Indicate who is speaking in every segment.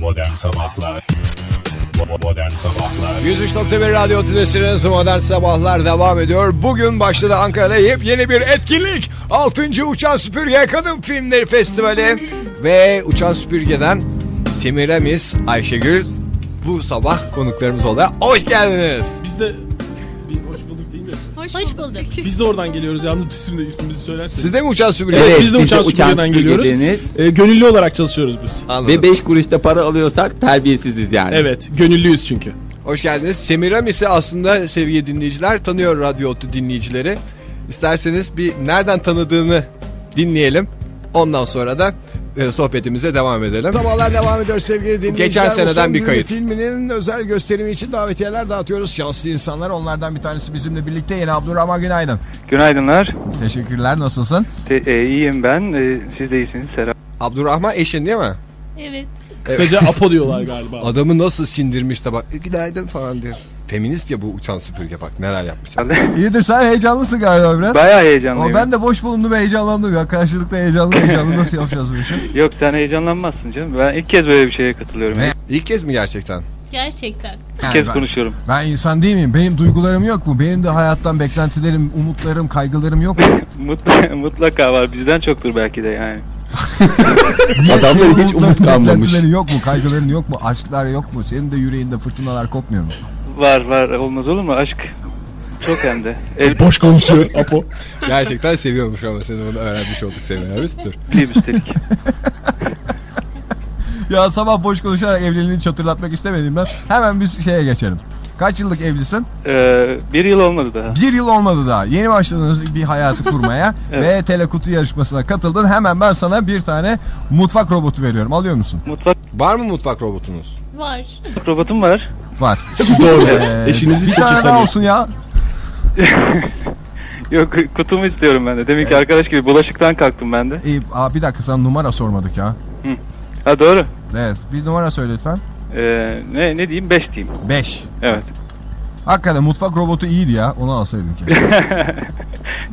Speaker 1: Modern Sabahlar Bo- Modern Sabahlar
Speaker 2: 103.1 Radyo Tülesi'niz Modern Sabahlar devam ediyor. Bugün başladı Ankara'da yepyeni bir etkinlik. 6. Uçan Süpürge Kadın Filmleri Festivali. Ve Uçan Süpürge'den Semiramis Ayşegül bu sabah konuklarımız olarak hoş geldiniz.
Speaker 3: Biz de bir hoş bulduk değil mi?
Speaker 4: Hoş bulduk.
Speaker 3: Biz de oradan geliyoruz yalnız bizim de ismimizi söylerseniz.
Speaker 2: Siz de mi Uçan Süpürge?
Speaker 3: Evet,
Speaker 5: Evet,
Speaker 3: biz de uçan süpürgeden geliyoruz.
Speaker 5: süpürgedeniz.
Speaker 3: Ee, gönüllü olarak çalışıyoruz biz.
Speaker 2: Anladım.
Speaker 5: Ve 5 kuruşta para alıyorsak terbiyesiziz yani.
Speaker 3: Evet, gönüllüyüz çünkü.
Speaker 2: Hoş geldiniz. Semiramis'i aslında sevgili dinleyiciler tanıyor Radyo Otlu dinleyicileri. İsterseniz bir nereden tanıdığını dinleyelim. Ondan sonra da e, sohbetimize devam edelim.
Speaker 6: Sabahlar devam ediyor sevgili dinleyiciler.
Speaker 2: Geçen seneden
Speaker 6: Uzun
Speaker 2: bir
Speaker 6: Düğünü
Speaker 2: kayıt.
Speaker 6: Filminin özel gösterimi için davetiyeler dağıtıyoruz. Şanslı insanlar onlardan bir tanesi bizimle birlikte. Yeni Abdurrahman günaydın.
Speaker 7: Günaydınlar.
Speaker 6: Teşekkürler nasılsın?
Speaker 7: Te- e, iyiyim ben. E, siz de iyisiniz. Selam.
Speaker 2: Abdurrahman eşin değil mi?
Speaker 4: Evet.
Speaker 3: Kısaca Apo diyorlar galiba.
Speaker 2: Adamı nasıl sindirmiş de bak "E, günaydın falan diyor. Feminist ya bu uçan süpürge bak neler yapmış.
Speaker 6: İyidir sen heyecanlısın galiba biraz.
Speaker 7: Bayağı heyecanlıyım.
Speaker 6: Ama ben de boş bulundum ve heyecanlandım ya. Karşılıklı heyecanlı heyecanlı nasıl yapacağız bu işi?
Speaker 7: Yok sen heyecanlanmazsın canım. Ben ilk kez böyle bir şeye katılıyorum.
Speaker 6: Ne?
Speaker 7: İlk
Speaker 2: İlk kez mi gerçekten?
Speaker 4: Gerçekten.
Speaker 7: kez
Speaker 6: ben,
Speaker 7: konuşuyorum.
Speaker 6: ben insan değil miyim? Benim duygularım yok mu? Benim de hayattan beklentilerim, umutlarım, kaygılarım yok mu?
Speaker 7: Mut- mutlaka var. Bizden çoktur belki de yani.
Speaker 5: Adamlar hiç umut
Speaker 6: Umutların,
Speaker 5: kalmamış.
Speaker 6: beklentilerin yok mu? Kaygıların yok mu? Aşklar yok mu? Senin de yüreğinde fırtınalar kopmuyor mu?
Speaker 7: Var var. Olmaz olur mu? Aşk. Çok hem de. El
Speaker 3: Boş konuşuyor Apo.
Speaker 2: Gerçekten seviyormuş ama seni bunu öğrenmiş olduk Semih abi. Dur.
Speaker 7: değil üstelik.
Speaker 6: Ya sabah boş konuşarak evliliğini çatırlatmak istemediğimden hemen biz şeye geçelim. Kaç yıllık evlisin?
Speaker 7: Ee, bir yıl olmadı daha.
Speaker 6: Bir yıl olmadı daha. Yeni başladınız bir hayatı kurmaya
Speaker 7: Evet.
Speaker 6: ve telekutu yarışmasına katıldın. Hemen ben sana bir tane mutfak robotu veriyorum. Alıyor musun?
Speaker 7: Mutfak
Speaker 2: Var mı mutfak robotunuz?
Speaker 4: Var.
Speaker 7: robotum var.
Speaker 6: Var.
Speaker 3: Doğru.
Speaker 6: Ee,
Speaker 3: Eşinizi
Speaker 6: bir tane daha
Speaker 3: kötü
Speaker 6: olsun ya.
Speaker 7: Yok kutumu istiyorum ben de. Demin ki arkadaş gibi bulaşıktan kalktım ben de.
Speaker 6: Ee, aa, bir dakika sana numara sormadık ya.
Speaker 7: Ha doğru.
Speaker 6: Evet bir numara söyle lütfen.
Speaker 7: Ee, ne ne diyeyim? Beş diyeyim.
Speaker 6: 5.
Speaker 7: Evet.
Speaker 6: Hakikaten mutfak robotu iyiydi ya. Onu alsaydın ki.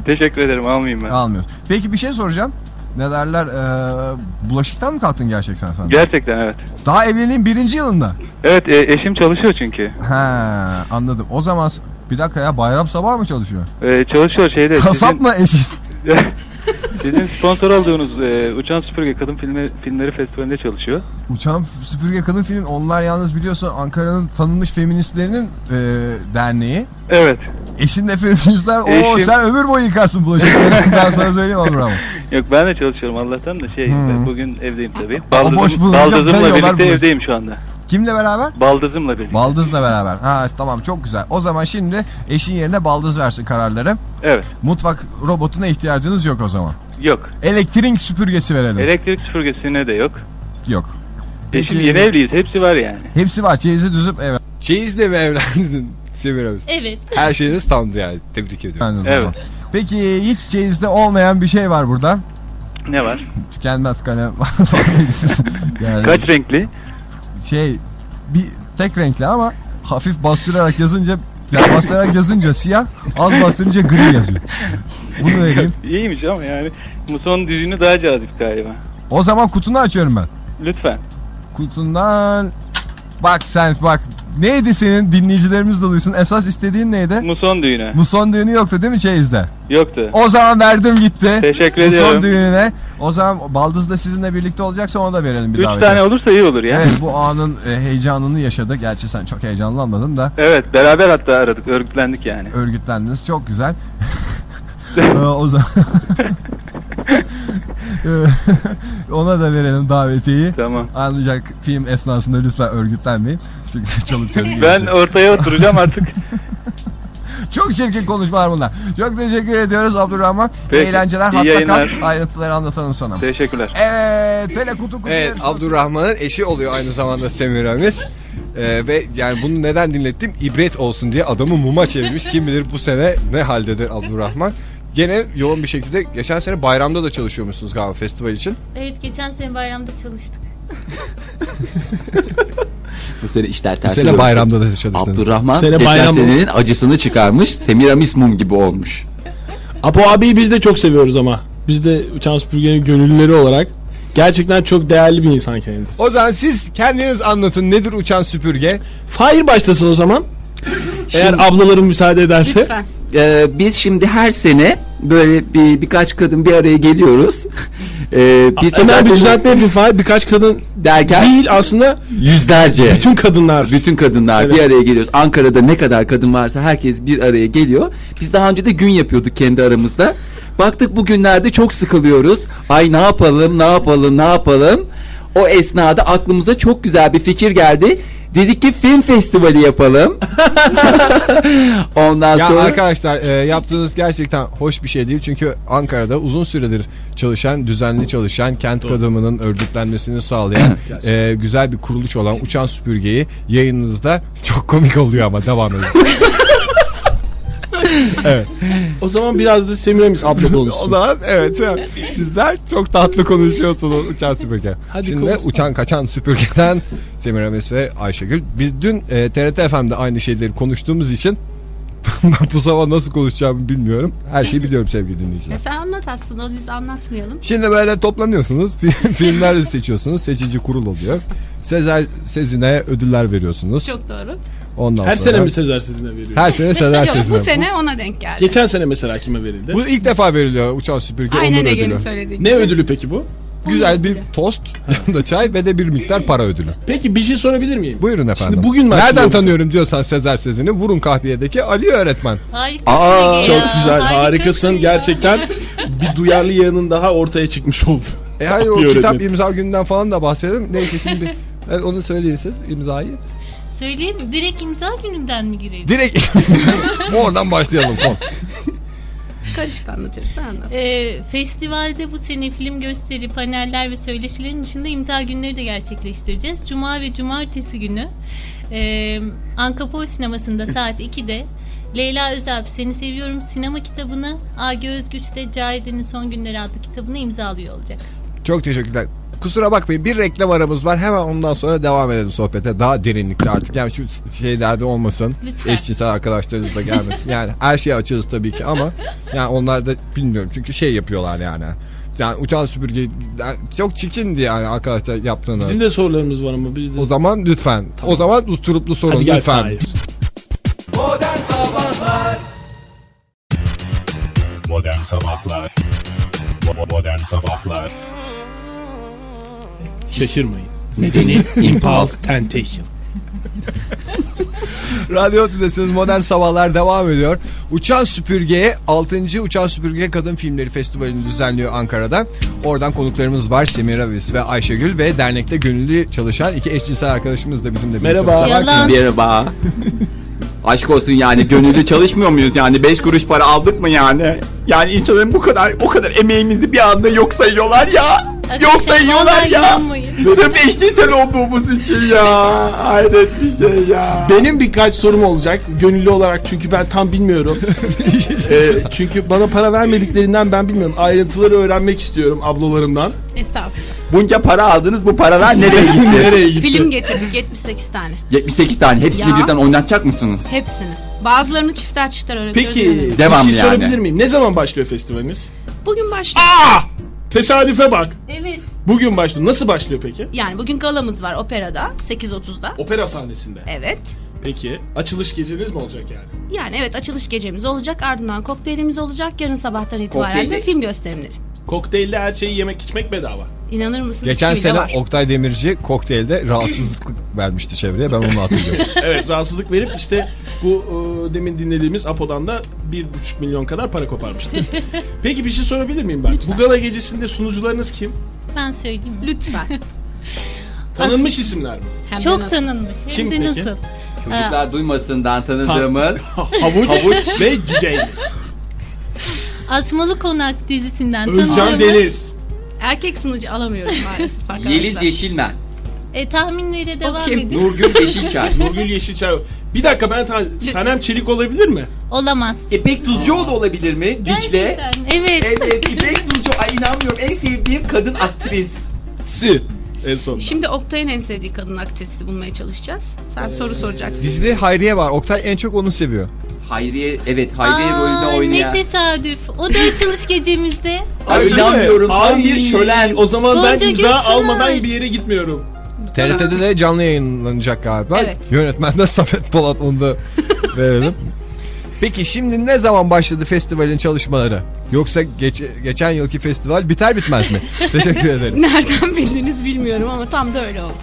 Speaker 7: Teşekkür ederim. Almayayım ben.
Speaker 6: Almıyoruz. Peki bir şey soracağım. Ne derler? ee, bulaşıktan mı kalktın gerçekten sen?
Speaker 7: Gerçekten evet.
Speaker 6: Daha evliliğin birinci yılında.
Speaker 7: Evet e, eşim çalışıyor çünkü.
Speaker 6: Ha anladım. O zaman s- bir dakika ya bayram sabahı mı çalışıyor?
Speaker 7: Ee, çalışıyor şeyde.
Speaker 6: Kasap
Speaker 7: sizin-
Speaker 6: mı eşi?
Speaker 7: Sizin sponsor olduğunuz e, Uçan Süpürge Kadın Filmi, Filmleri Festivali'nde çalışıyor.
Speaker 6: Uçan Süpürge Kadın Film onlar yalnız biliyorsun Ankara'nın tanınmış feministlerinin e, derneği.
Speaker 7: Evet.
Speaker 6: Eşin de feministler. Oo
Speaker 7: Eşim-
Speaker 6: sen ömür boyu yıkarsın bulaşıkları. ben sana söyleyeyim Onur abi.
Speaker 7: Yok ben de çalışıyorum Allah'tan da şey ben bugün evdeyim tabii. Baldızım,
Speaker 6: Hmm. boş bulunca
Speaker 7: baldızımla
Speaker 6: dayıyorlar
Speaker 7: birlikte
Speaker 6: bunu.
Speaker 7: evdeyim şu anda.
Speaker 6: Kimle beraber?
Speaker 7: Baldızımla birlikte.
Speaker 6: Baldız'la beraber. Ha tamam çok güzel. O zaman şimdi eşin yerine Baldız versin kararları.
Speaker 7: Evet.
Speaker 6: Mutfak robotuna ihtiyacınız yok o zaman.
Speaker 7: Yok.
Speaker 6: Elektrik süpürgesi verelim.
Speaker 7: Elektrik süpürgesine de yok.
Speaker 6: yok.
Speaker 7: Eşim yeni evliyiz. Hepsi var yani.
Speaker 6: Hepsi var. Çeyizi düzüp eve.
Speaker 2: Şeyizle mi evlendin Semih abi?
Speaker 4: Evet.
Speaker 2: Her şeyiniz tamdı yani. Tebrik ediyorum.
Speaker 6: Ben de o zaman.
Speaker 7: Evet.
Speaker 6: Peki hiç çeyizde olmayan bir şey var burada.
Speaker 7: Ne var?
Speaker 6: Tükenmez kalem var yani
Speaker 7: Kaç renkli?
Speaker 6: Şey bir tek renkli ama hafif bastırarak yazınca yani bastırarak yazınca siyah, az bastırınca gri yazıyor. Bunu vereyim.
Speaker 7: İyiymiş ama yani. Muson düzünü daha cazip galiba.
Speaker 6: O zaman kutunu açıyorum ben.
Speaker 7: Lütfen.
Speaker 6: Kutundan bak sen bak neydi senin dinleyicilerimiz de duysun. Esas istediğin neydi?
Speaker 7: Muson düğünü.
Speaker 6: Bu son düğünü yoktu değil mi çeyizde?
Speaker 7: Yoktu.
Speaker 6: O zaman verdim gitti.
Speaker 7: Teşekkür
Speaker 6: Bu
Speaker 7: ediyorum.
Speaker 6: son düğününe. O zaman Baldız da sizinle birlikte olacaksa ona da verelim bir
Speaker 7: Üç
Speaker 6: davetiye.
Speaker 7: tane olursa iyi olur ya.
Speaker 6: Evet bu anın e, heyecanını yaşadık. Gerçi sen çok heyecanlanmadın da
Speaker 7: Evet beraber hatta aradık örgütlendik yani.
Speaker 6: örgütlendiniz. Çok güzel. Ee, o zaman Ee, ona da verelim davetiyi.
Speaker 7: Tamam.
Speaker 6: Ancak film esnasında lütfen örgütlenmeyin. Çünkü çoluk çocuk
Speaker 7: Ben ortaya oturacağım artık.
Speaker 6: Çok çirkin konuşmalar bunlar. Çok teşekkür ediyoruz Abdurrahman.
Speaker 7: Peki,
Speaker 6: Eğlenceler
Speaker 7: iyi
Speaker 6: hatta
Speaker 7: yayınlar.
Speaker 6: kal. Ayrıntıları anlatalım sana.
Speaker 7: Teşekkürler.
Speaker 6: Evet, telekutu kutu
Speaker 2: Evet
Speaker 6: yarışması.
Speaker 2: Abdurrahman'ın eşi oluyor aynı zamanda Semiramis. Ee, ve yani bunu neden dinlettim? İbret olsun diye adamı muma çevirmiş. Kim bilir bu sene ne haldedir Abdurrahman. Gene yoğun bir şekilde geçen sene bayramda da çalışıyormuşsunuz galiba festival için.
Speaker 4: Evet geçen sene bayramda çalıştık.
Speaker 5: Bu sene işler
Speaker 2: Bu
Speaker 5: ters.
Speaker 2: sene
Speaker 5: dönüyor.
Speaker 2: bayramda da çalıştınız.
Speaker 5: Abdurrahman
Speaker 3: Sene
Speaker 5: geçen
Speaker 3: bayram-
Speaker 5: senenin acısını çıkarmış. Semiramis mum gibi olmuş.
Speaker 3: Apo abiyi biz de çok seviyoruz ama. Biz de uçan süpürgenin gönüllüleri olarak Gerçekten çok değerli bir insan kendisi.
Speaker 6: O zaman siz kendiniz anlatın nedir uçan süpürge?
Speaker 3: Fahir başlasın o zaman. Eğer ablalarım müsaade ederse.
Speaker 4: Lütfen.
Speaker 2: Ee, biz şimdi her sene böyle bir birkaç kadın bir araya geliyoruz. Ee, biz
Speaker 3: Hemen bir
Speaker 2: zaten-
Speaker 3: düzeltme yapayım Fahir. Birkaç kadın
Speaker 2: derken
Speaker 3: değil aslında
Speaker 2: yüzlerce.
Speaker 3: bütün kadınlar.
Speaker 2: Bütün kadınlar
Speaker 3: Evet.
Speaker 2: bir araya geliyoruz. Ankara'da ne kadar kadın varsa herkes bir araya geliyor. Biz daha önce de gün yapıyorduk kendi aramızda. Baktık bugünlerde çok sıkılıyoruz. Ay ne yapalım, ne yapalım, ne yapalım. O esnada aklımıza çok güzel bir fikir geldi. Dedik ki film festivali yapalım. Ondan
Speaker 6: Ya
Speaker 2: sonra
Speaker 6: arkadaşlar e, yaptığınız gerçekten hoş bir şey değil. Çünkü Ankara'da uzun süredir çalışan, düzenli çalışan, kent kadımının örgütlenmesini sağlayan e, güzel bir kuruluş olan Uçan Süpürge'yi yayınınızda çok komik oluyor ama devam edin.
Speaker 3: O zaman biraz da Semiramis abla
Speaker 6: o
Speaker 3: konuşsun.
Speaker 6: zaman evet evet. sizler çok tatlı konuşuyorsunuz Uçan Süpürge.
Speaker 3: Hadi
Speaker 6: Şimdi
Speaker 3: konuşsana.
Speaker 6: Uçan Kaçan Süpürge'den Semiramis ve Ayşegül. Biz dün e, TRT FM'de aynı şeyleri konuştuğumuz için ben bu sabah nasıl konuşacağımı bilmiyorum. Her şeyi biliyorum sevgili dinleyiciler.
Speaker 4: Ya sen anlat aslında biz anlatmayalım.
Speaker 6: Şimdi böyle toplanıyorsunuz. fi- Filmler seçiyorsunuz. Seçici kurul oluyor. Sezer Sezin'e ödüller veriyorsunuz.
Speaker 4: Çok doğru.
Speaker 6: Ondan
Speaker 3: Her
Speaker 6: sonra
Speaker 3: sene mi Sezer sizinle veriyor?
Speaker 6: Her sene Sezer
Speaker 8: Yok,
Speaker 6: Sezin'e.
Speaker 8: bu sene ona denk geldi.
Speaker 3: Geçen sene mesela kime verildi?
Speaker 6: Bu ilk defa veriliyor uçan süpürge
Speaker 8: Aynen
Speaker 6: onur ödülü.
Speaker 8: Ege'nin söylediği.
Speaker 3: Ne ödülü peki bu?
Speaker 6: Güzel bir tost, yanında çay ve de bir miktar para ödülü.
Speaker 3: Peki bir şey sorabilir miyim?
Speaker 6: Buyurun efendim.
Speaker 3: Şimdi bugün mü
Speaker 6: Nereden
Speaker 3: açılıyor bu
Speaker 6: tanıyorum diyorsan Sezer Sezin'i vurun kahviyedeki Ali öğretmen.
Speaker 4: Harika.
Speaker 2: Aa,
Speaker 4: Ege
Speaker 3: Çok
Speaker 4: ya,
Speaker 3: güzel,
Speaker 4: harikasın
Speaker 3: harikasın.
Speaker 4: ya.
Speaker 3: Gerçekten bir duyarlı yanın daha ortaya çıkmış oldu.
Speaker 6: E hayır o
Speaker 3: Ali öğretmen.
Speaker 6: kitap imza gününden falan da bahsedelim. Neyse şimdi Evet, onu söyleyin siz imzayı.
Speaker 4: Söyleyeyim mi? direkt imza gününden mi gireyim?
Speaker 6: Direkt oradan başlayalım. Tamam.
Speaker 8: Karışık anlatırsa anlat.
Speaker 4: Ee, festivalde bu sene film gösteri, paneller ve söyleşilerin dışında imza günleri de gerçekleştireceğiz. Cuma ve cumartesi günü e, Ankapol Sineması'nda saat 2'de Leyla Özelp Seni Seviyorum sinema kitabını A.G. Özgüç de Cahide'nin Son Günleri adlı kitabını imzalıyor olacak.
Speaker 6: Çok teşekkürler. Kusura bakmayın bir reklam aramız var. Hemen ondan sonra devam edelim sohbete. Daha derinlikte artık. Yani şu şeylerde olmasın.
Speaker 4: Lütfen.
Speaker 6: Eşcinsel arkadaşlarınız da gelmesin. yani her şeye açığız tabii ki ama yani onlar da bilmiyorum. Çünkü şey yapıyorlar yani. Yani uçan süpürge yani çok çikindi yani arkadaşlar yaptığını.
Speaker 3: Bizim de sorularımız var ama biz de...
Speaker 6: O zaman lütfen. O zaman usturuplu sorun
Speaker 3: Hadi gel
Speaker 6: lütfen.
Speaker 3: Fahir.
Speaker 1: Modern Sabahlar Modern Sabahlar
Speaker 3: Şaşırmayın. Nedeni impulse temptation.
Speaker 6: Radyo Tülesi'niz Modern Sabahlar devam ediyor. Uçan Süpürge'ye 6. Uçan Süpürge Kadın Filmleri Festivali'ni düzenliyor Ankara'da. Oradan konuklarımız var Semira Vis ve Ayşegül ve dernekte gönüllü çalışan iki eşcinsel arkadaşımız da bizimle birlikte.
Speaker 3: Merhaba.
Speaker 6: bu sabah.
Speaker 4: Yalan.
Speaker 2: merhaba. Aşk olsun yani gönüllü çalışmıyor muyuz yani 5 kuruş para aldık mı yani? Yani insanların bu kadar o kadar emeğimizi bir anda yok sayıyorlar ya. Yok
Speaker 4: Arkadaşlar,
Speaker 2: sayıyorlar
Speaker 4: vallahi
Speaker 2: ya.
Speaker 4: inanmayın.
Speaker 2: Sırf eşcinsel olduğumuz için ya. Hayret bir şey ya.
Speaker 3: Benim birkaç sorum olacak gönüllü olarak çünkü ben tam bilmiyorum. Ee, çünkü bana para vermediklerinden ben bilmiyorum. Ayrıntıları öğrenmek istiyorum ablalarımdan.
Speaker 8: Estağfurullah.
Speaker 2: Bunca para aldınız bu paralar nereye gitti?
Speaker 3: Nereye gitti?
Speaker 8: Film getirdik 78 tane.
Speaker 2: 78 tane hepsini
Speaker 8: Ya.
Speaker 2: birden oynatacak mısınız?
Speaker 8: Hepsini. Bazılarını çifter çifter öğretiyoruz.
Speaker 3: Peki
Speaker 8: yani.
Speaker 2: Devam
Speaker 3: bir şey
Speaker 2: yani.
Speaker 3: sorabilir miyim? Ne zaman başlıyor festivaliniz?
Speaker 8: Bugün başlıyor.
Speaker 3: Tesadüfe bak.
Speaker 4: Evet.
Speaker 3: Bugün başlıyor. Nasıl başlıyor peki?
Speaker 8: Yani bugün galamız var operada 8.30'da.
Speaker 3: Opera sahnesinde.
Speaker 8: Evet.
Speaker 3: Peki açılış geceniz mi olacak yani?
Speaker 8: Yani evet açılış gecemiz olacak ardından kokteylimiz olacak yarın sabahtan itibaren de
Speaker 2: Kokteyli-
Speaker 8: film gösterimleri.
Speaker 3: Kokteylle her şeyi yemek içmek bedava.
Speaker 8: İnanır mısınız?
Speaker 6: Geçen
Speaker 8: Kimi de
Speaker 6: sene
Speaker 8: var.
Speaker 6: Oktay Demirci kokteylde rahatsızlık vermişti çevreye ben onu hatırlıyorum.
Speaker 3: Evet rahatsızlık verip işte bu e, demin dinlediğimiz Apo'dan da 1,5 milyon kadar para koparmıştı. Peki bir şey sorabilir miyim ben? Bu gala gecesinde sunucularınız kim?
Speaker 4: Ben söyleyeyim mi?
Speaker 8: Lütfen.
Speaker 3: Tanınmış isimler mi?
Speaker 8: Hem de
Speaker 4: Çok
Speaker 8: nasıl?
Speaker 4: tanınmış. Hem
Speaker 3: Kim
Speaker 4: de
Speaker 3: peki?
Speaker 4: nasıl?
Speaker 2: Çocuklar duymasından tanıdığımız
Speaker 3: Havuç, ve Cüceymir.
Speaker 4: Asmalı Konak dizisinden
Speaker 3: Özcan
Speaker 4: tanıdığımız-
Speaker 3: Deniz.
Speaker 8: Erkek sunucu alamıyorum maalesef arkadaşlar.
Speaker 2: Yeliz Yeşilmen,
Speaker 4: E, tahminlere devam
Speaker 8: kim?
Speaker 4: edin.
Speaker 2: Nurgül Yeşilçay,
Speaker 3: Nurgül Yeşilçay. Bir dakika ben ta- Sanem Çelik olabilir mi?
Speaker 4: Olamaz.
Speaker 2: İpek Tuzcuoğlu olabilir mi? Dicle.
Speaker 4: Gerçekten, Evet.
Speaker 2: Evet İpek Tuzcu. Ay inanmıyorum en sevdiğim kadın aktris.
Speaker 3: Si. En son.
Speaker 8: Şimdi Oktay'ın en sevdiği kadın aktrisi bulmaya çalışacağız. Sen soru soracaksın.
Speaker 6: Dizide Hayriye var. Oktay en çok onu seviyor.
Speaker 2: Hayriye evet Hayriye
Speaker 4: Aa,
Speaker 2: rolünde oynayan.
Speaker 4: Ne tesadüf. O da açılış gecemizde.
Speaker 2: Ay inanmıyorum tam bir şölen.
Speaker 3: O zaman
Speaker 4: Gonca
Speaker 3: ben imza
Speaker 4: Gülsünay.
Speaker 3: almadan bir yere gitmiyorum.
Speaker 6: TRT'de de canlı yayınlanacak galiba.
Speaker 8: Evet.
Speaker 6: Yönetmen de Safet Polat onu da verelim. Peki şimdi ne zaman başladı festivalin çalışmaları? Yoksa geç- geçen yılki festival biter bitmez mi? Teşekkür ederim.
Speaker 8: Nereden bildiniz bilmiyorum ama tam da öyle oldu.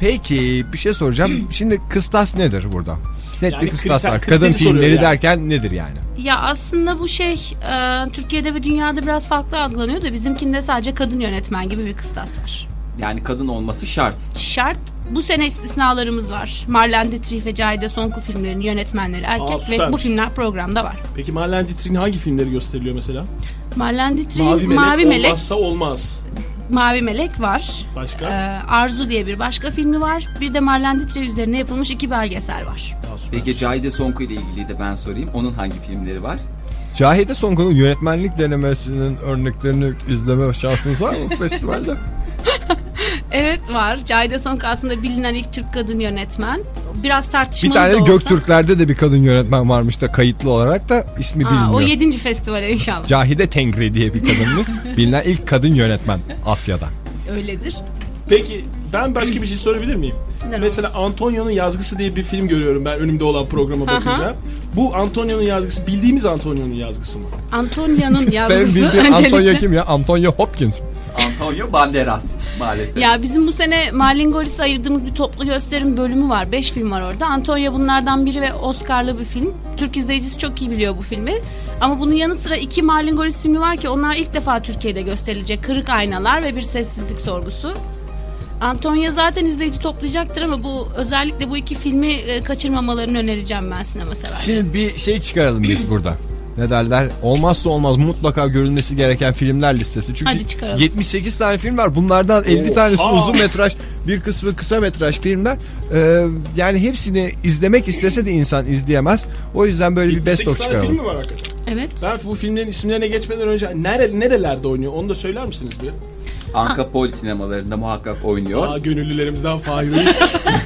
Speaker 6: Peki bir şey soracağım. Şimdi kıstas nedir burada? Net
Speaker 3: Yani
Speaker 6: bir kıstas
Speaker 3: kriter-
Speaker 6: var.
Speaker 3: kriteri
Speaker 6: Kadın
Speaker 3: soruyor
Speaker 6: filmleri
Speaker 3: yani.
Speaker 6: derken nedir yani?
Speaker 8: Ya aslında bu şey e, Türkiye'de ve dünyada biraz farklı algılanıyor da bizimkinde sadece kadın yönetmen gibi bir kıstas var.
Speaker 2: Yani kadın olması şart.
Speaker 8: Şart bu sene istisnalarımız var. Marlene Dietrich ve Cahide Sonku filmlerinin yönetmenleri
Speaker 3: Aa,
Speaker 8: erkek ve
Speaker 3: süpermiş.
Speaker 8: bu filmler programda var.
Speaker 3: Peki Marlene Dietrich'in hangi filmleri gösteriliyor mesela?
Speaker 8: Marlene Dietrich,
Speaker 3: Mavi
Speaker 8: Mavi
Speaker 3: Melek,
Speaker 8: Melek,
Speaker 3: olmazsa olmaz.
Speaker 8: Mavi Melek var.
Speaker 3: Başka?
Speaker 8: E, Arzu diye bir başka filmi var. Bir de Marlene Dietrich üzerine yapılmış iki belgesel var.
Speaker 3: Aa, süper.
Speaker 2: Peki Cahide Sonku ile ilgili de ben sorayım. Onun hangi filmleri var?
Speaker 6: Cahide Songun'un yönetmenlik denemesinin örneklerini izleme şansınız var mı bu festivalde?
Speaker 8: Evet var. Cahide Sonku aslında bilinen ilk Türk kadın yönetmen. Biraz
Speaker 6: bir
Speaker 8: tartışmalı
Speaker 6: tane
Speaker 8: da
Speaker 6: de
Speaker 8: olsa.
Speaker 6: Göktürklerde de bir kadın yönetmen varmış da kayıtlı olarak da ismi
Speaker 8: Aa, o
Speaker 6: biliniyor.
Speaker 8: 7. festivale inşallah.
Speaker 6: Cahide Tengri diye bir kadınmış. Bilinen ilk kadın yönetmen Asya'da.
Speaker 8: Öyledir.
Speaker 3: Peki ben başka bir şey sorabilir miyim?
Speaker 8: Neden
Speaker 3: Mesela Antonio'nun Yazgısı diye bir film görüyorum ben önümde olan programa
Speaker 8: Aha.
Speaker 3: bakınca. Bu Antonio'nun Yazgısı bildiğimiz Antonio'nun Yazgısı mı?
Speaker 8: Antonia'nın
Speaker 6: Senin
Speaker 8: yazgısı
Speaker 6: bildiğin Antonio
Speaker 8: öncelikle.
Speaker 6: kim ya? Antonio Hopkins. mi?
Speaker 2: Antonio Banderas maalesef.
Speaker 8: Ya bizim bu sene Marlingolis'e ayırdığımız bir toplu gösterim bölümü var. 5 film var orada. Antonia bunlardan biri ve Oscar'lı bir film. Türk izleyicisi çok iyi biliyor bu filmi. Ama bunun yanı sıra iki Marlingolis filmi var ki onlar ilk defa Türkiye'de gösterilecek. Kırık Aynalar ve Bir Sessizlik Sorgusu. Antonia zaten izleyici toplayacaktır ama bu özellikle bu iki filmi e, kaçırmamalarını önereceğim ben sinema severlere.
Speaker 6: Şimdi bir şey çıkaralım biz burada. Ne derler? Olmazsa olmaz mutlaka görülmesi gereken filmler listesi. Çünkü
Speaker 8: Hadi çıkaralım.
Speaker 6: 78 tane film var. Bunlardan 50 tanesi
Speaker 3: Oha.
Speaker 6: uzun metraj, bir kısmı kısa metraj filmler. Ee, yani hepsini izlemek istese de insan izleyemez. O yüzden böyle bir best
Speaker 3: 78
Speaker 6: of
Speaker 3: tane film
Speaker 6: çıkaralım.
Speaker 3: mi var hakikaten?
Speaker 8: Evet.
Speaker 3: Ben bu filmlerin isimlerine geçmeden önce nere, nerelerde oynuyor onu da söyler misiniz bir?
Speaker 2: Ankapol sinemalarında muhakkak oynuyor.
Speaker 3: Aa gönüllülerimizden Fahir Öğüt.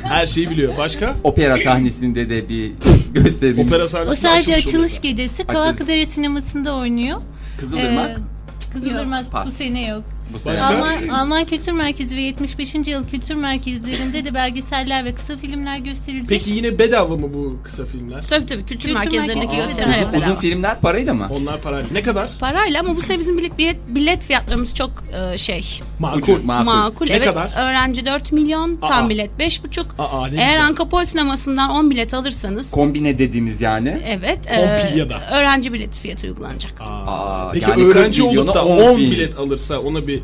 Speaker 3: Her şeyi biliyor. Başka?
Speaker 2: Opera sahnesinde de bir gösterimiz.
Speaker 3: Opera
Speaker 4: O
Speaker 3: sahnesi
Speaker 4: sadece açılış gecesi
Speaker 2: Açılış.
Speaker 4: Kavakdere sinemasında oynuyor.
Speaker 2: Kızılırmak.
Speaker 4: Ee, Kızılırmak bu
Speaker 2: Pas.
Speaker 4: sene yok.
Speaker 2: bu sene.
Speaker 3: Başka?
Speaker 4: Alman, Alman Kültür Merkezi ve 75. Yıl Kültür Merkezlerinde de belgeseller ve kısa filmler gösterilecek.
Speaker 3: Peki yine bedava mı bu kısa filmler?
Speaker 8: Tabii tabii kültür,
Speaker 4: Kültür
Speaker 8: merkezlerindeki
Speaker 4: merkezleri
Speaker 8: gösterimler.
Speaker 4: bedava.
Speaker 8: hep bedava.
Speaker 2: Uzun filmler parayla mı?
Speaker 3: Onlar parayla. Ne kadar?
Speaker 8: Parayla ama bu sene bizim bilet, bilet, bilet fiyatlarımız çok e, şey
Speaker 3: Makul.
Speaker 2: Makul.
Speaker 8: makul.
Speaker 3: Ne
Speaker 8: evet
Speaker 3: kadar?
Speaker 8: öğrenci 4 milyon
Speaker 3: Aa.
Speaker 8: tam bilet 5,5.
Speaker 3: Aa, ne
Speaker 8: Eğer
Speaker 3: güzel.
Speaker 8: Ankapol sinemasından 10 bilet alırsanız
Speaker 2: Kombine dediğimiz yani.
Speaker 8: evet e,
Speaker 3: Kompilya'da.
Speaker 8: öğrenci bileti fiyatı uygulanacak.
Speaker 2: Aa,
Speaker 3: Peki
Speaker 2: yani
Speaker 3: öğrenci
Speaker 2: 40 milyona
Speaker 3: olup da
Speaker 2: 10
Speaker 3: 10
Speaker 2: bin.
Speaker 3: bilet alırsa ona bir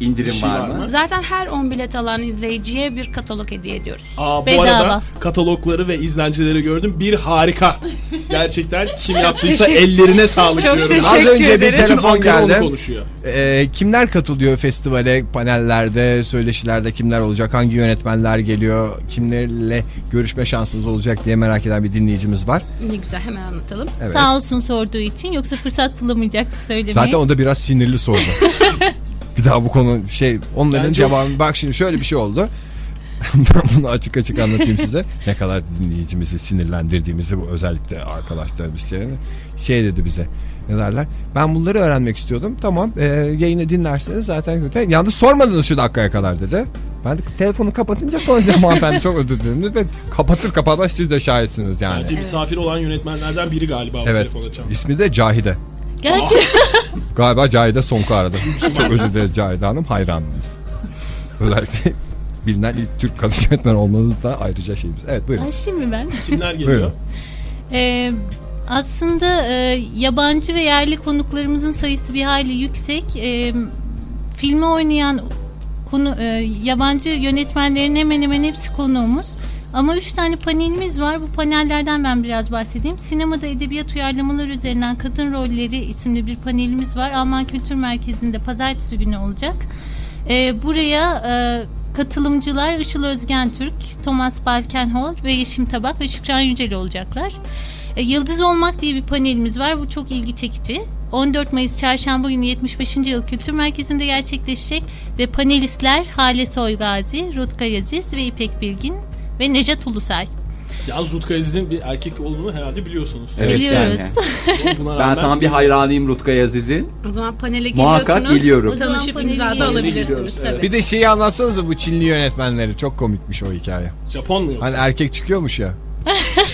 Speaker 2: İndirim
Speaker 3: Bir şey
Speaker 2: var,
Speaker 3: var
Speaker 2: mı?
Speaker 3: mı?
Speaker 8: Zaten her 10 bilet alan izleyiciye bir katalog hediye ediyoruz.
Speaker 3: Aa, bu
Speaker 4: Bedava.
Speaker 3: arada katalogları ve izlencileri gördüm. Bir harika. Gerçekten kim yaptıysa
Speaker 8: teşekkür-
Speaker 3: ellerine sağlık
Speaker 8: Çok
Speaker 3: diyorum.
Speaker 8: teşekkür
Speaker 6: Az önce bir
Speaker 8: ederim.
Speaker 3: Bütün
Speaker 6: telefon
Speaker 3: Ankara onu
Speaker 6: geldi.
Speaker 3: konuşuyor.
Speaker 6: Ee, kimler katılıyor festivale, panellerde, söyleşilerde kimler olacak, hangi yönetmenler geliyor, kimlerle görüşme şansımız olacak diye merak eden bir dinleyicimiz var.
Speaker 8: Ne güzel hemen anlatalım.
Speaker 6: Evet.
Speaker 4: Sağ olsun sorduğu için yoksa fırsat bulamayacaktık söylemeye.
Speaker 6: Zaten o da biraz sinirli sordu. bir daha bu konu şey onların
Speaker 3: Bence-
Speaker 6: cevabı bak şimdi şöyle bir şey oldu. ben bunu açık açık anlatayım size. Ne kadar dinleyicimizi sinirlendirdiğimizi bu özellikle arkadaşlarımız şey, şey dedi bize. Ne derler? Ben bunları öğrenmek istiyordum. Tamam e, yayını dinlerseniz zaten kötü. Yalnız sormadınız şu dakikaya kadar dedi. Ben de telefonu kapatınca soracağım hanımefendi çok özür dilerim dedi. Ve kapatır kapatmaz siz de şahitsiniz yani.
Speaker 3: Bence misafir olan yönetmenlerden biri galiba bu
Speaker 6: Evet.
Speaker 3: telefon açan.
Speaker 6: İsmi de Cahide.
Speaker 4: Gerçi
Speaker 6: Galiba Cahide Sonku aradı. Çok özür dileriz Cahide Hanım hayranımız. Özellikle bilinen ilk Türk kadın yönetmen olmanız da ayrıca şeyimiz. Evet buyurun.
Speaker 4: Ay, şimdi ben.
Speaker 3: Kimler geliyor?
Speaker 6: Buyurun.
Speaker 4: Ee, aslında e, yabancı ve yerli konuklarımızın sayısı bir hayli yüksek. Ee, filmi oynayan konu e, yabancı yönetmenlerin hemen hemen hepsi konuğumuz. Ama üç tane panelimiz var. Bu panellerden ben biraz bahsedeyim. Sinemada edebiyat uyarlamalar üzerinden kadın rolleri isimli bir panelimiz var. Alman Kültür Merkezi'nde pazartesi günü olacak. Ee, buraya e, katılımcılar Işıl Özgen Türk, Thomas Balkenhol ve Yeşim Tabak ve Şükran Yücel olacaklar. E, Yıldız Olmak diye bir panelimiz var. Bu çok ilgi çekici. 14 Mayıs Çarşamba günü 75. Yıl Kültür Merkezi'nde gerçekleşecek ve panelistler Hale Soygazi, Rutka Yaziz ve İpek Bilgin ve Necat Ulusay.
Speaker 3: Yalnız Rutka Aziz'in bir erkek olduğunu herhalde biliyorsunuz.
Speaker 4: Biliyoruz.
Speaker 3: Buna
Speaker 2: Ben
Speaker 3: rağmen
Speaker 2: tam bir hayranıyım Rutkay Aziz'in.
Speaker 8: O zaman panele geliyorsunuz.
Speaker 2: Muhakkak geliyorum.
Speaker 4: O zaman
Speaker 8: Tanışıp
Speaker 4: paneli
Speaker 8: imza da
Speaker 4: geliyoruz.
Speaker 8: alabilirsiniz
Speaker 3: Geliyoruz, evet.
Speaker 8: tabii.
Speaker 6: Bir de şeyi anlatsanıza bu Çinli yönetmenleri. Çok komikmiş o hikaye.
Speaker 3: Japon mu yoksa?
Speaker 6: Hani erkek çıkıyormuş ya.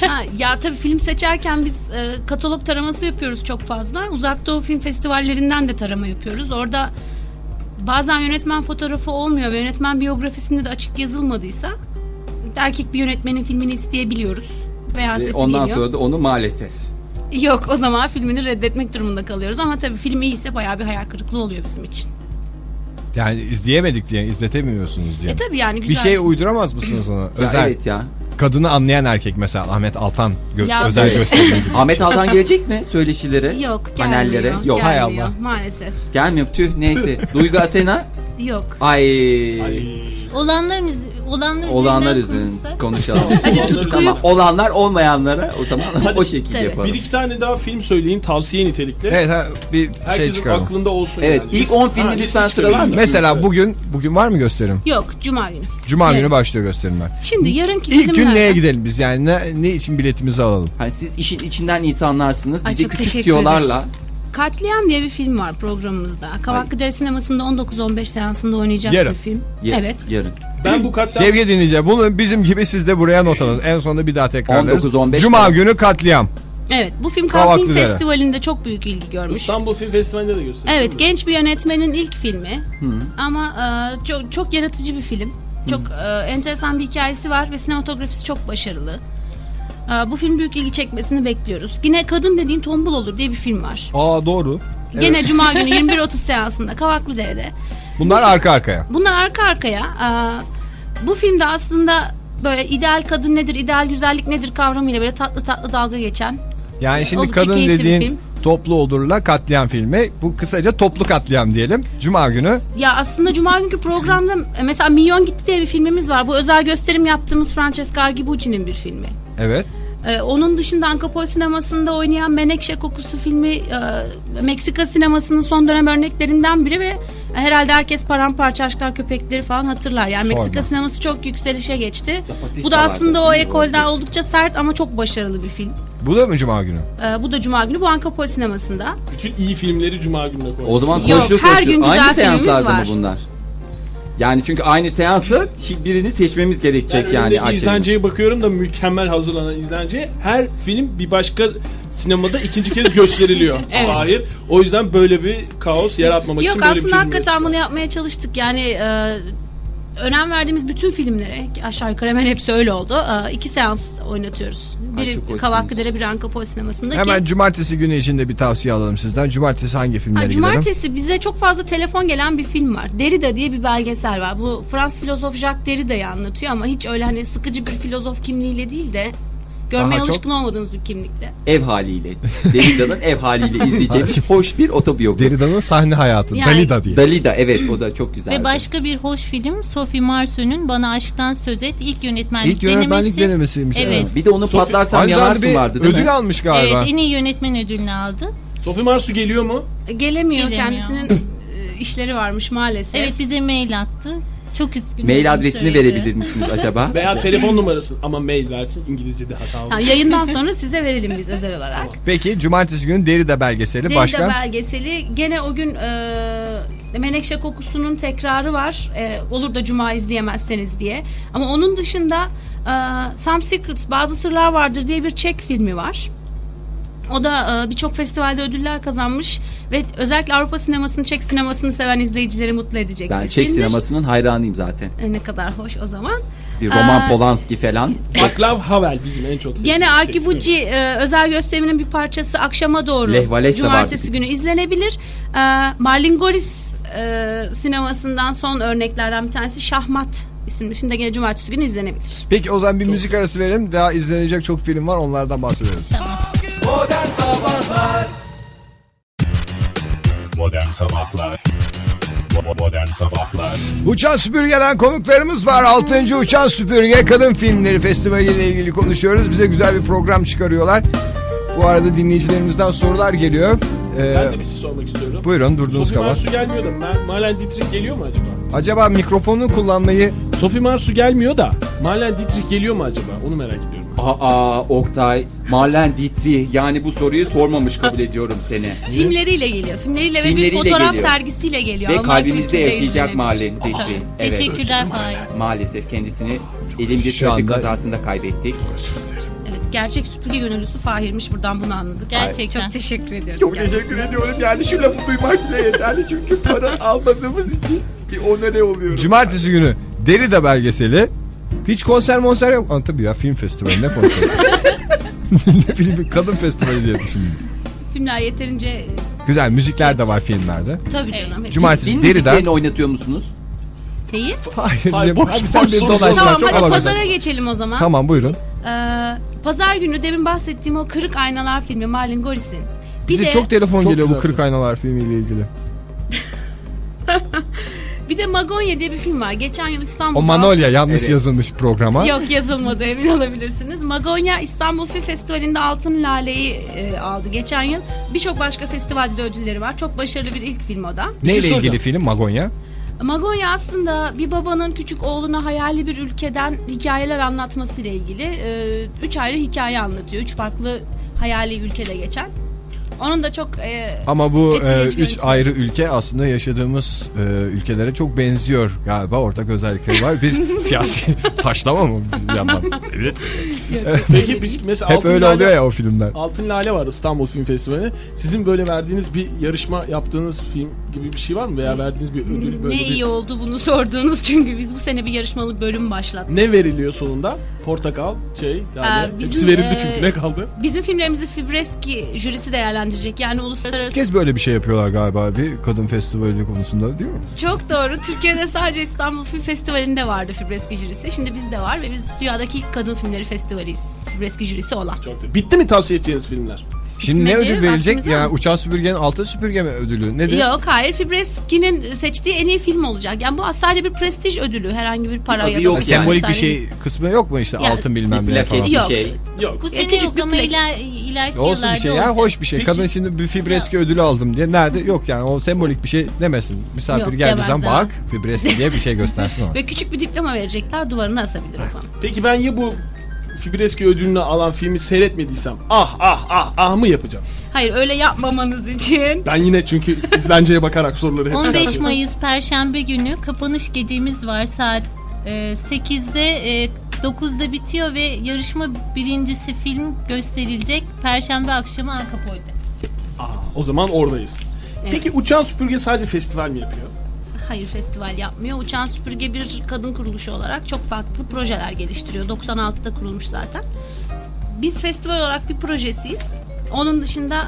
Speaker 8: Ha, ya tabii film seçerken biz e, katalog taraması yapıyoruz çok fazla. Uzak Doğu film festivallerinden de tarama yapıyoruz. Orada bazen yönetmen fotoğrafı olmuyor ve yönetmen biyografisinde de açık yazılmadıysa erkek bir yönetmenin filmini isteyebiliyoruz. Veya sesi
Speaker 2: Ee, Ondan
Speaker 8: geliyor.
Speaker 2: sonra da onu maalesef.
Speaker 8: Yok o zaman filmini reddetmek durumunda kalıyoruz. Ama tabii film iyiyse bayağı bir hayal kırıklığı oluyor bizim için.
Speaker 6: Yani izleyemedik diye, izletemiyorsunuz diye.
Speaker 8: E tabii yani güzel.
Speaker 6: bir şey uyduramaz mısınız ona?
Speaker 2: Ya
Speaker 6: Özel.
Speaker 2: evet ya.
Speaker 6: Kadını anlayan erkek mesela Ahmet Altan gö-
Speaker 8: Ya
Speaker 6: özel
Speaker 8: evet.
Speaker 6: gösterimi.
Speaker 2: Ahmet Altan gelecek mi söyleşilere?
Speaker 8: Yok gelmiyor.
Speaker 2: Panellere. Yok.
Speaker 8: gelmiyor.
Speaker 6: hay Allah.
Speaker 8: Maalesef.
Speaker 2: Gelmiyor. Tüh neyse. Duygu Asena.
Speaker 8: Yok.
Speaker 2: Ay.
Speaker 3: Ee,
Speaker 4: Olanlar, müzi- olanlar,
Speaker 2: Olanlar
Speaker 4: üzerinden
Speaker 2: üzeriniz
Speaker 4: konuşsak.
Speaker 2: konuşalım.
Speaker 3: Olanlar
Speaker 8: tutkuyu-
Speaker 2: tamam. Olanlar olmayanlara o zaman o şekilde
Speaker 4: Tabii.
Speaker 2: yapalım.
Speaker 3: Bir iki tane daha film söyleyin tavsiye nitelikli.
Speaker 6: Evet ha, bir şey
Speaker 3: Herkesin
Speaker 6: çıkaralım.
Speaker 3: aklında olsun
Speaker 2: Evet,
Speaker 3: yani.
Speaker 2: ilk
Speaker 3: List-
Speaker 2: 10 filmi
Speaker 3: Ha,
Speaker 2: lütfen
Speaker 3: liste
Speaker 2: sıralar
Speaker 3: çıkarıyoruz.
Speaker 2: mısın?
Speaker 6: Mesela bugün bugün var mı gösterim?
Speaker 8: Yok cuma günü.
Speaker 6: Cuma
Speaker 8: Evet.
Speaker 6: günü başlıyor gösterimler.
Speaker 8: Şimdi yarınki
Speaker 6: İlk gün
Speaker 8: filmlerden-
Speaker 6: neye gidelim biz yani ne, ne için biletimizi alalım?
Speaker 2: Hani siz işin içinden insanlarsınız.
Speaker 8: Ay,
Speaker 2: Bizi
Speaker 8: çok
Speaker 2: küçük
Speaker 8: teşekkür
Speaker 2: diyorlarla.
Speaker 8: Katliam diye bir film var programımızda. Kavaklı Dere Sineması'nda 19-15 seansında oynayacak
Speaker 6: Yarın.
Speaker 8: bir film.
Speaker 2: Ya-
Speaker 8: Evet.
Speaker 2: Yarın.
Speaker 3: Ben bu katliam
Speaker 6: Sevgili dinleyiciler bunu bizim gibi siz de buraya not alın. En sonunda bir daha tekrarlarız.
Speaker 2: 19-15
Speaker 6: Cuma
Speaker 2: falan.
Speaker 6: günü katliam.
Speaker 8: Evet. Bu film
Speaker 6: Kavaklı
Speaker 8: Cannes Film
Speaker 6: Dere.
Speaker 8: Festivali'nde çok büyük ilgi görmüş.
Speaker 3: İstanbul Film Festivali'nde de gösterildi.
Speaker 8: Evet, genç bir yönetmenin ilk filmi. Ama e, çok çok yaratıcı bir film. Çok e, enteresan bir hikayesi var ve sinematografisi çok başarılı. E, bu film büyük ilgi çekmesini bekliyoruz. Yine Kadın Dediğin Tombul Olur diye bir film var.
Speaker 6: Aa doğru.
Speaker 8: Gene Cuma günü 21.30 seansında Kavaklı Dere'de.
Speaker 6: Bunlar arka arkaya.
Speaker 8: Bunlar arka arkaya. Ee, bu filmde aslında böyle ideal kadın nedir, ideal güzellik nedir kavramıyla böyle tatlı tatlı dalga geçen.
Speaker 6: Yani şimdi
Speaker 8: Oldukça
Speaker 6: kadın
Speaker 8: keyifli bir
Speaker 6: dediğin
Speaker 8: film.
Speaker 6: toplu olurla katliam filmi. Bu kısaca toplu katliam diyelim. Cuma günü
Speaker 8: Ya aslında Cuma günkü programda e, mesela Milyon Gitti diye bir filmimiz var. Bu özel gösterim yaptığımız Francesca Argibucci'nin bir filmi.
Speaker 6: evet.
Speaker 8: Ee, onun dışında Ankapol sinemasında oynayan Menekşe Kokusu filmi e, Meksika sinemasının son dönem örneklerinden biri ve herhalde herkes paramparça aşklar köpekleri falan hatırlar. Yani
Speaker 6: Sorma.
Speaker 8: Meksika sineması çok yükselişe geçti.
Speaker 2: Zapatista
Speaker 8: Bu da aslında
Speaker 2: vardı,
Speaker 8: o
Speaker 2: bilmiyorum,
Speaker 8: ekolden
Speaker 2: orada.
Speaker 8: oldukça sert ama çok başarılı bir film.
Speaker 6: Bu da mı cuma günü?
Speaker 8: Ee, bu da Cuma günü bu Ankapol sinemasında.
Speaker 3: Bütün iyi filmleri Cuma gününe koyduk.
Speaker 2: O zaman
Speaker 8: Yok,
Speaker 2: koşu
Speaker 8: her
Speaker 2: koşu.
Speaker 8: gün güzel
Speaker 2: Aynı
Speaker 8: filmimiz
Speaker 2: seanslarda mı
Speaker 8: var.
Speaker 2: bunlar? Yani çünkü aynı seansı şi- birini seçmemiz
Speaker 3: Ben
Speaker 2: gerekecek yani.
Speaker 3: önümdeki
Speaker 2: Ayşe'nin.
Speaker 3: izlenceye bakıyorum da mükemmel hazırlanan izlenceye her film bir başka sinemada ikinci kez gösteriliyor.
Speaker 8: Evet.
Speaker 3: Hayır. O yüzden böyle bir kaos yaratmamak için
Speaker 8: Yok
Speaker 3: böyle bir
Speaker 8: aslında
Speaker 3: çözüm
Speaker 8: hakikaten
Speaker 3: ürettik.
Speaker 8: bunu yapmaya çalıştık. Yani e, önem verdiğimiz bütün filmlere ki aşağı yukarı hemen hepsi öyle oldu. e, iki seans oynatıyoruz.
Speaker 2: Ay, çok
Speaker 8: Biri
Speaker 2: hoşsunuz.
Speaker 8: Kavakkıdere, biri Ankapol sinemasında.
Speaker 6: Hemen
Speaker 8: ki,
Speaker 6: cumartesi günü için de bir tavsiye alalım sizden. Cumartesi hangi filmlere
Speaker 8: ha,
Speaker 6: gidelim?
Speaker 8: cumartesi bize çok fazla telefon gelen bir film var. Derrida diye bir belgesel var. Bu Fransız filozof Jacques Derrida'yı anlatıyor ama hiç öyle hani sıkıcı bir filozof kimliğiyle değil de görmeye
Speaker 6: Daha çok-
Speaker 8: alışkın olmadığımız bir kimlikle.
Speaker 2: Ev haliyle. Derrida'nın ev haliyle izleyeceğimiz hoş bir otobiyografi.
Speaker 6: Derrida'nın sahne hayatı.
Speaker 8: Yani-
Speaker 6: Dalida diye.
Speaker 2: Dalida evet o da çok güzel.
Speaker 4: Ve başka bir hoş film Sophie Marceau'nun Bana Aşktan Söz Et ilk yönetmenlik,
Speaker 6: İlk yönetmenlik
Speaker 4: denemesi.
Speaker 6: denemesiymiş.
Speaker 4: Evet.
Speaker 2: Bir de onu
Speaker 3: Sophie-
Speaker 2: patlarsam
Speaker 6: Aynı zamanda
Speaker 2: yanarsın
Speaker 6: bir
Speaker 2: vardı değil
Speaker 6: ödül
Speaker 2: mi?
Speaker 6: almış galiba.
Speaker 4: Evet en iyi yönetmen ödülünü aldı.
Speaker 3: Sophie Marsu geliyor mu?
Speaker 8: E, Gelemiyor,
Speaker 4: Gelemiyor.
Speaker 8: kendisinin e, işleri varmış maalesef.
Speaker 4: Evet bize mail attı. Çok üzgünüm.
Speaker 2: Mail adresini
Speaker 4: söyledi.
Speaker 2: verebilir misiniz acaba?
Speaker 3: Veya telefon numarasını ama mail versin İngilizce'de hata
Speaker 8: Ha,
Speaker 3: olmuş.
Speaker 8: yayından sonra size verelim biz özel olarak.
Speaker 6: Peki cumartesi günü Derrida belgeseli.
Speaker 8: Derrida
Speaker 6: Başka?
Speaker 8: belgeseli. Gene o gün e, Menekşe Kokusu'nun tekrarı var. E, olur da Cuma izleyemezseniz diye. Ama onun dışında e, Some Secrets Bazı Sırlar Vardır diye bir Çek filmi var. O da e, birçok festivalde ödüller kazanmış ve özellikle Avrupa sinemasını, Çek sinemasını seven izleyicileri mutlu edecek
Speaker 2: Ben
Speaker 8: bir
Speaker 2: Çek
Speaker 8: filmdir.
Speaker 2: sinemasının hayranıyım zaten.
Speaker 8: E, ne kadar hoş o zaman.
Speaker 2: Bir Roman
Speaker 8: Aa.
Speaker 2: Polanski falan.
Speaker 3: Baklav Havel bizim en çok sevdiğimiz.
Speaker 8: Gene
Speaker 3: Shakespeare.
Speaker 8: Arkibuci e, özel gösteriminin bir parçası akşama doğru
Speaker 2: Lech Walesa
Speaker 8: cumartesi
Speaker 2: vardı.
Speaker 8: günü izlenebilir. E, Marlin Goris e, sinemasından son örneklerden bir tanesi Şahmat isimli film de gene cumartesi günü izlenebilir.
Speaker 6: Peki o zaman bir müzik arası verelim. Daha izlenecek çok film var. Onlardan bahsederiz.
Speaker 1: Modern Sabahlar Modern Sabahlar
Speaker 6: Uçan Süpürge'den konuklarımız var. 6. Uçan Süpürge Kadın Filmleri Festivali ile ilgili konuşuyoruz. Bize güzel bir program çıkarıyorlar. Bu arada dinleyicilerimizden sorular geliyor. Ee,
Speaker 3: Ben de bir şey sormak istiyorum.
Speaker 6: Buyurun durduğunuz
Speaker 3: Sophie
Speaker 6: kadar.
Speaker 3: Marsu gelmiyor da Ma- Marlen Dietrich geliyor mu acaba?
Speaker 6: Acaba mikrofonu kullanmayı
Speaker 3: Sophie Marsu gelmiyor da Marlen Dietrich geliyor mu acaba? Onu merak ediyorum.
Speaker 2: Aa Oktay, Marlen Dietrich yani bu soruyu sormamış kabul ediyorum seni.
Speaker 8: Filmleriyle geliyor. Filmleriyle,
Speaker 2: Filmleriyle
Speaker 8: ve bir fotoğraf
Speaker 2: geliyor.
Speaker 8: sergisiyle geliyor.
Speaker 2: Ve
Speaker 8: Alman
Speaker 2: kalbimizde
Speaker 8: kültürüyle
Speaker 2: yaşayacak
Speaker 8: ilgileniyor.
Speaker 2: Marlen Dietrich. Evet.
Speaker 4: Teşekkürler Fahir.
Speaker 2: Maalesef kendisini elin bir
Speaker 6: Şu
Speaker 2: trafik
Speaker 6: anda-
Speaker 2: kazasında kaybettik.
Speaker 8: Evet, gerçek süpürge gönüllüsü Fahir'miş. Buradan bunu anladık.
Speaker 4: Gerçekten.
Speaker 8: Çok teşekkür ediyoruz.
Speaker 2: Çok
Speaker 8: gerçekten.
Speaker 2: teşekkür ediyorum. Yani şu lafı duymak bile yeterli çünkü para almadığımız için bir onere oluyoruz.
Speaker 6: Cumartesi günü Derrida belgeseli. Hiç konser monser yok. Aa, tabii ya film festivali ne konser. ne bileyim bir kadın festivali diye düşündüm.
Speaker 8: Filmler yeterince
Speaker 6: Güzel müzikler de var filmlerde.
Speaker 8: tabii canım.
Speaker 6: Cumartesi
Speaker 2: Din
Speaker 6: Derrida.
Speaker 2: müziklerini oynatıyor musunuz?
Speaker 8: Neyi?
Speaker 6: Hayır,
Speaker 3: Hayır, boş-
Speaker 6: hadi sen
Speaker 3: boş
Speaker 6: beni
Speaker 3: soru
Speaker 6: dolaşma.
Speaker 8: Tamam
Speaker 6: çok
Speaker 8: hadi
Speaker 6: alakasın.
Speaker 8: pazara geçelim o zaman.
Speaker 6: Tamam buyurun.
Speaker 8: Ee, Pazar günü demin bahsettiğim o Kırık Aynalar filmi Marlin Goris'in.
Speaker 6: Bir de çok telefon
Speaker 3: Çok
Speaker 6: geliyor bu
Speaker 3: güzel
Speaker 6: Kırk Aynalar filmiyle ilgili.
Speaker 8: Bir de Magonya diye bir film var. Geçen yıl İstanbul'da...
Speaker 6: O Manolya yanlış
Speaker 2: Evet.
Speaker 6: yazılmış programa.
Speaker 3: şey
Speaker 8: Yok yazılmadı emin olabilirsiniz. Magonya İstanbul Film Festivali'nde Altın Lale'yi e, aldı geçen yıl. Birçok başka festivalde ödülleri var. Çok başarılı bir ilk film o da.
Speaker 6: Neyle
Speaker 3: şey soracağım.
Speaker 6: ilgili film Magonya?
Speaker 8: Magonya aslında bir babanın küçük oğluna hayali bir ülkeden hikayeler anlatmasıyla ilgili. Ee, Üç ayrı hikaye anlatıyor. Üç farklı hayali ülkede geçen. Onun da çok e,
Speaker 6: Ama bu e,
Speaker 8: Etkileyici
Speaker 6: üç
Speaker 8: yönetmen.
Speaker 6: ayrı ülke aslında yaşadığımız e, ülkelere çok benziyor galiba ortak özellikleri var. Bir siyasi taşlama mı bir yandan? Evet.
Speaker 3: Peki biz mesela
Speaker 6: Hep
Speaker 3: Altın
Speaker 6: öyle
Speaker 3: Lale-
Speaker 6: oluyor ya o filmler.
Speaker 3: Altın Lale var İstanbul Film Festivali. Sizin böyle verdiğiniz bir yarışma yaptığınız film gibi bir şey var mı? Veya verdiğiniz bir ödül böyle
Speaker 8: ne
Speaker 3: bir...
Speaker 8: iyi oldu bunu sorduğunuz çünkü biz bu sene bir yarışmalı bölüm başlattık.
Speaker 3: Ne veriliyor sonunda? Portakal, şey, yani
Speaker 8: Aa, bizim,
Speaker 3: hepsi verildi
Speaker 8: e,
Speaker 3: çünkü ne kaldı?
Speaker 8: Bizim filmlerimizi Fibreski jürisi değerlendirecek. Yani uluslararası
Speaker 6: Herkes böyle bir şey yapıyorlar galiba bir kadın festivali konusunda değil mi?
Speaker 8: çok doğru. Türkiye'de sadece İstanbul Film Festivali'nde vardı Fibreski jürisi. Şimdi bizde var ve biz dünyadaki ilk kadın filmleri festivaliyiz. Fibreski jürisi olan.
Speaker 3: Çok da- Bitti mi tavsiye edeceğiniz filmler?
Speaker 6: Şimdi ne
Speaker 8: Bitmedi,
Speaker 6: ödül verilecek?
Speaker 8: vaktimiz
Speaker 6: Yani
Speaker 8: var.
Speaker 6: uçan süpürgenin altın süpürge mi ödülü? Nedir?
Speaker 8: Yok hayır Fibreski'nin seçtiği en iyi film olacak. Yani bu sadece bir prestij ödülü herhangi bir para
Speaker 2: Tabii
Speaker 8: ya da
Speaker 2: yok
Speaker 6: Ha,
Speaker 2: yani.
Speaker 6: Sembolik
Speaker 8: efsane-
Speaker 6: bir şey kısmı yok mu işte
Speaker 8: Ya,
Speaker 6: altın bilmem
Speaker 2: bir
Speaker 6: ne
Speaker 2: plaket
Speaker 6: falan.
Speaker 2: bir
Speaker 8: Yok.
Speaker 2: şey.
Speaker 3: Yok.
Speaker 4: Bu sene
Speaker 8: küçük
Speaker 4: yok
Speaker 8: bir
Speaker 4: ama
Speaker 8: plak.
Speaker 4: iler, ileriki
Speaker 6: Olsun bir
Speaker 4: yıllarda
Speaker 6: şey ya
Speaker 4: olacak.
Speaker 6: hoş bir şey.
Speaker 3: Peki-
Speaker 6: Kadın şimdi bir fibreski ödülü aldım diye nerede yok yani o sembolik bir şey demesin. Misafir
Speaker 8: Yok,
Speaker 6: geldiği
Speaker 8: demez
Speaker 6: zaman
Speaker 8: ha.
Speaker 6: bak fibreski diye bir şey göstersin ona.
Speaker 8: Ve küçük bir diploma verecekler duvarına asabilir o zaman.
Speaker 3: Peki ben ya bu Fibreski ödülünü alan filmi seyretmediysem ah ah ah ah mı yapacağım?
Speaker 8: Hayır öyle yapmamanız için.
Speaker 3: Ben yine çünkü izlenceye bakarak soruları hep
Speaker 4: 15
Speaker 3: çıkartıyorum.
Speaker 4: Mayıs Perşembe günü kapanış gecemiz var saat e, 8'de e, 9'da bitiyor ve yarışma birincisi film gösterilecek Perşembe akşamı Ankapoy'da.
Speaker 3: Aa, Ah, o zaman oradayız.
Speaker 8: Evet.
Speaker 3: Peki Uçan Süpürge sadece festival mi yapıyor?
Speaker 8: Hayır festival yapmıyor. Uçan Süpürge bir kadın kuruluşu olarak çok farklı projeler geliştiriyor. 96'da kurulmuş zaten. Biz festival olarak bir projesiyiz. Onun dışında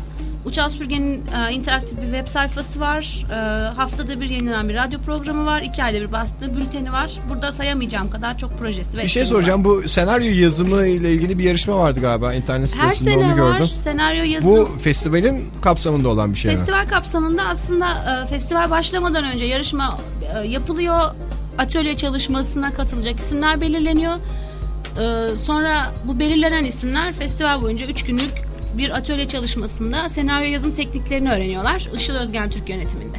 Speaker 8: Uçan Süpürge'nin e, interaktif bir web sayfası var. E, haftada bir yenilenen bir radyo programı var. İki ayda bir bastığı bülteni var. Burada sayamayacağım kadar çok projesi. ve
Speaker 6: Bir şey
Speaker 8: etkinliği
Speaker 6: soracağım bu senaryo yazımı ile ilgili bir yarışma vardı galiba internet
Speaker 8: var. Her
Speaker 6: sitesinde
Speaker 8: sene
Speaker 6: onu
Speaker 8: var.
Speaker 6: gördüm.
Speaker 8: Senaryo yazısı.
Speaker 6: Bu festivalin kapsamında olan bir şey mi?
Speaker 8: Festival kapsamında aslında e, festival başlamadan önce yarışma e, yapılıyor. Atölye çalışmasına katılacak isimler belirleniyor. E, sonra bu belirlenen isimler festival boyunca 3 günlük bir atölye çalışmasında senaryo yazım tekniklerini öğreniyorlar. Işıl Özgen Türk yönetiminde.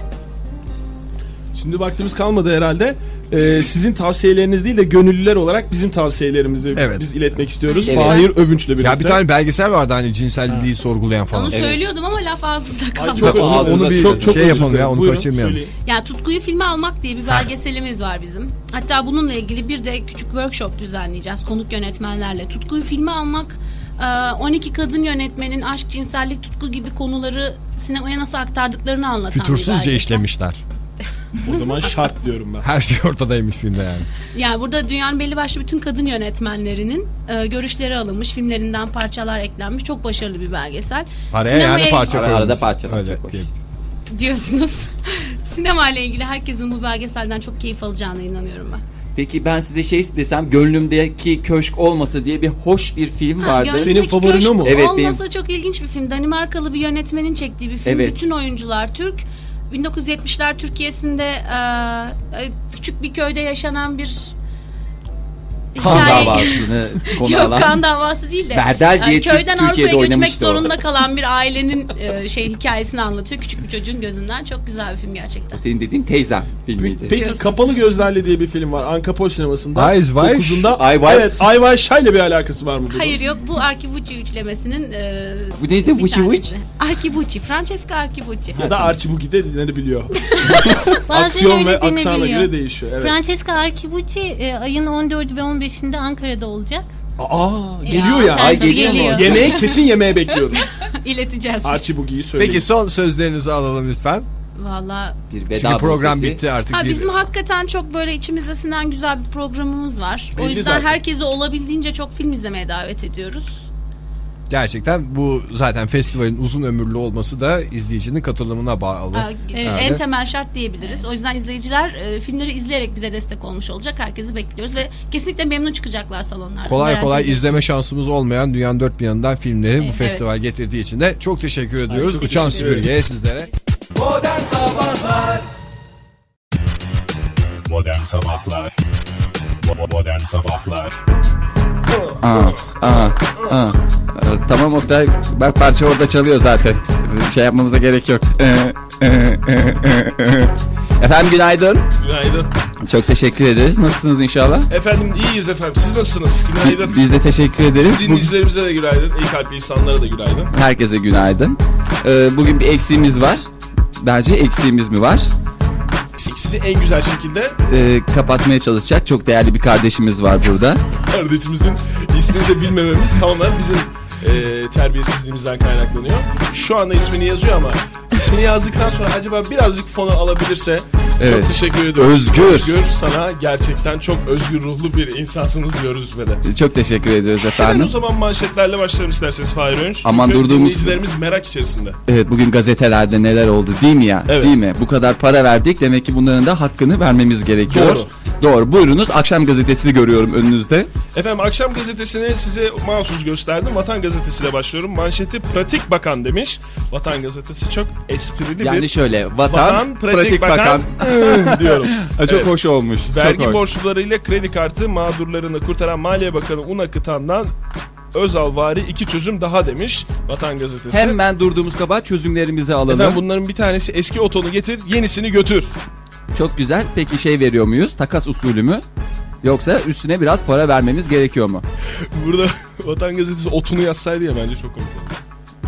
Speaker 3: Şimdi vaktimiz kalmadı herhalde. Ee, sizin tavsiyeleriniz değil de gönüllüler olarak bizim tavsiyelerimizi
Speaker 6: Evet.
Speaker 3: biz iletmek istiyoruz.
Speaker 2: Evet.
Speaker 3: Fahir Övünç'le birlikte.
Speaker 6: Ya bir tane belgesel vardı hani cinselliği sorgulayan
Speaker 8: Onu
Speaker 6: falan.
Speaker 8: söyliyordum ama laf ağzımda kaldı.
Speaker 3: Ay, çok
Speaker 6: Onu-
Speaker 3: özür dilerim.
Speaker 6: onu bir
Speaker 3: çok, çok
Speaker 6: şey
Speaker 3: özür
Speaker 6: yapalım
Speaker 3: dilerim.
Speaker 6: ya, onu
Speaker 3: Buyurun,
Speaker 6: kaçırmayalım.
Speaker 3: söyleyin.
Speaker 8: Ya tutkuyu filme almak diye bir belgeselimiz var bizim. Hatta bununla ilgili bir de küçük workshop düzenleyeceğiz konuk yönetmenlerle. Tutkuyu filme almak e, 12 kadın yönetmenin aşk, cinsellik, tutku gibi konuları sinemaya nasıl aktardıklarını anlatan bir
Speaker 6: Fütursuzca
Speaker 8: belgesel.
Speaker 6: işlemişler.
Speaker 3: O zaman şart diyorum ben.
Speaker 6: Her şey ortadaymış filmde yani.
Speaker 8: Yani burada dünyanın belli başlı bütün kadın yönetmenlerinin e, görüşleri alınmış, filmlerinden parçalar eklenmiş. Çok başarılı bir belgesel.
Speaker 6: Araya
Speaker 8: Sinemaya-
Speaker 6: yani parça
Speaker 2: Ara-
Speaker 6: koymuş.
Speaker 2: arada parçalar,
Speaker 6: Öyle
Speaker 2: çok hoş.
Speaker 6: diyeyim.
Speaker 8: diyorsunuz. Sinema ile ilgili herkesin bu belgeselden çok keyif alacağına inanıyorum ben.
Speaker 2: Peki ben size şey desem gönlümdeki köşk olmasa diye bir hoş bir film
Speaker 8: Ha,
Speaker 2: vardı.
Speaker 8: Gönlümdeki
Speaker 3: Senin favorin o mu?
Speaker 8: Köşk
Speaker 2: Evet,
Speaker 8: Olmasa çok ilginç bir film. Danimarkalı bir yönetmenin çektiği bir film.
Speaker 2: Evet.
Speaker 8: Bütün oyuncular Türk. 1970'ler Türkiye'sinde e, e, küçük bir köyde yaşanan bir
Speaker 2: Kan
Speaker 4: Hikaye-
Speaker 2: davasını konu
Speaker 8: Yok
Speaker 2: alan.
Speaker 8: kan davası değil de.
Speaker 2: Berdel diye
Speaker 8: e, köyden
Speaker 2: Türk- Türkiye'de
Speaker 8: Avrupa'ya göçmek
Speaker 2: oynamıştı o.
Speaker 8: zorunda kalan bir ailenin e, şey hikayesini anlatıyor. Küçük bir çocuğun gözünden çok güzel bir film gerçekten.
Speaker 2: Senin dediğin teyzem filmiydi.
Speaker 3: Peki Kapalı Gözlerle diye bir film var. Ankapol sinemasında.
Speaker 6: Eyes Wide.
Speaker 3: 9'unda.
Speaker 2: Eyes Wide.
Speaker 3: Evet, Ayvay Şay'la bir alakası var mı bunun?
Speaker 8: Hayır yok bu Arkibucci üçlemesinin e,
Speaker 2: Bu neydi?
Speaker 8: bir
Speaker 2: Vuci Vuci?
Speaker 8: tanesi. Arkibucci. Francesca Arkibucci.
Speaker 3: Ya da Archibuki de dinlenebiliyor.
Speaker 4: Bazen
Speaker 3: Aksiyon
Speaker 4: öyle
Speaker 3: ve aksana
Speaker 4: denebiliyor.
Speaker 3: göre değişiyor. Evet.
Speaker 4: Francesca Archibucci e, ayın 14 ve 15'inde Ankara'da olacak.
Speaker 3: Aa, geliyor ya.
Speaker 2: Ay,
Speaker 4: kendisi
Speaker 2: geliyor mu?
Speaker 4: geliyor.
Speaker 3: Yemeğe kesin yemeğe bekliyoruz.
Speaker 8: İleteceğiz.
Speaker 3: Archibuki'yi söyleyeyim.
Speaker 6: Peki son sözlerinizi alalım lütfen.
Speaker 8: Valla
Speaker 2: Bir veda
Speaker 6: Çünkü program
Speaker 2: prosesi.
Speaker 6: bitti artık.
Speaker 8: Ha,
Speaker 6: Bir-
Speaker 8: bizim hakikaten çok böyle içimizde sinen güzel bir programımız var. o
Speaker 3: Belli
Speaker 8: yüzden
Speaker 3: zaten.
Speaker 8: herkesi olabildiğince çok film izlemeye davet ediyoruz.
Speaker 6: Gerçekten bu zaten festivalin uzun ömürlü olması da izleyicinin katılımına bağlı.
Speaker 8: Ha, e,
Speaker 4: Evet.
Speaker 8: En temel şart diyebiliriz. O yüzden izleyiciler e, filmleri izleyerek bize destek olmuş olacak. Herkesi bekliyoruz ve kesinlikle memnun çıkacaklar salonlarda.
Speaker 6: kolay
Speaker 8: Merak
Speaker 6: kolay
Speaker 8: etmeyin.
Speaker 6: izleme şansımız olmayan dünyanın dört bir yanından filmleri bu festival getirdiği için de çok teşekkür ediyoruz. Uçan süpürgeye sizlere.
Speaker 1: Modern Sabahlar Modern Sabahlar
Speaker 2: Aa, aa, aa. Ee, Tamam Oktay. Bak parça orada çalıyor zaten. Ee, Şey yapmamıza gerek yok. Ee, ee, ee, ee, ee. Efendim günaydın.
Speaker 3: Günaydın.
Speaker 2: Çok teşekkür ederiz. Nasılsınız inşallah?
Speaker 3: Efendim iyiyiz efendim. Siz nasılsınız? Günaydın.
Speaker 2: Biz de teşekkür ederiz. Bu-
Speaker 3: Dinleyicilerimize de günaydın. İyi kalpli insanlara da günaydın.
Speaker 2: herkese günaydın. Ee, bugün bir eksiğimiz var. Bence eksiğimiz mi var?
Speaker 3: Sizi en güzel şekilde
Speaker 2: Ee, kapatmaya çalışacak çok değerli bir kardeşimiz var burada.
Speaker 3: kardeşimizin ismini de bilmememiz tamamen bizim e, terbiyesizliğimizden kaynaklanıyor. Şu anda ismini yazıyor ama ismini yazdıktan sonra acaba birazcık fonu alabilirse
Speaker 2: Evet.
Speaker 3: çok teşekkür ediyorum.
Speaker 2: Özgür.
Speaker 3: Özgür sana gerçekten çok özgür ruhlu bir insansınız diyoruz ve de.
Speaker 2: Ee, Çok teşekkür ediyoruz
Speaker 3: Hemen
Speaker 2: efendim.
Speaker 3: o zaman manşetlerle başlayalım isterseniz Fahir Önç.
Speaker 2: Aman
Speaker 3: Çünkü
Speaker 2: durduğumuz-
Speaker 3: Dinleyicilerimiz merak içerisinde.
Speaker 2: Evet bugün gazetelerde neler oldu değil mi ya?
Speaker 3: Evet.
Speaker 2: Değil mi? Bu kadar para verdik demek ki bunların da hakkını vermemiz gerekiyor.
Speaker 3: Doğru.
Speaker 2: Doğru. Buyurunuz akşam gazetesini görüyorum önünüzde.
Speaker 3: Efendim akşam gazetesini size mahsus gösterdim. Vatan gazetesiyle başlıyorum. Manşeti pratik bakan demiş. Vatan gazetesi çok esprili
Speaker 2: Yani
Speaker 3: bir
Speaker 2: şöyle vatan,
Speaker 3: Vatan, pratik, bakan, diyorum.
Speaker 2: Ha, Çok
Speaker 3: Evet.
Speaker 2: hoş olmuş.
Speaker 3: Vergi
Speaker 2: Çok hoş.
Speaker 3: borçlularıyla kredi kartı mağdurlarını kurtaran Maliye Bakanı Una Kıtan'dan Özalvari iki çözüm daha demiş Vatan Gazetesi.
Speaker 2: Hemen durduğumuz kabahat çözümlerimizi alalım.
Speaker 3: Efendim bunların bir tanesi eski otonu getir, yenisini götür.
Speaker 2: Çok güzel. Peki şey veriyor muyuz? Takas usulü mü? Yoksa üstüne biraz para vermemiz gerekiyor mu?
Speaker 3: Burada Vatan Gazetesi otunu yazsaydı ya bence çok komik olurdu.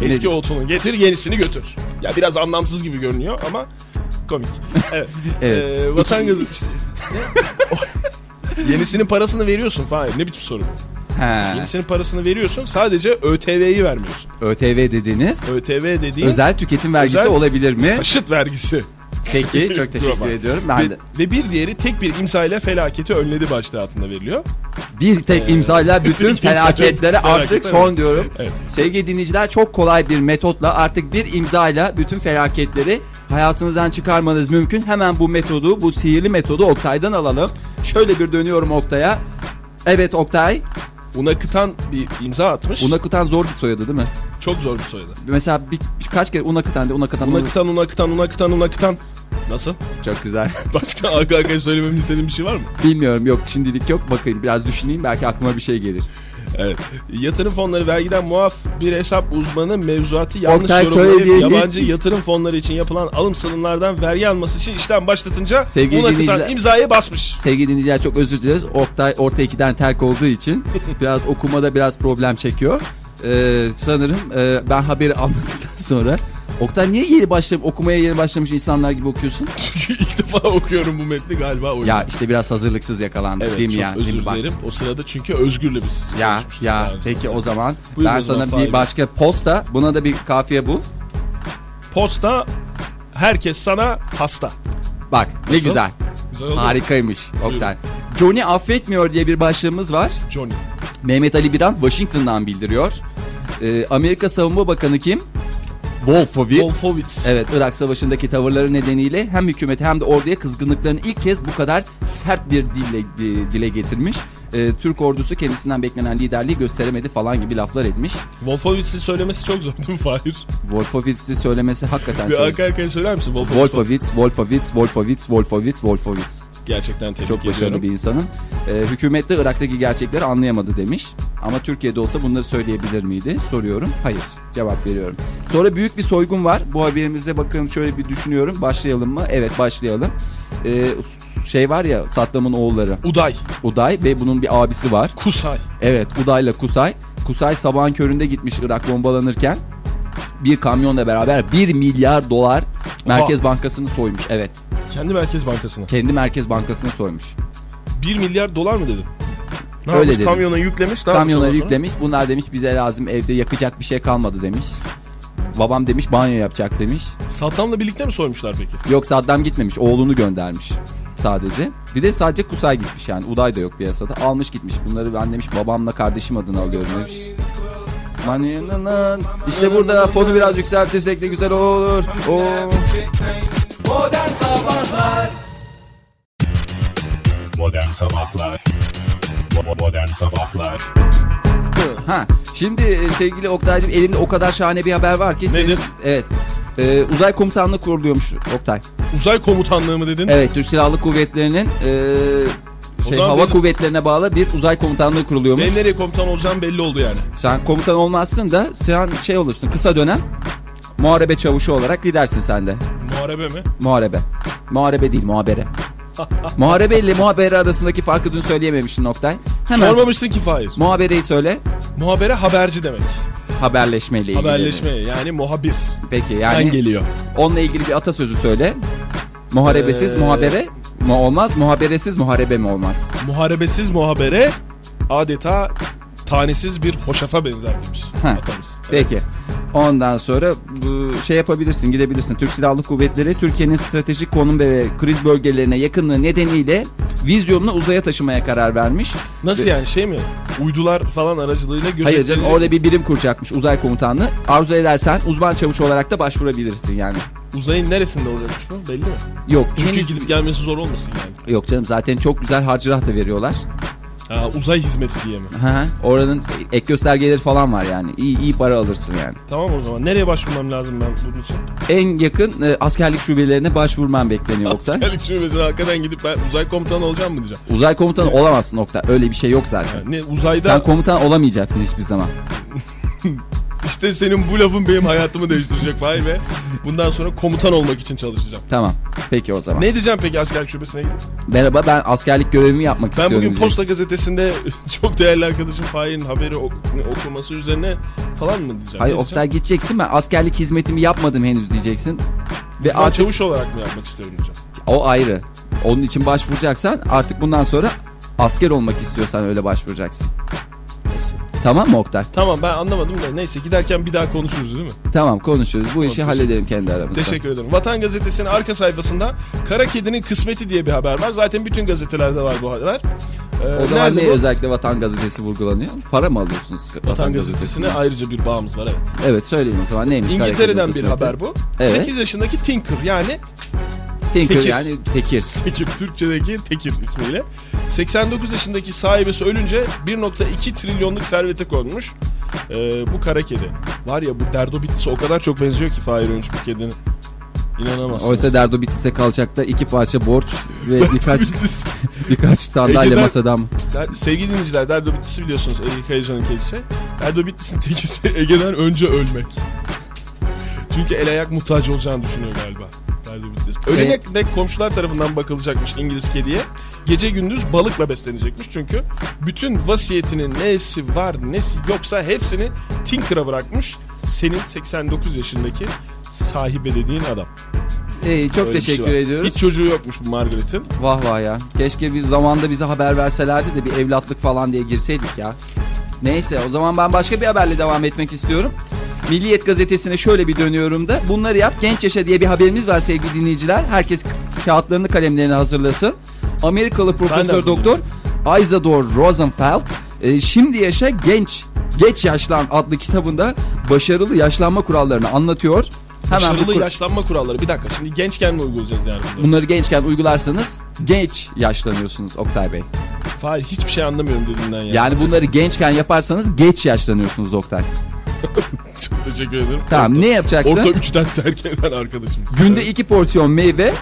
Speaker 3: Eski
Speaker 2: diyor?
Speaker 3: otunu getir, yenisini götür. Ya biraz anlamsız gibi görünüyor ama komik. Evet.
Speaker 2: Evet.
Speaker 3: Ee, Vatan Gazetesi... Yenisinin parasını veriyorsun falan. Ne biçim soru?
Speaker 2: He.
Speaker 3: Yenisinin parasını veriyorsun sadece ÖTV'yi vermiyorsun.
Speaker 2: ÖTV dediğiniz
Speaker 3: ÖTV dediğin
Speaker 2: özel tüketim vergisi
Speaker 3: Özel-
Speaker 2: olabilir mi?
Speaker 3: taşıt vergisi.
Speaker 2: Peki çok teşekkür
Speaker 3: Global.
Speaker 2: ediyorum. Ben
Speaker 3: Ve,
Speaker 2: de.
Speaker 3: ve bir diğeri tek bir imzayla felaketi önledi başlığı altında veriliyor.
Speaker 2: Bir
Speaker 3: Ee,
Speaker 2: tek imzayla bütün felaketlere artık
Speaker 3: Felaketler,
Speaker 2: son diyorum.
Speaker 3: Evet.
Speaker 2: Sevgili dinleyiciler çok kolay bir metotla artık bir imzayla bütün felaketleri hayatınızdan çıkarmanız mümkün. Hemen bu metodu, bu sihirli metodu Oktay'dan alalım. Şöyle bir dönüyorum Oktay'a. Evet Oktay.
Speaker 3: Una kıtan bir imza atmış.
Speaker 2: Unakıtan zor bir soyadı değil mi?
Speaker 3: Çok zor bir soyadı.
Speaker 2: Mesela bir, birkaç kere Unakıtan de Unakıtan.
Speaker 3: Una kıtan, una kıtan, una kıtan, una kıtan. Nasıl?
Speaker 2: Çok güzel.
Speaker 3: Başka arka arkaya söylememi istediğin bir şey var mı?
Speaker 2: Bilmiyorum yok şimdilik yok. Bakayım biraz düşüneyim belki aklıma bir şey gelir.
Speaker 3: Evet. Yatırım fonları vergiden muaf bir hesap uzmanı mevzuatı yanlış
Speaker 2: Oktay
Speaker 3: yorumlayıp
Speaker 2: söylediği-
Speaker 3: yabancı yatırım fonları için yapılan alım satımlardan vergi alması için işlem başlatınca
Speaker 2: Sevgili
Speaker 3: Una kıtan
Speaker 2: dinleyiciler-
Speaker 3: imzayı basmış.
Speaker 2: Sevgili dinleyiciler çok özür dileriz. Oktay orta ikiden terk olduğu için biraz okumada biraz problem çekiyor. Ee, sanırım e, ben haberi anladıktan sonra Oktay niye yeni başlayıp okumaya yeni başlamış insanlar gibi okuyorsun?
Speaker 3: İlk defa okuyorum bu metni galiba. O
Speaker 2: Ya işte biraz hazırlıksız yakalandık
Speaker 3: Evet
Speaker 2: değil mi
Speaker 3: çok
Speaker 2: ya? Değil
Speaker 3: özür
Speaker 2: mi? Bak-
Speaker 3: dilerim. O sırada çünkü Özgür'le biz
Speaker 2: Ya
Speaker 3: konuşmuştuk
Speaker 2: ya
Speaker 3: daha önce.
Speaker 2: peki o zaman
Speaker 3: Buyurun
Speaker 2: ben
Speaker 3: o zaman,
Speaker 2: sana bir
Speaker 3: Fahir.
Speaker 2: başka posta buna da bir kafiye bul.
Speaker 3: Posta herkes sana hasta.
Speaker 2: Bak ne
Speaker 3: Nasıl?
Speaker 2: güzel.
Speaker 3: Güzel oldu mu?
Speaker 2: Harikaymış Oktay. Johnny affetmiyor diye bir başlığımız var.
Speaker 3: Johnny.
Speaker 2: Mehmet Ali Biran Washington'dan bildiriyor. Ee, Amerika Savunma Bakanı kim? Wolfowitz.
Speaker 3: Wolfowitz.
Speaker 2: Evet Irak Savaşı'ndaki tavırları nedeniyle hem hükümete hem de orduya kızgınlıklarını ilk kez bu kadar sert bir dille e, dile getirmiş. e, Türk ordusu kendisinden beklenen liderliği gösteremedi falan gibi laflar etmiş.
Speaker 3: Wolfowitz'i söylemesi çok zor değil mi Fahir?
Speaker 2: Wolfowitz'i söylemesi hakikaten
Speaker 3: Bir
Speaker 2: çok...
Speaker 3: arka arkaya söyler misin Wolfowitz?
Speaker 2: Wolfowitz, Wolfowitz, Wolfowitz, Wolfowitz, Wolfowitz.
Speaker 3: Gerçekten tebrik
Speaker 2: Çok başarılı
Speaker 3: ediyorum.
Speaker 2: bir insanın. E, hükümet de Irak'taki gerçekleri anlayamadı demiş. Ama Türkiye'de olsa bunları söyleyebilir miydi? Soruyorum. Hayır. Cevap veriyorum. Sonra büyük bir soygun var. Bu haberimize bakın şöyle bir düşünüyorum. Başlayalım mı? Evet başlayalım. E, şey var ya Saddam'ın oğulları
Speaker 3: Uday,
Speaker 2: Uday ve bunun bir abisi var.
Speaker 3: Kusay.
Speaker 2: Evet Uday'la Kusay. Kusay sabahın köründe gitmiş Irak bombalanırken. Bir kamyonla beraber 1 milyar dolar Merkez Bankası'nı soymuş. Evet.
Speaker 3: Kendi Merkez Bankası'na.
Speaker 2: Kendi Merkez Bankası'nı soymuş.
Speaker 3: 1 milyar dolar mı dedim? Ne
Speaker 2: Öyle
Speaker 3: Öyle
Speaker 2: dedi.
Speaker 3: Kamyona yüklemiş. Ne
Speaker 2: Kamyona
Speaker 3: yapmış ondan sonra?
Speaker 2: yüklemiş. Bunlar demiş bize lazım evde yakacak bir şey kalmadı demiş. Babam demiş banyo yapacak demiş.
Speaker 3: Saddam'la birlikte mi soymuşlar peki?
Speaker 2: Yoksa adam gitmemiş oğlunu göndermiş sadece. Bir de sadece Kusay gitmiş yani Uday da yok piyasada. Almış gitmiş bunları ben demiş babamla kardeşim adına alıyorum demiş. Maninanın. İşte burada fonu biraz yükseltirsek de güzel olur. Oo.
Speaker 1: Modern Sabahlar Modern Sabahlar
Speaker 2: Ha, şimdi e, sevgili Oktay'cığım elimde o kadar şahane bir haber var ki. senin-
Speaker 3: Nedir?
Speaker 2: evet. E, uzay komutanlığı kuruluyormuş Oktay.
Speaker 3: Uzay komutanlığı mı dedin?
Speaker 2: Evet Türk Silahlı Kuvvetleri'nin e, şey,
Speaker 3: zaman
Speaker 2: hava
Speaker 3: bizim-
Speaker 2: kuvvetlerine bağlı bir uzay komutanlığı kuruluyormuş.
Speaker 3: Benim nereye komutan olacağım belli oldu yani.
Speaker 2: Sen komutan olmazsın da sen şey olursun kısa dönem muharebe çavuşu olarak gidersin sen de.
Speaker 3: Muharebe mi?
Speaker 2: Muharebe. Muharebe değil muhabere. muharebe ile muhabere arasındaki farkı dün söyleyememiştin Oktay. Hemen
Speaker 3: Sormamıştın ki Fahir.
Speaker 2: muhabereyi söyle.
Speaker 3: Muhabere haberci demek.
Speaker 2: Haberleşmeyle ilgili.
Speaker 3: Haberleşme yani muhabir.
Speaker 2: Peki
Speaker 3: Yani,
Speaker 2: yani
Speaker 3: geliyor.
Speaker 2: onunla ilgili bir atasözü söyle. Muharebesiz
Speaker 3: Ee,
Speaker 2: muhabere mi olmaz? Muhaberesiz muharebe mi olmaz?
Speaker 3: Muharebesiz muhabere adeta tanesiz bir hoşafa benzer demiş
Speaker 2: Ha.
Speaker 3: atamız.
Speaker 2: Peki. Ondan sonra bu şey yapabilirsin, gidebilirsin. Türk Silahlı Kuvvetleri Türkiye'nin stratejik konum ve kriz bölgelerine yakınlığı nedeniyle vizyonunu uzaya taşımaya karar vermiş.
Speaker 3: Nasıl yani şey mi? Uydular falan aracılığıyla gözetlenecek.
Speaker 2: Hayır canım orada bir birim kuracakmış uzay komutanlığı. Arzu edersen uzman çavuş olarak da başvurabilirsin yani.
Speaker 3: Uzayın neresinde olacakmış bu belli mi?
Speaker 2: Yok
Speaker 3: Çünkü
Speaker 2: henüz-
Speaker 3: gidip gelmesi zor olmasın yani.
Speaker 2: yok canım zaten çok güzel harcırah da veriyorlar.
Speaker 3: Ha, uzay hizmeti diye mi?
Speaker 2: Hı hı. Oranın ek göstergeleri falan var yani. İyi iyi para alırsın yani.
Speaker 3: Tamam o zaman. Nereye başvurmam lazım ben bunun için?
Speaker 2: En yakın e, askerlik şubelerine başvurman bekleniyor Oktay.
Speaker 3: Askerlik şubesine hakikaten gidip ben uzay komutanı olacağım mı diyeceğim.
Speaker 2: Uzay komutanı olamazsın Oktay. Öyle bir şey yok zaten.
Speaker 3: Yani ne uzayda
Speaker 2: Sen komutan olamayacaksın hiçbir zaman.
Speaker 3: işte senin bu lafın benim hayatımı değiştirecek Fahir ve bundan sonra komutan olmak için çalışacağım.
Speaker 2: Tamam. Peki o zaman.
Speaker 3: Ne diyeceğim peki askerlik şubesine gidip?
Speaker 2: Merhaba ben askerlik görevimi yapmak
Speaker 3: Ben
Speaker 2: istiyorum.
Speaker 3: bugün
Speaker 2: diyecek.
Speaker 3: Posta Gazetesi'nde çok değerli arkadaşım Fahir'in haberi ok- okuması üzerine falan mı diyeceğim?
Speaker 2: Hayır
Speaker 3: Ne diyeceğim?
Speaker 2: Oktay gideceksin ben askerlik hizmetimi yapmadım henüz diyeceksin.
Speaker 3: Ben
Speaker 2: Ve artık
Speaker 3: çavuş olarak mı yapmak istiyorum diyeceğim.
Speaker 2: o ayrı. Onun için başvuracaksan artık bundan sonra asker olmak istiyorsan öyle başvuracaksın.
Speaker 3: Neyse.
Speaker 2: Tamam mı Oktay?
Speaker 3: Tamam ben anlamadım da neyse giderken bir daha konuşuruz değil mi?
Speaker 2: Tamam konuşuruz. Bu işi halledelim kendi aramızda.
Speaker 3: Teşekkür ederim. Vatan Gazetesi'nin arka sayfasında Kara Kedinin Kısmeti diye bir haber var. Zaten bütün gazetelerde var bu haber. Ee,
Speaker 2: O zaman
Speaker 3: nerede
Speaker 2: ne
Speaker 3: bu?
Speaker 2: özellikle Vatan Gazetesi vurgulanıyor? Para mı alıyorsunuz Vatan,
Speaker 3: Vatan Gazetesi'ne ayrıca bir bağımız var evet.
Speaker 2: Evet söyleyin o zaman neymiş?
Speaker 3: İngiltere'den bir
Speaker 2: Karaköy'ün
Speaker 3: haber bu.
Speaker 2: Evet.
Speaker 3: 8 yaşındaki Tinker yani
Speaker 2: kısmeti. Tinker
Speaker 3: Tekir.
Speaker 2: yani Tekir.
Speaker 3: Tekir Türkçedeki Tekir ismiyle 89 yaşındaki sahibesi ölünce 1.2 trilyonluk servete konmuş. Ee, bu kara kedi. Var ya bu Derdo Bitlis'e o kadar çok benziyor ki Fahir Önç bu kedinin. İnanamazsınız.
Speaker 2: Oysa Derdo Bitlis'e kalacakta iki parça borç ve birkaç
Speaker 3: Bitlis-
Speaker 2: birkaç sandalye
Speaker 3: Ege'den-
Speaker 2: masadan.
Speaker 3: Der- Sevgili dinleyiciler Derdo Bitlis'i biliyorsunuz Ege Kayacan'ın kedisi. Derdo Bitlis'in tekisi Ege'den önce ölmek. Çünkü el ayak muhtaç olacağını düşünüyor galiba. Derdo Bitlis. Ölene dek komşular tarafından bakılacakmış İngiliz kediye. Gece gündüz balıkla beslenecekmiş çünkü bütün vasiyetinin nesi var nesi yoksa hepsini Tinker'a bırakmış. Senin 89 yaşındaki sahibi dediğin adam.
Speaker 2: Ee, çok
Speaker 3: Öyle bir şey
Speaker 2: teşekkür
Speaker 3: var.
Speaker 2: ediyoruz.
Speaker 3: Hiç çocuğu yokmuş bu Margaret'in.
Speaker 2: Vah vah ya. Keşke bir zamanda bize haber verselerdi de bir evlatlık falan diye girseydik ya. Neyse o zaman ben başka bir haberle devam etmek istiyorum. Milliyet gazetesine şöyle bir dönüyorum da bunları yap genç yaşa diye bir haberimiz var sevgili dinleyiciler. Herkes kağıtlarını kalemlerini hazırlasın. Amerikalı profesör
Speaker 3: hazırlayayım.
Speaker 2: doktor Isadore Rosenfeld e, Şimdi Yaşa Genç Geç Yaşlan adlı kitabında başarılı yaşlanma kurallarını anlatıyor. Hemen bu
Speaker 3: Başarılı
Speaker 2: kur-
Speaker 3: yaşlanma kuralları. Bir dakika şimdi gençken mi uygulayacağız yani? bunu?
Speaker 2: Bunları gençken uygularsanız genç yaşlanıyorsunuz Oktay Bey.
Speaker 3: Fahir hiçbir şey anlamıyorum dediğinden ya.
Speaker 2: Yani bunları gençken yaparsanız geç yaşlanıyorsunuz Oktay.
Speaker 3: Çok teşekkür ederim.
Speaker 2: Tamam ne yapacaksın?
Speaker 3: Orta üçten terk eden arkadaşımız.
Speaker 2: Günde iki porsiyon meyve,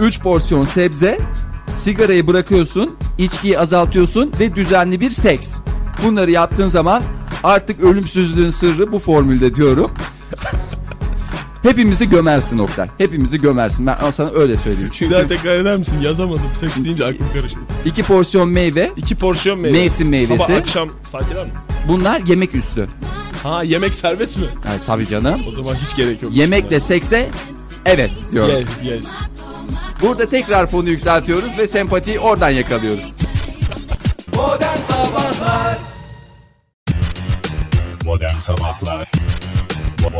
Speaker 2: üç porsiyon sebze, sigarayı bırakıyorsun, içkiyi azaltıyorsun ve düzenli bir seks. Bunları yaptığın zaman artık ölümsüzlüğün sırrı bu formülde diyorum. Hepimizi gömersin Oktay. Hepimizi gömersin. Ben sana öyle söyleyeyim.
Speaker 3: Bir daha
Speaker 2: Çünkü
Speaker 3: tekrar eder misin? Yazamadım. Seks deyince aklım karıştı.
Speaker 2: iki porsiyon meyve
Speaker 3: İki porsiyon meyve.
Speaker 2: Mevsim meyvesi.
Speaker 3: Sabah akşam Fatih abi.
Speaker 2: bunlar yemek üstü.
Speaker 3: Ha yemek serbest mi?
Speaker 2: Evet tabii canım.
Speaker 3: O zaman hiç gerek yok.
Speaker 2: Yemekle sekse evet diyorum.
Speaker 3: Yes, yes.
Speaker 2: Burada tekrar fonu yükseltiyoruz ve sempatiyi oradan yakalıyoruz.
Speaker 1: Modern Sabahlar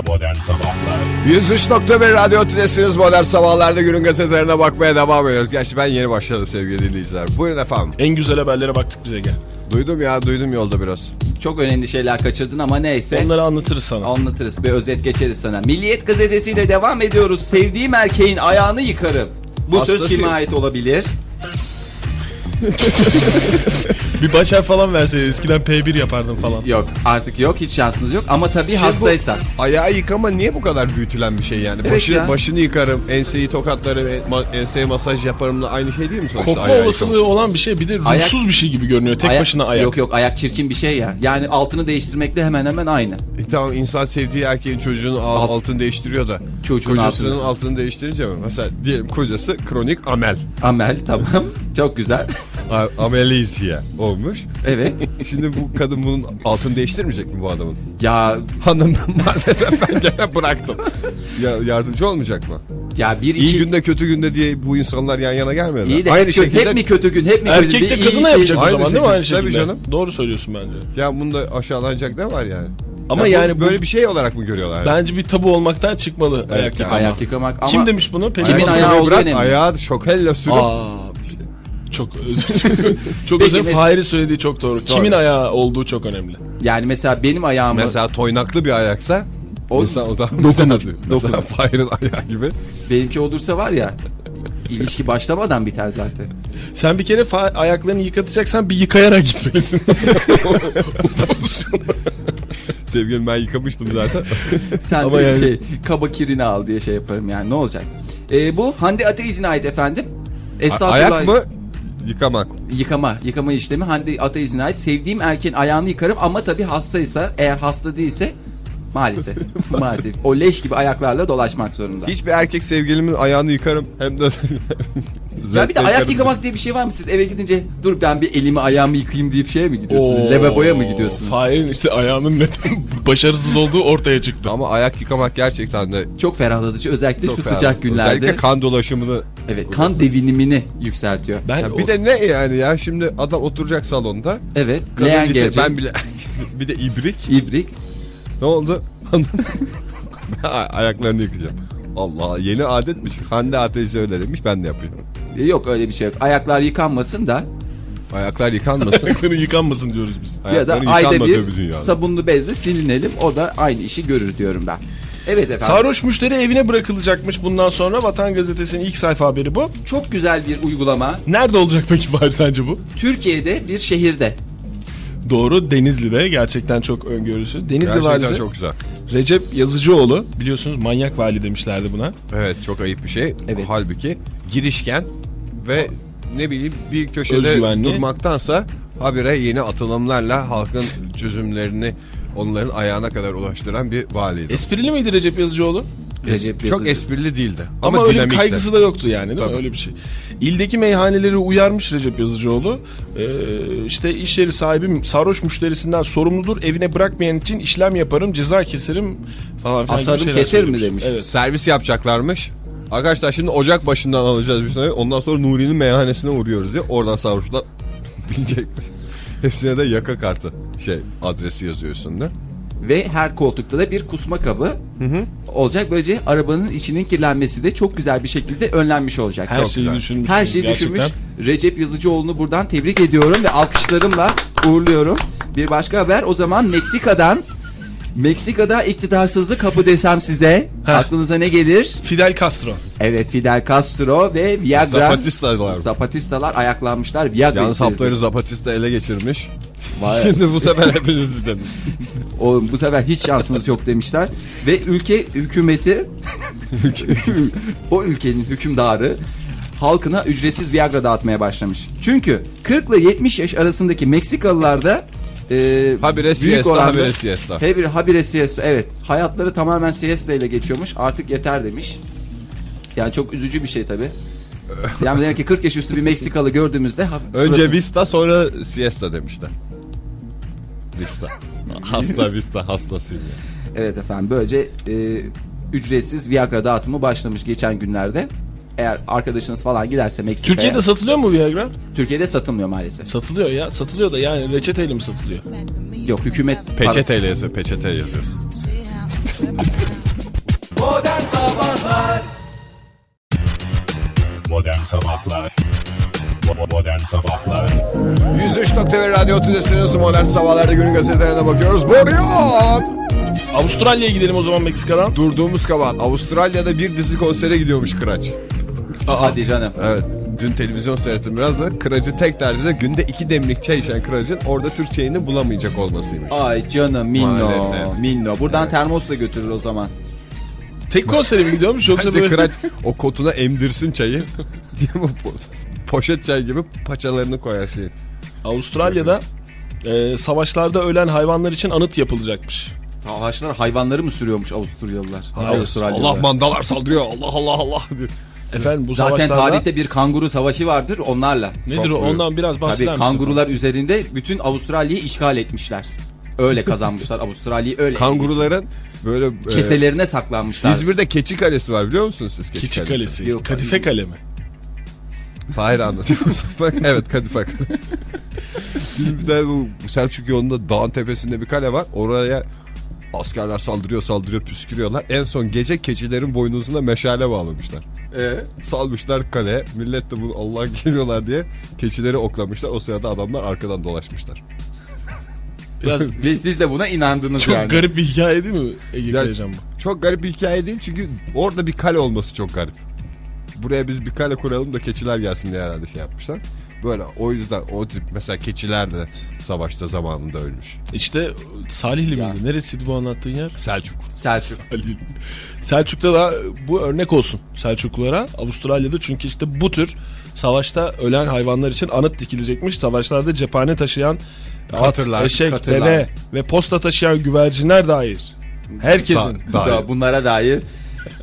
Speaker 1: Modern Sabahlar
Speaker 6: 103.1 Radyo Tülesi'niz modern sabahlarda günün gazetelerine bakmaya devam ediyoruz. Gerçi ben yeni başladım sevgili dinleyiciler. Buyurun efendim.
Speaker 3: En güzel haberlere baktık bize gel.
Speaker 6: Duydum ya duydum yolda biraz.
Speaker 2: Çok önemli şeyler kaçırdın ama neyse.
Speaker 3: Onları anlatırız sana.
Speaker 2: Anlatırız bir özet geçeriz sana. Milliyet gazetesiyle devam ediyoruz. Sevdiğim erkeğin ayağını yıkarım. Bu söz
Speaker 6: Hastası-
Speaker 2: kime ait olabilir?
Speaker 3: Bir başar falan verseydin eskiden P1 yapardın falan.
Speaker 2: Yok artık yok hiç şansınız yok ama
Speaker 3: Şey
Speaker 2: tabii hastaysa.
Speaker 6: Şey, Ayağı yıkama niye bu kadar büyütülen bir şey yani?
Speaker 2: Evet
Speaker 6: Başı,
Speaker 2: ya.
Speaker 6: başını yıkarım, enseyi tokatlarım, en- ma- enseye masaj yaparım da aynı şey değil mi sonuçta?
Speaker 3: Kokma
Speaker 6: ayağı
Speaker 3: olasılığı
Speaker 6: yıkama?
Speaker 3: olan bir şey bir de
Speaker 2: Ayak-
Speaker 3: ruhsuz bir şey gibi görünüyor. Tek
Speaker 2: Ayak-
Speaker 3: başına ayak.
Speaker 2: Yok yok ayak çirkin bir şey ya. Yani altını değiştirmekle hemen hemen aynı.
Speaker 6: E tamam insan sevdiği erkeğin çocuğunun al-
Speaker 2: Alt-
Speaker 6: altını değiştiriyor da.
Speaker 2: Çocuğun
Speaker 6: kocasının
Speaker 2: altını.
Speaker 6: altını. değiştirince mi? Mesela diyelim kocası kronik amel.
Speaker 2: Amel tamam çok güzel.
Speaker 6: A- amelisiye olmuş.
Speaker 2: Evet
Speaker 6: Şimdi bu kadın bunun altını değiştirmeyecek mi bu adamın?
Speaker 2: ya
Speaker 6: Hanım maalesef ben gene bıraktım. Ya, yardımcı olmayacak mı?
Speaker 2: ya bir
Speaker 6: İyi
Speaker 2: iki
Speaker 6: günde kötü günde diye bu insanlar yan yana gelmedi.
Speaker 2: iyi de
Speaker 6: Aynı
Speaker 2: hep, kö-
Speaker 6: şekilde
Speaker 2: hep mi kötü gün hep mi kötü
Speaker 3: Erkek
Speaker 2: gün?
Speaker 3: de
Speaker 2: Bir iyi
Speaker 3: kadına
Speaker 2: şey-
Speaker 3: yapacak o
Speaker 6: Aynı
Speaker 3: zaman değil mi
Speaker 6: şekilde.
Speaker 3: aynı şekilde?
Speaker 6: Tabii canım.
Speaker 3: Doğru söylüyorsun bence.
Speaker 6: ya bunda aşağılanacak ne var yani?
Speaker 3: Ama
Speaker 6: Ya bu-
Speaker 3: yani bu-
Speaker 6: böyle bir şey olarak mı görüyorlar? yani?
Speaker 3: Bence bir tabu olmaktan çıkmalı ayak yıkama.
Speaker 2: Ayak yıkamak ama
Speaker 3: Kim demiş bunu? Pelin
Speaker 2: Kimin
Speaker 3: Hanım.
Speaker 2: ayağı olduğu
Speaker 6: bırak
Speaker 2: önemli.
Speaker 6: ayağı şokella sürüp
Speaker 3: Aa, çok özür dilerim. çok
Speaker 2: Peki
Speaker 3: özür
Speaker 2: mes-
Speaker 3: dilerim. Fahir'in söylediği çok doğru. Kimin ayağı olduğu çok önemli.
Speaker 2: yani mesela benim ayağımı
Speaker 6: mesela toynaklı bir ayaksa
Speaker 2: O-
Speaker 6: insan o zaman
Speaker 2: Dokunur,
Speaker 6: Mesela
Speaker 2: dokunur.
Speaker 6: Fahir'in ayağı gibi.
Speaker 2: benimki olursa var ya ilişki başlamadan biter zaten.
Speaker 3: Sen bir kere fa- ayaklarını yıkatacaksan bir yıkayarak gitmelisin.
Speaker 6: Sevgilim ben yıkamıştım zaten.
Speaker 2: Sen
Speaker 3: Ama
Speaker 2: de
Speaker 3: yani-
Speaker 2: şey kaba kirini al diye şey yaparım yani ne olacak? Ee, bu Hande Ateiz'in ait efendim. Estağfurullah.
Speaker 6: Ayak mı? Yıkamak.
Speaker 2: Yıkama, yıkama işlemi Hande Ateiz'in ait. Sevdiğim erkeğin ayağını yıkarım ama tabii hastaysa eğer hasta değilse maalesef maalesef o leş gibi ayaklarla dolaşmak zorunda.
Speaker 6: Hiçbir erkek sevgilimin ayağını yıkarım hem de
Speaker 2: ya bir de
Speaker 6: zevkle
Speaker 2: ayak
Speaker 6: yıkarım.
Speaker 2: yıkamak diye bir şey var mı siz eve gidince dur ben bir elimi ayağımı yıkayayım deyip şeye mi gidiyorsunuz?
Speaker 3: Oo,
Speaker 2: Lavaboya mı gidiyorsunuz?
Speaker 3: Fahir'in işte ayağının neden başarısız olduğu ortaya çıktı.
Speaker 6: Ama ayak yıkamak gerçekten de
Speaker 2: Çok ferahlatıcı özellikle
Speaker 6: çok
Speaker 2: şu
Speaker 6: fena.
Speaker 2: sıcak günlerde.
Speaker 6: Özellikle kan dolaşımını
Speaker 2: Evet kan devinimini yükseltiyor.
Speaker 3: Ben
Speaker 6: Ya bir de ne yani ya şimdi adam oturacak salonda.
Speaker 2: Evet.
Speaker 6: kadın
Speaker 2: Leğen
Speaker 6: gitse-
Speaker 2: gelecek.
Speaker 6: Ben bile bir de ibrik.
Speaker 2: İbrik.
Speaker 6: Ne oldu? Ben Ayaklarını yıkayacağım. Allah yeni adetmiş. Hande Ateş öyle demiş ben de yapıyorum.
Speaker 2: E, Yok öyle bir şey yok. Ayaklar yıkanmasın da
Speaker 6: Ayaklar yıkanmasın.
Speaker 3: ayakları yıkanmasın diyoruz biz.
Speaker 2: ya da
Speaker 6: Ayakların
Speaker 2: ayda
Speaker 6: yıkanmadığı bir
Speaker 2: bir
Speaker 6: dünyada.
Speaker 2: sabunlu bezle silinelim. O da aynı işi görür diyorum ben. Evet efendim.
Speaker 3: Sarhoş müşteri evine bırakılacakmış bundan sonra. Vatan Gazetesi'nin ilk sayfa haberi bu.
Speaker 2: Çok güzel bir uygulama.
Speaker 3: Nerede olacak peki Fahir sence bu?
Speaker 2: Türkiye'de bir şehirde.
Speaker 3: Doğru Denizli'de gerçekten çok öngörüsü. Denizli valisi
Speaker 6: Gerçekten çok güzel.
Speaker 3: Recep Yazıcıoğlu biliyorsunuz manyak vali demişlerdi buna.
Speaker 6: Evet çok ayıp bir şey.
Speaker 2: Evet.
Speaker 6: Halbuki girişken ve ne bileyim bir köşede
Speaker 3: Özgüvenli.
Speaker 6: durmaktansa habire yeni atılımlarla halkın çözümlerini onların ayağına kadar ulaştıran bir valiydi.
Speaker 3: Esprili miydi Recep Yazıcıoğlu?
Speaker 2: Recep
Speaker 6: çok
Speaker 2: Yazıcı.
Speaker 6: esprili değildi ama,
Speaker 3: Ama, öyle bir
Speaker 6: dinamikti.
Speaker 3: kaygısı da yoktu yani değil
Speaker 6: Tabii.
Speaker 3: mi? Öyle bir şey. İldeki meyhaneleri uyarmış Recep Yazıcıoğlu. Ee, işte iş yeri sahibim sarhoş müşterisinden sorumludur. Evine bırakmayan için işlem yaparım, ceza keserim falan filan. gibi
Speaker 2: Asarım
Speaker 3: şeyler
Speaker 2: keser mi
Speaker 3: söylemiş.
Speaker 2: demiş.
Speaker 3: Evet.
Speaker 6: Servis yapacaklarmış. Arkadaşlar şimdi ocak başından alacağız bir tane. Ondan sonra Nuri'nin meyhanesine uğruyoruz diye. Oradan sarhoşlar binecekmiş. Hepsine de yaka kartı şey adresi yazıyor üstünde.
Speaker 2: Ve her koltukta da bir kusma kabı olacak. Böylece arabanın içinin kirlenmesi de çok güzel bir şekilde önlenmiş olacak.
Speaker 3: Her
Speaker 2: Çok
Speaker 3: şeyi
Speaker 6: güzel.
Speaker 3: düşünmüş.
Speaker 2: Her şeyi düşünmüş. Recep Yazıcıoğlu'nu buradan tebrik ediyorum ve alkışlarımla uğurluyorum. Bir başka haber o zaman Meksika'dan Meksika'da iktidarsızlık kapı desem size
Speaker 3: Ha.
Speaker 2: aklınıza ne gelir?
Speaker 3: Fidel Castro.
Speaker 2: Evet Fidel Castro ve Viagra
Speaker 9: Zapatistalar.
Speaker 2: Zapatistalar ayaklanmışlar. Viagra
Speaker 9: Yalnız
Speaker 2: istediler.
Speaker 9: hapları Zapatista ele geçirmiş.
Speaker 2: Vay.
Speaker 9: Şimdi bu sefer hepiniz dedim.
Speaker 2: Oğlum bu sefer hiç şansınız yok demişler. Ve ülke hükümeti o ülkenin hükümdarı halkına ücretsiz Viagra dağıtmaya başlamış. Çünkü 40 ile 70 yaş arasındaki Meksikalılarda e,
Speaker 9: Habire
Speaker 2: büyük
Speaker 9: siesta,
Speaker 2: oranda
Speaker 9: habire siesta.
Speaker 2: habire, habire siesta evet hayatları tamamen siesta ile geçiyormuş artık yeter demiş. Yani çok üzücü bir şey tabi. Yani demek ki 40 yaş üstü bir Meksikalı gördüğümüzde hafif-
Speaker 9: Önce vista sonra siesta demişler. Vista. hasta vista hastasıyım. ya.
Speaker 2: Evet efendim böylece e, ücretsiz Viagra dağıtımı başlamış geçen günlerde. Eğer arkadaşınız falan giderse Meksika'ya.
Speaker 3: Türkiye'de satılıyor mu Viagra?
Speaker 2: Türkiye'de satılmıyor maalesef.
Speaker 3: Satılıyor ya. Satılıyor da yani reçeteyle mi satılıyor?
Speaker 2: Yok hükümet parası-
Speaker 9: Peçeteyle yazıyor, peçeteyle yazıyor.
Speaker 1: Modern Sabahlar Modern Sabahlar
Speaker 6: 103.1 Radyo Tülesi'niz modern sabahlarda günün gazetelerine bakıyoruz. Boruyor.
Speaker 3: Avustralya'ya gidelim o zaman Meksika'dan.
Speaker 6: Durduğumuz kabahat.
Speaker 9: Avustralya'da bir dizi konsere gidiyormuş Kıraç.
Speaker 2: Hadi canım.
Speaker 9: Evet. Dün televizyon seyrettim biraz da. Kıracı tek derdi de günde iki demlik çay içen Kıraç'ın orada Türkçeğini bulamayacak olmasıymış.
Speaker 2: Ay canım Minno.
Speaker 9: Maalesef.
Speaker 2: Minno. Buradan termosla götürür o zaman.
Speaker 3: Tek konsere mi gidiyormuş yoksa
Speaker 9: Bence
Speaker 3: böyle...
Speaker 9: Kıraç o kotuna emdirsin çayı. diye bu po- poşet çay gibi paçalarını koyar şey.
Speaker 3: Avustralya'da e, savaşlarda ölen hayvanlar için anıt yapılacakmış.
Speaker 2: Savaşlar hayvanları mı sürüyormuş Avusturyalılar? Avustralyalılar.
Speaker 9: Allah mandalar saldırıyor. Allah Allah Allah diyor.
Speaker 3: Efendim bu
Speaker 2: Zaten
Speaker 3: savaşlarda...
Speaker 2: tarihte bir kanguru savaşı vardır onlarla.
Speaker 3: Nedir o? Ondan biraz bahseder
Speaker 2: Tabii
Speaker 3: misin?
Speaker 2: kangurular üzerinde bütün Avustralya'yı işgal etmişler. Öyle kazanmışlar Avustralya'yı öyle.
Speaker 9: Kanguruların böyle e,
Speaker 2: keselerine saklanmışlar.
Speaker 9: İzmir'de Keçi Kalesi var biliyor musunuz siz Keçi,
Speaker 3: Keçi
Speaker 9: Kalesi?
Speaker 3: Kalesi.
Speaker 2: Yok,
Speaker 3: Kadife Kale mi?
Speaker 9: Fahir anlatıyor musun? Bak, evet Kadife Kale. Şimdi bir tane bu bu Selçuk yolunda dağın tepesinde bir kale var. Oraya askerler saldırıyor saldırıyor püskürüyorlar. En son gece keçilerin boynuzuna meşale bağlamışlar.
Speaker 2: Ee?
Speaker 9: Salmışlar kaleye. Millet de bunu Allah geliyorlar diye keçileri oklamışlar. O sırada adamlar arkadan dolaşmışlar.
Speaker 3: Biraz
Speaker 2: Ve siz de buna inandınız
Speaker 3: çok
Speaker 2: yani.
Speaker 3: garip bir hikaye değil mi Ege
Speaker 9: Ya-
Speaker 3: Kayacan bu?
Speaker 9: Çok garip bir hikaye değil çünkü orada bir kale olması çok garip. Buraya biz bir kale kuralım da keçiler gelsin diye herhalde şey yapmışlar. Böyle o yüzden o tip mesela keçiler de savaşta zamanında ölmüş.
Speaker 3: İşte Salihli
Speaker 2: Ya.
Speaker 3: miydi? Neresiydi bu anlattığın yer?
Speaker 9: Selçuk.
Speaker 2: Selçuk.
Speaker 3: Halil. Selçuk'ta da bu örnek olsun Selçuklulara Avustralya'da çünkü işte bu tür savaşta ölen hayvanlar için anıt dikilecekmiş. Savaşlarda cephane taşıyan
Speaker 9: Katırlar,
Speaker 3: at, eşek,
Speaker 2: katırlar.
Speaker 3: deve ve posta taşıyan güvercinler dair. Herkesin.
Speaker 9: Da- dair.
Speaker 2: Da- bunlara dair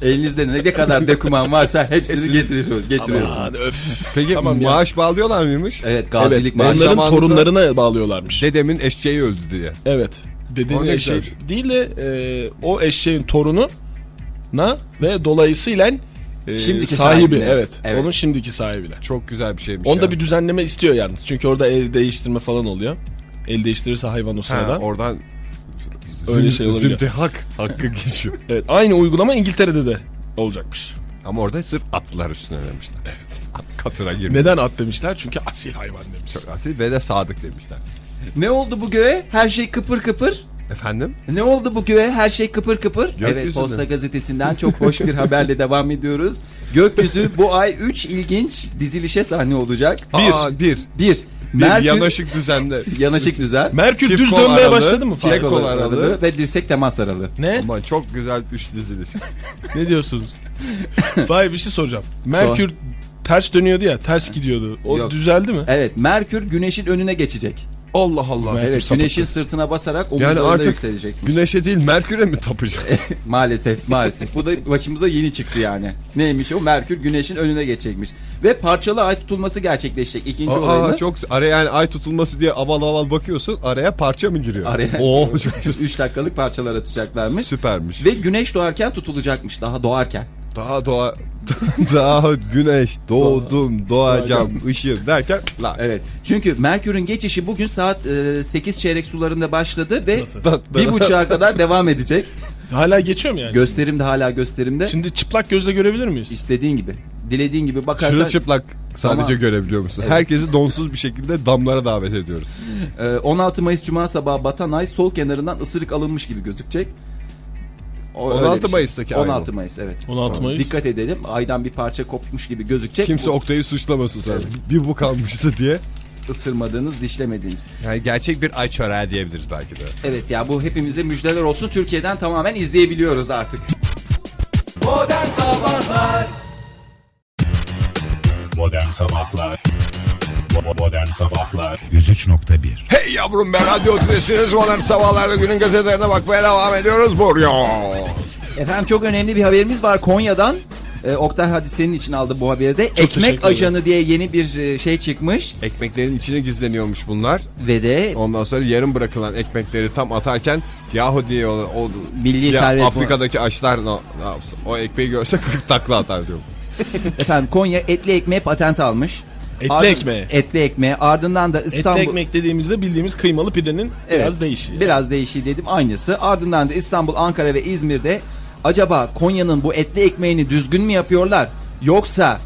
Speaker 2: elinizde ne kadar doküman varsa hepsini getiriyorsunuz.
Speaker 3: Aman
Speaker 2: getiriyorsunuz.
Speaker 3: öf.
Speaker 9: Peki
Speaker 3: Tamam ya.
Speaker 9: maaş bağlıyorlar mıymış?
Speaker 2: Evet gazilik
Speaker 9: Evet,
Speaker 2: maaşı.
Speaker 9: onlar-
Speaker 3: Onların
Speaker 9: zamanında-
Speaker 3: torunlarına bağlıyorlarmış.
Speaker 9: Dedemin eşeği öldü diye.
Speaker 3: Evet.
Speaker 9: O
Speaker 3: Dedenin
Speaker 9: ne
Speaker 3: eşeği
Speaker 9: güzelmiş.
Speaker 3: değil de e, o eşeğin torunu na ve dolayısıyla e,
Speaker 2: Şimdiki
Speaker 3: sahibi
Speaker 2: sahibine.
Speaker 3: evet,
Speaker 2: Evet.
Speaker 3: Onun şimdiki sahibine.
Speaker 9: Çok güzel bir şeymiş.
Speaker 3: Onda
Speaker 9: ya.
Speaker 3: bir düzenleme istiyor yalnız. Çünkü orada el değiştirme falan oluyor. El değiştirirse hayvan o
Speaker 9: Ha,
Speaker 3: sırada.
Speaker 9: oradan
Speaker 3: Öyle
Speaker 9: Öyle
Speaker 3: şey
Speaker 9: şey
Speaker 3: olabiliyor.
Speaker 9: hak hakkı geçiyor.
Speaker 3: Evet, aynı uygulama İngiltere'de de olacakmış.
Speaker 9: Ama orada sırf atlar üstüne demişler. Evet. At katıra girmiş.
Speaker 3: Neden at demişler? Çünkü asil hayvan demiş.
Speaker 9: Asil ve de sadık demişler.
Speaker 2: Ne oldu bu göğe? Her şey kıpır kıpır.
Speaker 9: Efendim?
Speaker 2: Ne oldu bu göğe? Her şey kıpır kıpır. evet
Speaker 9: Gökyüzünde.
Speaker 2: Posta Gazetesi'nden çok hoş bir haberle devam ediyoruz. Gökyüzü bu ay 3 ilginç dizilişe sahne olacak.
Speaker 9: Bir. Aa, bir.
Speaker 2: 1.
Speaker 9: Bir
Speaker 2: Merkür
Speaker 9: yanaşık düzende.
Speaker 2: yanaşık düzen.
Speaker 3: Merkür
Speaker 9: Çift
Speaker 3: düz
Speaker 9: kol
Speaker 3: dönmeye
Speaker 9: aralığı,
Speaker 3: başladı mı falan?
Speaker 9: tek kol aralığı.
Speaker 2: ve dirsek temas aralığı.
Speaker 3: Ne?
Speaker 9: Ama çok güzel üç diziliş.
Speaker 3: Ne diyorsunuz? Vay bir şey soracağım. Merkür ters dönüyordu ya, ters gidiyordu. O
Speaker 2: Yok.
Speaker 3: düzeldi mi?
Speaker 2: Evet, Merkür güneşin önüne geçecek.
Speaker 9: Allah Allah.
Speaker 3: Merkür
Speaker 2: Evet,
Speaker 3: sapıttı.
Speaker 2: güneşin sırtına basarak
Speaker 9: Yani
Speaker 2: omuzlarında
Speaker 9: artık
Speaker 2: yükselecek.
Speaker 9: güneşe değil Merkür'e mi tapacağız?
Speaker 2: Maalesef maalesef. Bu da başımıza yeni çıktı yani. Neymiş o? Merkür güneşin önüne geçecekmiş. Ve parçalı ay tutulması gerçekleşecek. İkinci
Speaker 9: Aa,
Speaker 2: olayımız.
Speaker 9: çok araya yani ay tutulması diye aval aval bakıyorsun araya parça mı giriyor?
Speaker 2: Araya-
Speaker 9: Oo çok güzel.
Speaker 2: 3 dakikalık parçalar atacaklarmış.
Speaker 9: Süpermiş.
Speaker 2: Ve güneş doğarken tutulacakmış daha doğarken.
Speaker 9: Daha doğa daha güneş doğdum doğacağım ışığım derken la
Speaker 2: Evet. Çünkü Merkür'ün geçişi bugün saat e, 8 çeyrek sularında başladı ve
Speaker 9: Da- da-
Speaker 2: bir buçuğa kadar devam edecek.
Speaker 3: Hala geçiyor mu yani?
Speaker 2: Gösterimde hala gösterimde.
Speaker 3: Şimdi çıplak gözle görebilir miyiz?
Speaker 2: İstediğin gibi. dilediğin gibi bakarsan
Speaker 9: Çırılçıplak sadece
Speaker 2: Ama-
Speaker 9: görebiliyor musun? Herkesi donsuz bir şekilde damlara davet ediyoruz.
Speaker 2: e, 16 Mayıs Cuma sabahı batan ay sol kenarından ısırık alınmış gibi gözükecek. O, öyle
Speaker 9: 16
Speaker 2: bir şey.
Speaker 9: Mayıs'taki ay bu.
Speaker 2: 16 Mayıs evet.
Speaker 3: 16 Mayıs.
Speaker 2: Dikkat edelim aydan bir parça kopmuş gibi gözükecek.
Speaker 9: Kimse
Speaker 2: Bu-
Speaker 9: Oktay'ı suçlamasın sonra. Bir bu kalmıştı diye.
Speaker 2: ısırmadığınız, dişlemediğiniz.
Speaker 9: Yani gerçek bir ay çöreği diyebiliriz belki de.
Speaker 2: Evet ya bu hepimize müjdeler olsun. Türkiye'den tamamen izleyebiliyoruz artık.
Speaker 1: Modern Sabahlar Modern Sabahlar
Speaker 10: 103.1
Speaker 6: Hey yavrum ben radyo tülesiniz. Modern sabahlarda günün gazetelerine bakmaya devam ediyoruz. Buraya.
Speaker 2: Efendim çok önemli bir haberimiz var Konya'dan. Ee, Oktay hadi senin için aldı bu haberi de. Ekmek
Speaker 3: teşekkür
Speaker 2: ajanı diye yeni bir e, şey çıkmış.
Speaker 9: Ekmeklerin içine gizleniyormuş bunlar.
Speaker 2: Ve de
Speaker 9: Ondan sonra yarım bırakılan ekmekleri tam atarken yahu diye o, o-
Speaker 2: Milli
Speaker 9: ya
Speaker 2: servet bu.
Speaker 9: Afrika'daki açlar ne, ne yapsın? O ekmeği görse 40 takla atar diyor.
Speaker 2: efendim Konya etli ekmeğe patent almış.
Speaker 3: Etli
Speaker 2: Ardın-
Speaker 3: ekmeğe.
Speaker 2: Etli ekmeğe. Ardından da İstanbul...
Speaker 3: Etli ekmek dediğimizde bildiğimiz kıymalı pidenin
Speaker 2: Evet.
Speaker 3: biraz değişiyor.
Speaker 2: Biraz değişik dedim aynısı. Ardından da İstanbul, Ankara ve İzmir'de acaba Konya'nın bu etli ekmeğini düzgün mü yapıyorlar? Yoksa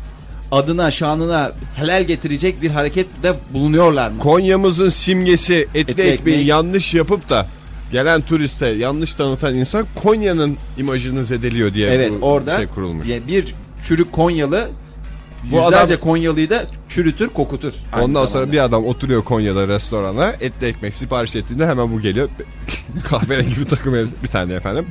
Speaker 2: adına şanına helal getirecek bir harekette bulunuyorlar mı?
Speaker 9: Konya'mızın simgesi etli, ekmeği
Speaker 2: ekmek.
Speaker 9: yanlış yapıp da gelen turiste yanlış tanıtan insan Konya'nın imajını zedeliyor diye
Speaker 2: Evet
Speaker 9: bu
Speaker 2: orada
Speaker 9: şey kurulmuş.
Speaker 2: ya bir çürük Konyalı
Speaker 9: Bu
Speaker 2: yüzlerce
Speaker 9: adam-
Speaker 2: Konyalı'yı da çürütür kokutur. aynı
Speaker 9: Ondan
Speaker 2: zamanda.
Speaker 9: sonra bir adam oturuyor Konya'da restorana etli ekmek sipariş ettiğinde hemen bu geliyor. Kahverengi bir takım elbise- bir tane efendim.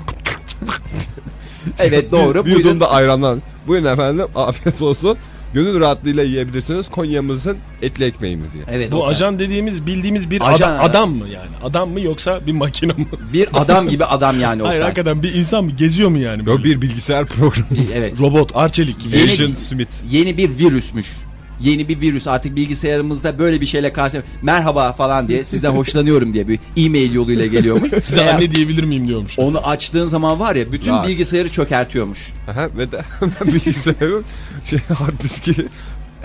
Speaker 2: Evet doğru
Speaker 9: bir
Speaker 2: buyurun.
Speaker 9: yudum da ayrandan. Buyurun efendim afiyet olsun. Gönül rahatlığıyla yiyebilirsiniz Konya'mızın etli ekmeğini diye.
Speaker 2: Evet,
Speaker 3: Bu
Speaker 2: Oktay.
Speaker 3: ajan dediğimiz bildiğimiz bir
Speaker 2: Ajan
Speaker 3: ada-
Speaker 2: ha.
Speaker 3: adam mı yani? Adam mı yoksa bir makine mi?
Speaker 2: bir adam gibi adam yani
Speaker 3: Hayır
Speaker 2: Oktay.
Speaker 3: hakikaten bir insan mı? Geziyor mu yani?
Speaker 9: Yok bir bilgisayar programı.
Speaker 2: Evet.
Speaker 3: Robot, arçelik. gibi.
Speaker 2: Yeni-
Speaker 9: Agent Smith.
Speaker 2: Yeni bir virüsmüş. Yeni bir virüs artık bilgisayarımızda böyle bir şeyle karşı merhaba falan diye sizden hoşlanıyorum diye bir e-mail yoluyla geliyormuş.
Speaker 3: Size
Speaker 2: Veya
Speaker 3: anne diyebilir miyim diyormuş.
Speaker 2: onu açtığın zaman var ya bütün
Speaker 9: Var.
Speaker 2: bilgisayarı çökertiyormuş.
Speaker 9: Aha, ve de hemen bilgisayarın şey, hard diski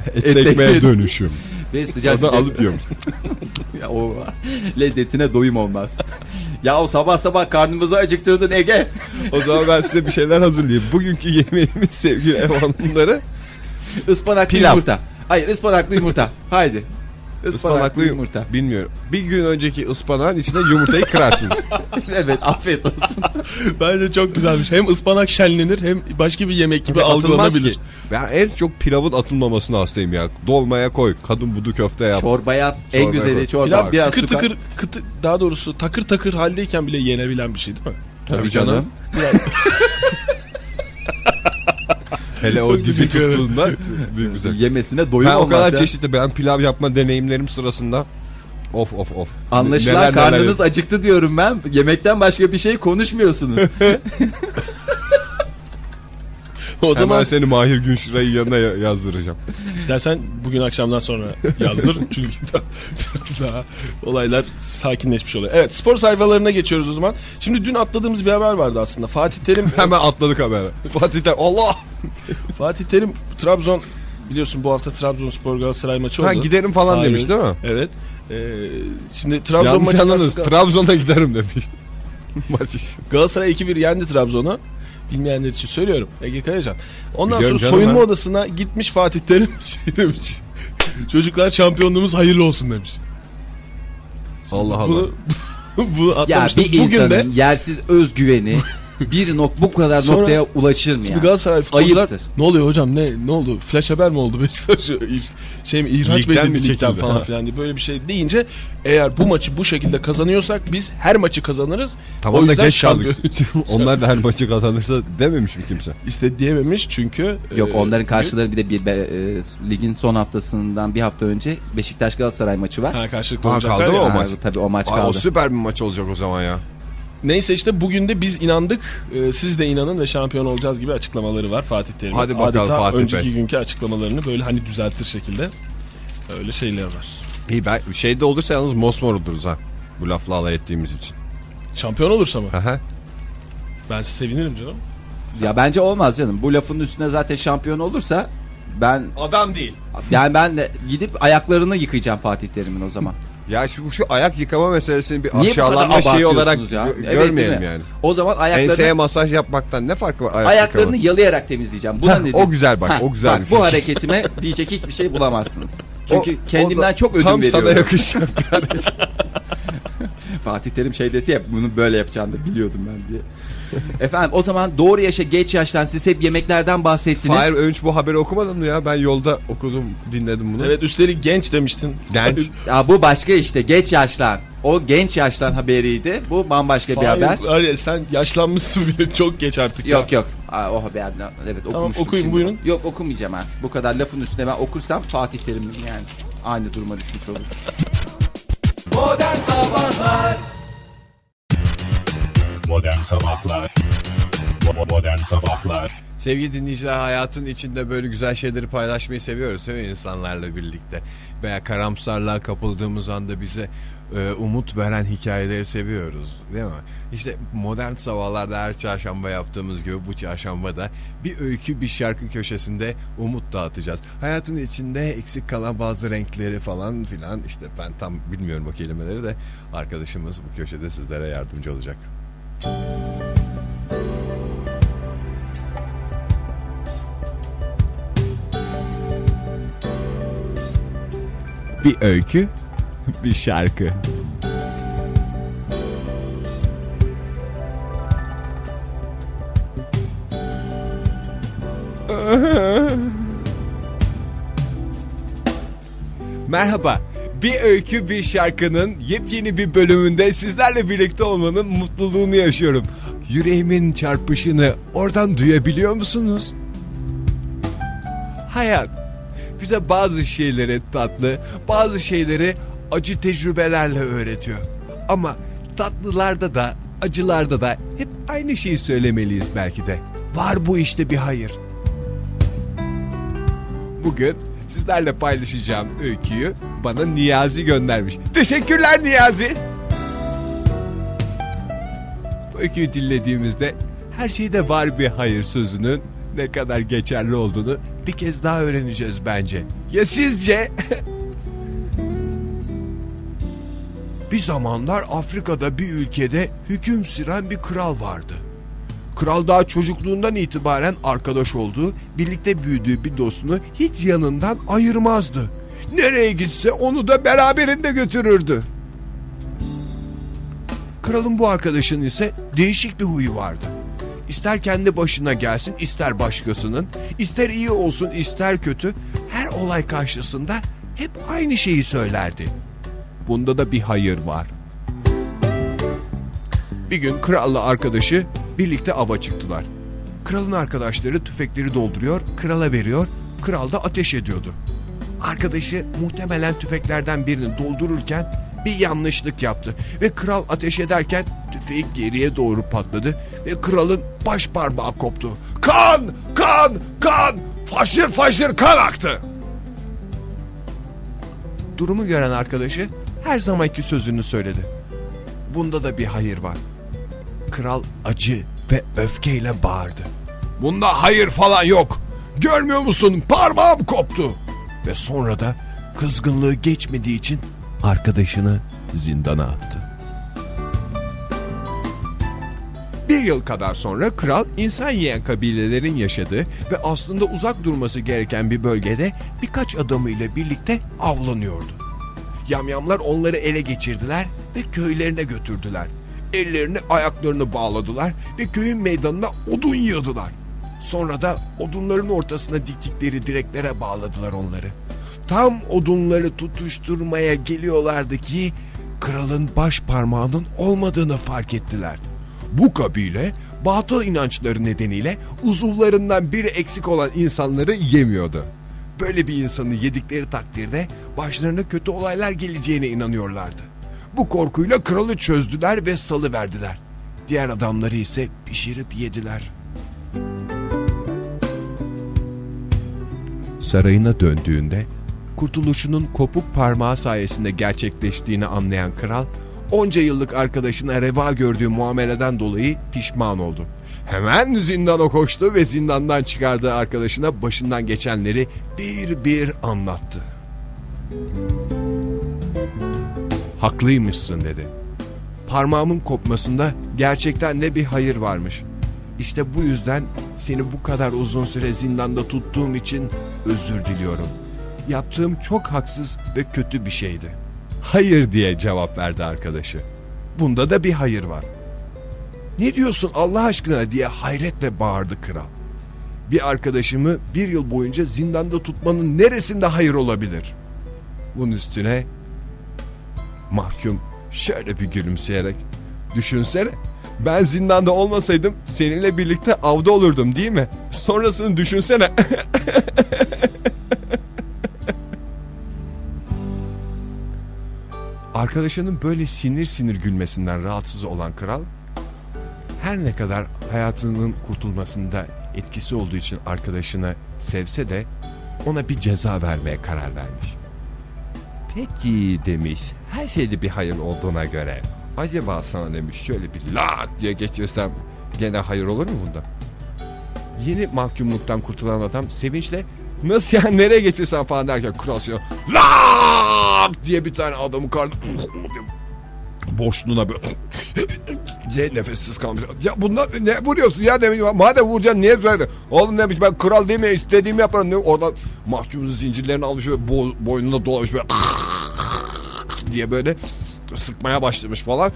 Speaker 9: etli
Speaker 2: ekmeğe
Speaker 9: ekmeğe dönüşüm.
Speaker 2: Ve sıcak
Speaker 9: Oradan
Speaker 2: sıcak
Speaker 9: alıp yiyormuş.
Speaker 2: Ya o lezzetine doyum olmaz. ya o sabah sabah karnımızı acıktırdın Ege.
Speaker 9: O zaman ben size bir şeyler hazırlayayım. Bugünkü yemeğimiz sevgili ev hanımları
Speaker 2: Ispanaklı
Speaker 9: Pilav.
Speaker 2: yumurta. Hayır ıspanaklı yumurta. Haydi. Ispanaklı,
Speaker 9: ıspanaklı
Speaker 2: yumurta.
Speaker 9: yumurta. Bilmiyorum. Bir gün önceki ıspanağın içine yumurtayı kırarsınız.
Speaker 2: evet afiyet olsun.
Speaker 3: Bence çok güzelmiş. Hem ıspanak şenlenir hem başka bir yemek gibi
Speaker 9: Atılmaz
Speaker 3: algılanabilir.
Speaker 9: ki. Ben en çok pilavın atılmamasına hastayım ya. Dolmaya koy. Kadın budu köfte yap.
Speaker 2: çorba yap. en
Speaker 9: Çorba
Speaker 2: güzeli
Speaker 9: yap.
Speaker 2: çorba.
Speaker 3: Pilav
Speaker 2: Biraz
Speaker 3: tıkır
Speaker 2: su kat-
Speaker 3: tıkır, kıtı, daha doğrusu takır takır haldeyken bile yenebilen bir şey değil mi?
Speaker 2: Tabii canım.
Speaker 9: Hele o dibi tuttuğunda büyük güzel.
Speaker 2: Yemesine doyum
Speaker 9: Ben
Speaker 2: olmaz.
Speaker 9: o kadar
Speaker 2: ya.
Speaker 9: çeşitli ben pilav yapma deneyimlerim sırasında of of of.
Speaker 2: Anlaşılan
Speaker 9: Neler neler
Speaker 2: karnınız acıktı diyorum ben. Yemekten başka bir şey konuşmuyorsunuz.
Speaker 3: O
Speaker 9: Hemen
Speaker 3: zaman
Speaker 9: seni Mahir Günşiray'ın yanına ya- yazdıracağım.
Speaker 3: istersen bugün akşamdan sonra yazdır. Çünkü daha- biraz daha olaylar sakinleşmiş oluyor. Evet spor sayfalarına geçiyoruz o zaman. Şimdi dün atladığımız bir haber vardı aslında. Fatih Terim
Speaker 9: Hemen atladık haberi. Fatih Terim Allah.
Speaker 3: Fatih Terim Trabzon biliyorsun bu hafta Trabzonspor Galatasaray maçı oldu.
Speaker 9: Ha, giderim falan
Speaker 3: Hayır.
Speaker 9: demiş değil mi?
Speaker 3: Evet. Ee, şimdi Trabzon
Speaker 9: Yanlış
Speaker 3: maçından
Speaker 9: anladınız.
Speaker 3: sonra-
Speaker 9: Trabzon'a giderim demiş. Maç için.
Speaker 3: Galatasaray 2-1 yendi Trabzon'u. Bilmeyenler için söylüyorum. Ege Kayacan. Ondan
Speaker 9: Biliyorum
Speaker 3: sonra
Speaker 9: canım
Speaker 3: soyunma
Speaker 9: ben.
Speaker 3: odasına gitmiş Fatih Terim şey demiş. Çocuklar şampiyonluğumuz hayırlı olsun demiş.
Speaker 9: Allah Allah.
Speaker 3: Bunu, bunu
Speaker 2: ya
Speaker 3: atlamıştık.
Speaker 2: bir
Speaker 3: Bugün
Speaker 2: insanın
Speaker 3: de
Speaker 2: yersiz özgüveni bir nok bu kadar
Speaker 3: Sonra-
Speaker 2: noktaya ulaşır mı
Speaker 3: şimdi
Speaker 2: ya?
Speaker 3: Galatasaray futbolcular
Speaker 2: Ayıptır.
Speaker 3: ne oluyor hocam ne ne oldu? Flash haber mi oldu Beşiktaş? Şey mi ihraç mı
Speaker 9: Ligden mi
Speaker 3: edildi ligden
Speaker 9: çekildi?
Speaker 3: falan
Speaker 9: Ha.
Speaker 3: filan diye böyle bir şey deyince eğer bu maçı bu şekilde kazanıyorsak biz her maçı kazanırız.
Speaker 9: Tamam da
Speaker 3: yüzden
Speaker 9: geç kaldık.
Speaker 3: şampiyon-
Speaker 9: Onlar da her maçı kazanırsa dememiş mi kimse?
Speaker 3: İşte diyememiş çünkü
Speaker 2: Yok
Speaker 3: e,
Speaker 2: onların karşıları bir de bir, be- e, ligin son haftasından bir hafta önce Beşiktaş Galatasaray maçı var.
Speaker 3: Ha, karşılıklı
Speaker 9: Ha,
Speaker 3: olacaklar
Speaker 9: kaldı
Speaker 3: ya.
Speaker 9: mı o
Speaker 2: Ha,
Speaker 9: maç.
Speaker 2: Tabii o maç
Speaker 9: Aa, o
Speaker 2: kaldı.
Speaker 9: süper bir maç olacak o zaman ya.
Speaker 3: Neyse işte bugün de biz inandık, e, siz de inanın ve şampiyon olacağız gibi açıklamaları var Fatih Terim'in.
Speaker 9: Hadi bakalım
Speaker 3: Adeta
Speaker 9: Fatih
Speaker 3: önceki
Speaker 9: Bey.
Speaker 3: günkü açıklamalarını böyle hani düzeltir şekilde öyle şeyler var.
Speaker 9: İyi ben şeyde olursa yalnız mosmor oluruz ha. Bu lafla alay ettiğimiz için.
Speaker 3: Şampiyon olursa mı?
Speaker 9: Aha.
Speaker 3: Ben sevinirim canım.
Speaker 2: Ya bence olmaz canım. Bu lafın üstüne zaten şampiyon olursa ben
Speaker 9: Adam değil.
Speaker 2: yani ben de gidip ayaklarını yıkayacağım Fatih Terim'in o zaman.
Speaker 11: Ya şu, şu ayak yıkama meselesini bir
Speaker 2: Niye bu kadar
Speaker 11: aşağılanma şeyi
Speaker 2: abartıyorsunuz
Speaker 11: olarak
Speaker 2: ya?
Speaker 11: gö-
Speaker 2: Evet, değil
Speaker 11: görmeyelim
Speaker 2: mi?
Speaker 11: yani.
Speaker 2: O zaman
Speaker 11: Enseye
Speaker 2: ayaklarını,
Speaker 11: masaj yapmaktan ne farkı var ayak
Speaker 2: ayaklarını
Speaker 11: yıkamanın?
Speaker 2: yalayarak temizleyeceğim. Buna
Speaker 11: Hah,
Speaker 2: ne
Speaker 11: o
Speaker 2: diyorsun?
Speaker 11: güzel bak, o güzel bir
Speaker 2: Bu
Speaker 11: fikir.
Speaker 2: hareketime diyecek hiçbir şey bulamazsınız.
Speaker 11: O-
Speaker 2: Çünkü
Speaker 11: o
Speaker 2: kendimden
Speaker 11: da
Speaker 2: çok ödün
Speaker 11: tam
Speaker 2: veriyorum.
Speaker 11: sana yakışacak.
Speaker 2: Fatih Terim şey dese ya bunu böyle yapacağını da biliyordum ben diye. Efendim o zaman doğru yaşa geç yaştan siz hep yemeklerden bahsettiniz.
Speaker 11: Fahir Önç bu haberi okumadın mı ya? Ben yolda okudum, dinledim bunu.
Speaker 3: Evet üstelik genç demiştin.
Speaker 11: Genç.
Speaker 2: Ya bu başka işte geç yaşlan. O genç yaşlan haberiydi. Bu bambaşka bir
Speaker 3: Hayır,
Speaker 2: haber.
Speaker 3: hayır, sen yaşlanmışsın bile çok geç artık. ya.
Speaker 2: Yok yok. Aa, o haberden evet okumuştum
Speaker 3: okuyun,
Speaker 2: şimdi.
Speaker 3: buyurun.
Speaker 2: Yok okumayacağım artık. Bu kadar lafın üstüne ben okursam Fatih Terim yani aynı duruma düşmüş olur.
Speaker 1: Modern Sabahlar Modern Sabahlar
Speaker 9: Sevgili dinleyiciler hayatın içinde böyle güzel şeyleri paylaşmayı seviyoruz değil mi insanlarla birlikte? Veya karamsarlığa kapıldığımız anda bize e, umut veren hikayeleri seviyoruz değil mi? İşte modern sabahlarda her çarşamba yaptığımız gibi bu çarşamba da bir öykü bir şarkı köşesinde umut dağıtacağız. Hayatın içinde eksik kalan bazı renkleri falan filan işte ben tam bilmiyorum o kelimeleri de arkadaşımız bu köşede sizlere yardımcı olacak. Bir öykü, bir şarkı. Merhaba. Bir öykü bir şarkının yepyeni bir bölümünde sizlerle birlikte olmanın mutluluğunu yaşıyorum. Yüreğimin çarpışını oradan duyabiliyor musunuz? Hayat bize bazı şeyleri tatlı, bazı şeyleri acı tecrübelerle öğretiyor. Ama tatlılarda da, acılarda da hep aynı şeyi söylemeliyiz belki de. Var bu işte bir hayır. Bugün sizlerle paylaşacağım öyküyü bana Niyazi göndermiş. Teşekkürler Niyazi. Bu öyküyü dinlediğimizde her şeyde var bir hayır sözünün ne kadar geçerli olduğunu bir kez daha öğreneceğiz bence. Ya sizce? bir zamanlar Afrika'da bir ülkede hüküm süren bir kral vardı. Kral daha çocukluğundan itibaren arkadaş olduğu, birlikte büyüdüğü bir dostunu hiç yanından ayırmazdı. Nereye gitse onu da beraberinde götürürdü. Kralın bu arkadaşının ise değişik bir huyu vardı. İster kendi başına gelsin, ister başkasının, ister iyi olsun, ister kötü, her olay karşısında hep aynı şeyi söylerdi. Bunda da bir hayır var. Bir gün kralla arkadaşı birlikte ava çıktılar. Kralın arkadaşları tüfekleri dolduruyor, krala veriyor, kral da ateş ediyordu. Arkadaşı muhtemelen tüfeklerden birini doldururken bir yanlışlık yaptı ve kral ateş ederken tüfeği geriye doğru patladı ve kralın baş parmağı koptu. Kan! Kan! Kan! Faşır faşır kan aktı! Durumu gören arkadaşı her zamanki sözünü söyledi. Bunda da bir hayır var. Kral acı ve öfkeyle bağırdı. Bunda hayır falan yok. Görmüyor musun? Parmağım koptu. Ve sonra da kızgınlığı geçmediği için arkadaşını zindana attı. Bir yıl kadar sonra kral insan yiyen kabilelerin yaşadığı ve aslında uzak durması gereken bir bölgede birkaç adamıyla birlikte avlanıyordu. Yamyamlar onları ele geçirdiler ve köylerine götürdüler. Ellerini ayaklarını bağladılar ve köyün meydanına odun yığdılar. Sonra da odunların ortasına diktikleri direklere bağladılar onları. Tam odunları tutuşturmaya geliyorlardı ki kralın baş parmağının olmadığını fark ettiler. Bu kabile batıl inançları nedeniyle uzuvlarından biri eksik olan insanları yemiyordu. Böyle bir insanı yedikleri takdirde başlarına kötü olaylar geleceğine inanıyorlardı. Bu korkuyla kralı çözdüler ve salı verdiler. Diğer adamları ise pişirip yediler. Sarayına döndüğünde kurtuluşunun kopuk parmağı sayesinde gerçekleştiğini anlayan kral onca yıllık arkadaşına reva gördüğü muameleden dolayı pişman oldu. Hemen zindana koştu ve zindandan çıkardığı arkadaşına başından geçenleri bir bir anlattı. haklıymışsın dedi. Parmağımın kopmasında gerçekten de bir hayır varmış. İşte bu yüzden seni bu kadar uzun süre zindanda tuttuğum için özür diliyorum. Yaptığım çok haksız ve kötü bir şeydi. Hayır diye cevap verdi arkadaşı. Bunda da bir hayır var. Ne diyorsun Allah aşkına diye hayretle bağırdı kral. Bir arkadaşımı bir yıl boyunca zindanda tutmanın neresinde hayır olabilir? Bunun üstüne mahkum şöyle bir gülümseyerek düşünsene ben zindanda olmasaydım seninle birlikte avda olurdum değil mi? Sonrasını düşünsene. Arkadaşının böyle sinir sinir gülmesinden rahatsız olan kral her ne kadar hayatının kurtulmasında etkisi olduğu için arkadaşını sevse de ona bir ceza vermeye karar vermiş. Peki demiş. Her şeyde bir hayır olduğuna göre. Acaba sana demiş şöyle bir lat diye geçirsem gene hayır olur mu bunda? Yeni mahkumluktan kurtulan adam sevinçle nasıl yani nereye getirsen falan derken kurasyon lak diye bir tane adamı karnı boşluğuna böyle diye nefessiz kalmış. Ya bunlar ne vuruyorsun ya demiş. Madem vuracaksın niye böyle? Oğlum demiş ben kral değil mi istediğimi yaparım. Ne? Oradan mahkumun zincirlerini almış ve bo- boynuna dolamış böyle diye böyle sıkmaya başlamış falan.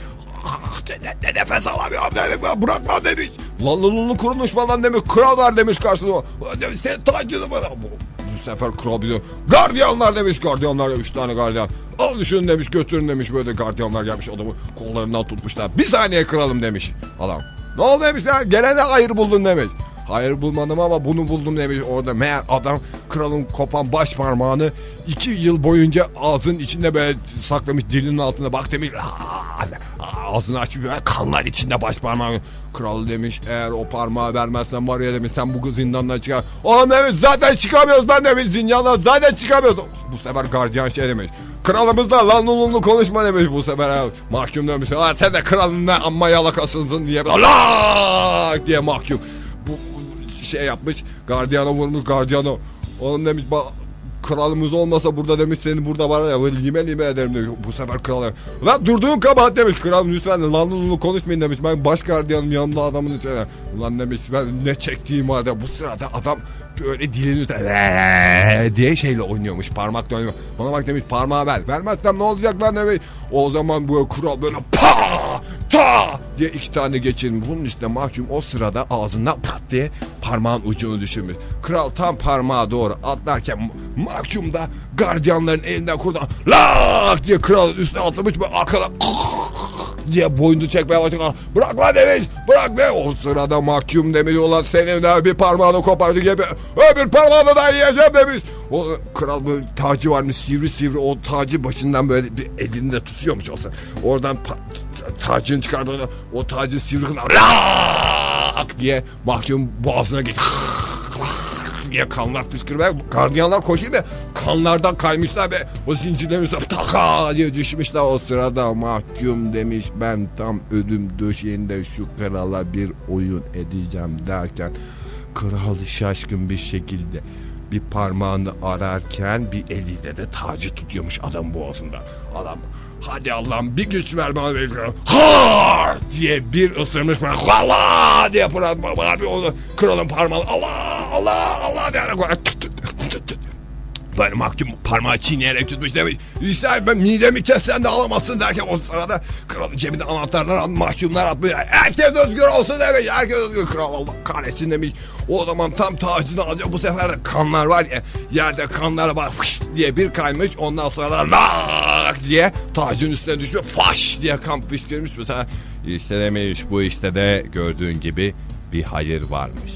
Speaker 9: Ah, ne- ne- ne nefes alamıyorum demiş. Ben bırak lan demiş. Lan lan lan kurulmuş falan demiş. Kral var demiş karşısında. Ulan Demiş sen tacını bana. Bu, bu sefer kral bir de gardiyanlar demiş. Gardiyanlar üç tane gardiyan. Al şunu demiş götürün demiş. Böyle gardiyanlar gelmiş adamı kollarından tutmuşlar. Bir saniye kralım demiş adam. Ne oldu demiş lan gelene hayır buldun demiş. Hayır bulmadım ama bunu buldum demiş orada. Meğer adam kralın kopan baş parmağını iki yıl boyunca ağzın içinde böyle saklamış dilinin altında. Bak demiş "Aa!" ağzını açmış böyle kanlar içinde baş parmağı. Kral demiş eğer o parmağı vermezsen var ya demiş sen bu kız zindandan çıkar. Oğlum demiş zaten çıkamıyoruz lan demiş zindandan zaten çıkamıyoruz. Bu sefer gardiyan şey demiş. Kralımız da lan ulumlu konuşma demiş bu sefer. ha. Mahkum demiş. "Aa, sen de kralın ne amma yalakasısın diye. Allah diye mahkum bu bu şey yapmış. Gardiyana vurmuş gardiyana. Onun demiş bak kralımız olmasa burada demiş senin burada var ya böyle lime lime ederim demiş. Bu sefer kral demiş, Lan durduğun kabahat demiş. Kral lütfen lan lan lan konuşmayın demiş. Ben baş gardiyanım yanımda adamın içine. Ulan demiş ben ne çektiğim halde bu sırada adam böyle dilini üstüne diye şeyle oynuyormuş. Parmakla oynuyor. Bana bak demiş parmağı ver. Vermezsem ne olacak lan demiş. O zaman bu kral böyle pa ta diye iki tane geçirmiş. Bunun üstüne mahkum o sırada ağzından pat diye parmağın ucunu düşürmüş. Kral tam parmağa doğru atlarken mahkum da gardiyanların elinden kurdu. Lak diye kralın üstüne atlamış ve arkada diye boynunu çekmeye başladı. Bırak lan demiş. Bırak be. O sırada mahkum demiş. Ulan senin de bir parmağını kopardık. Hep, öbür parmağını da yiyeceğim demiş. O e, kral böyle tacı varmış sivri sivri o tacı başından böyle bir elinde tutuyormuş olsa. Oradan pa- ta- tacını çıkardı o tacı sivri kılan "Lak!" diye mahkum boğazına geçti. diye kanlar fışkırmaya gardiyanlar koşuyor ve kanlardan kaymışlar ve o zincirlerin üstüne taka diye düşmüşler o sırada mahkum demiş ben tam ölüm döşeğinde şu krala bir oyun edeceğim derken kral şaşkın bir şekilde bir parmağını ararken bir eliyle de tacı tutuyormuş adam boğazında adam Hadi Allah'ım bir güç ver bana bir Ha diye bir ısırmış bana. Allah diye fırlatma. Bana bir onu kralın parmağını. Allah Allah Allah diye. Tık tık tık tık tık. Böyle mahkum parmağı çiğneyerek tutmuş demiş. İster ben midemi kessen de alamazsın derken o sırada kralın cebinde anahtarlar al- mahkumlar atmış. Herkes özgür olsun demiş. Herkes özgür. Kral Allah kahretsin demiş. O zaman tam tacını alıyor. Bu sefer de kanlar var ya. Yerde kanlara bak fış diye bir kaymış. Ondan sonra da lak diye tacın üstüne düşmüş. Faş diye kan fışkırmış. Mesela işte demiş bu işte de gördüğün gibi bir hayır varmış.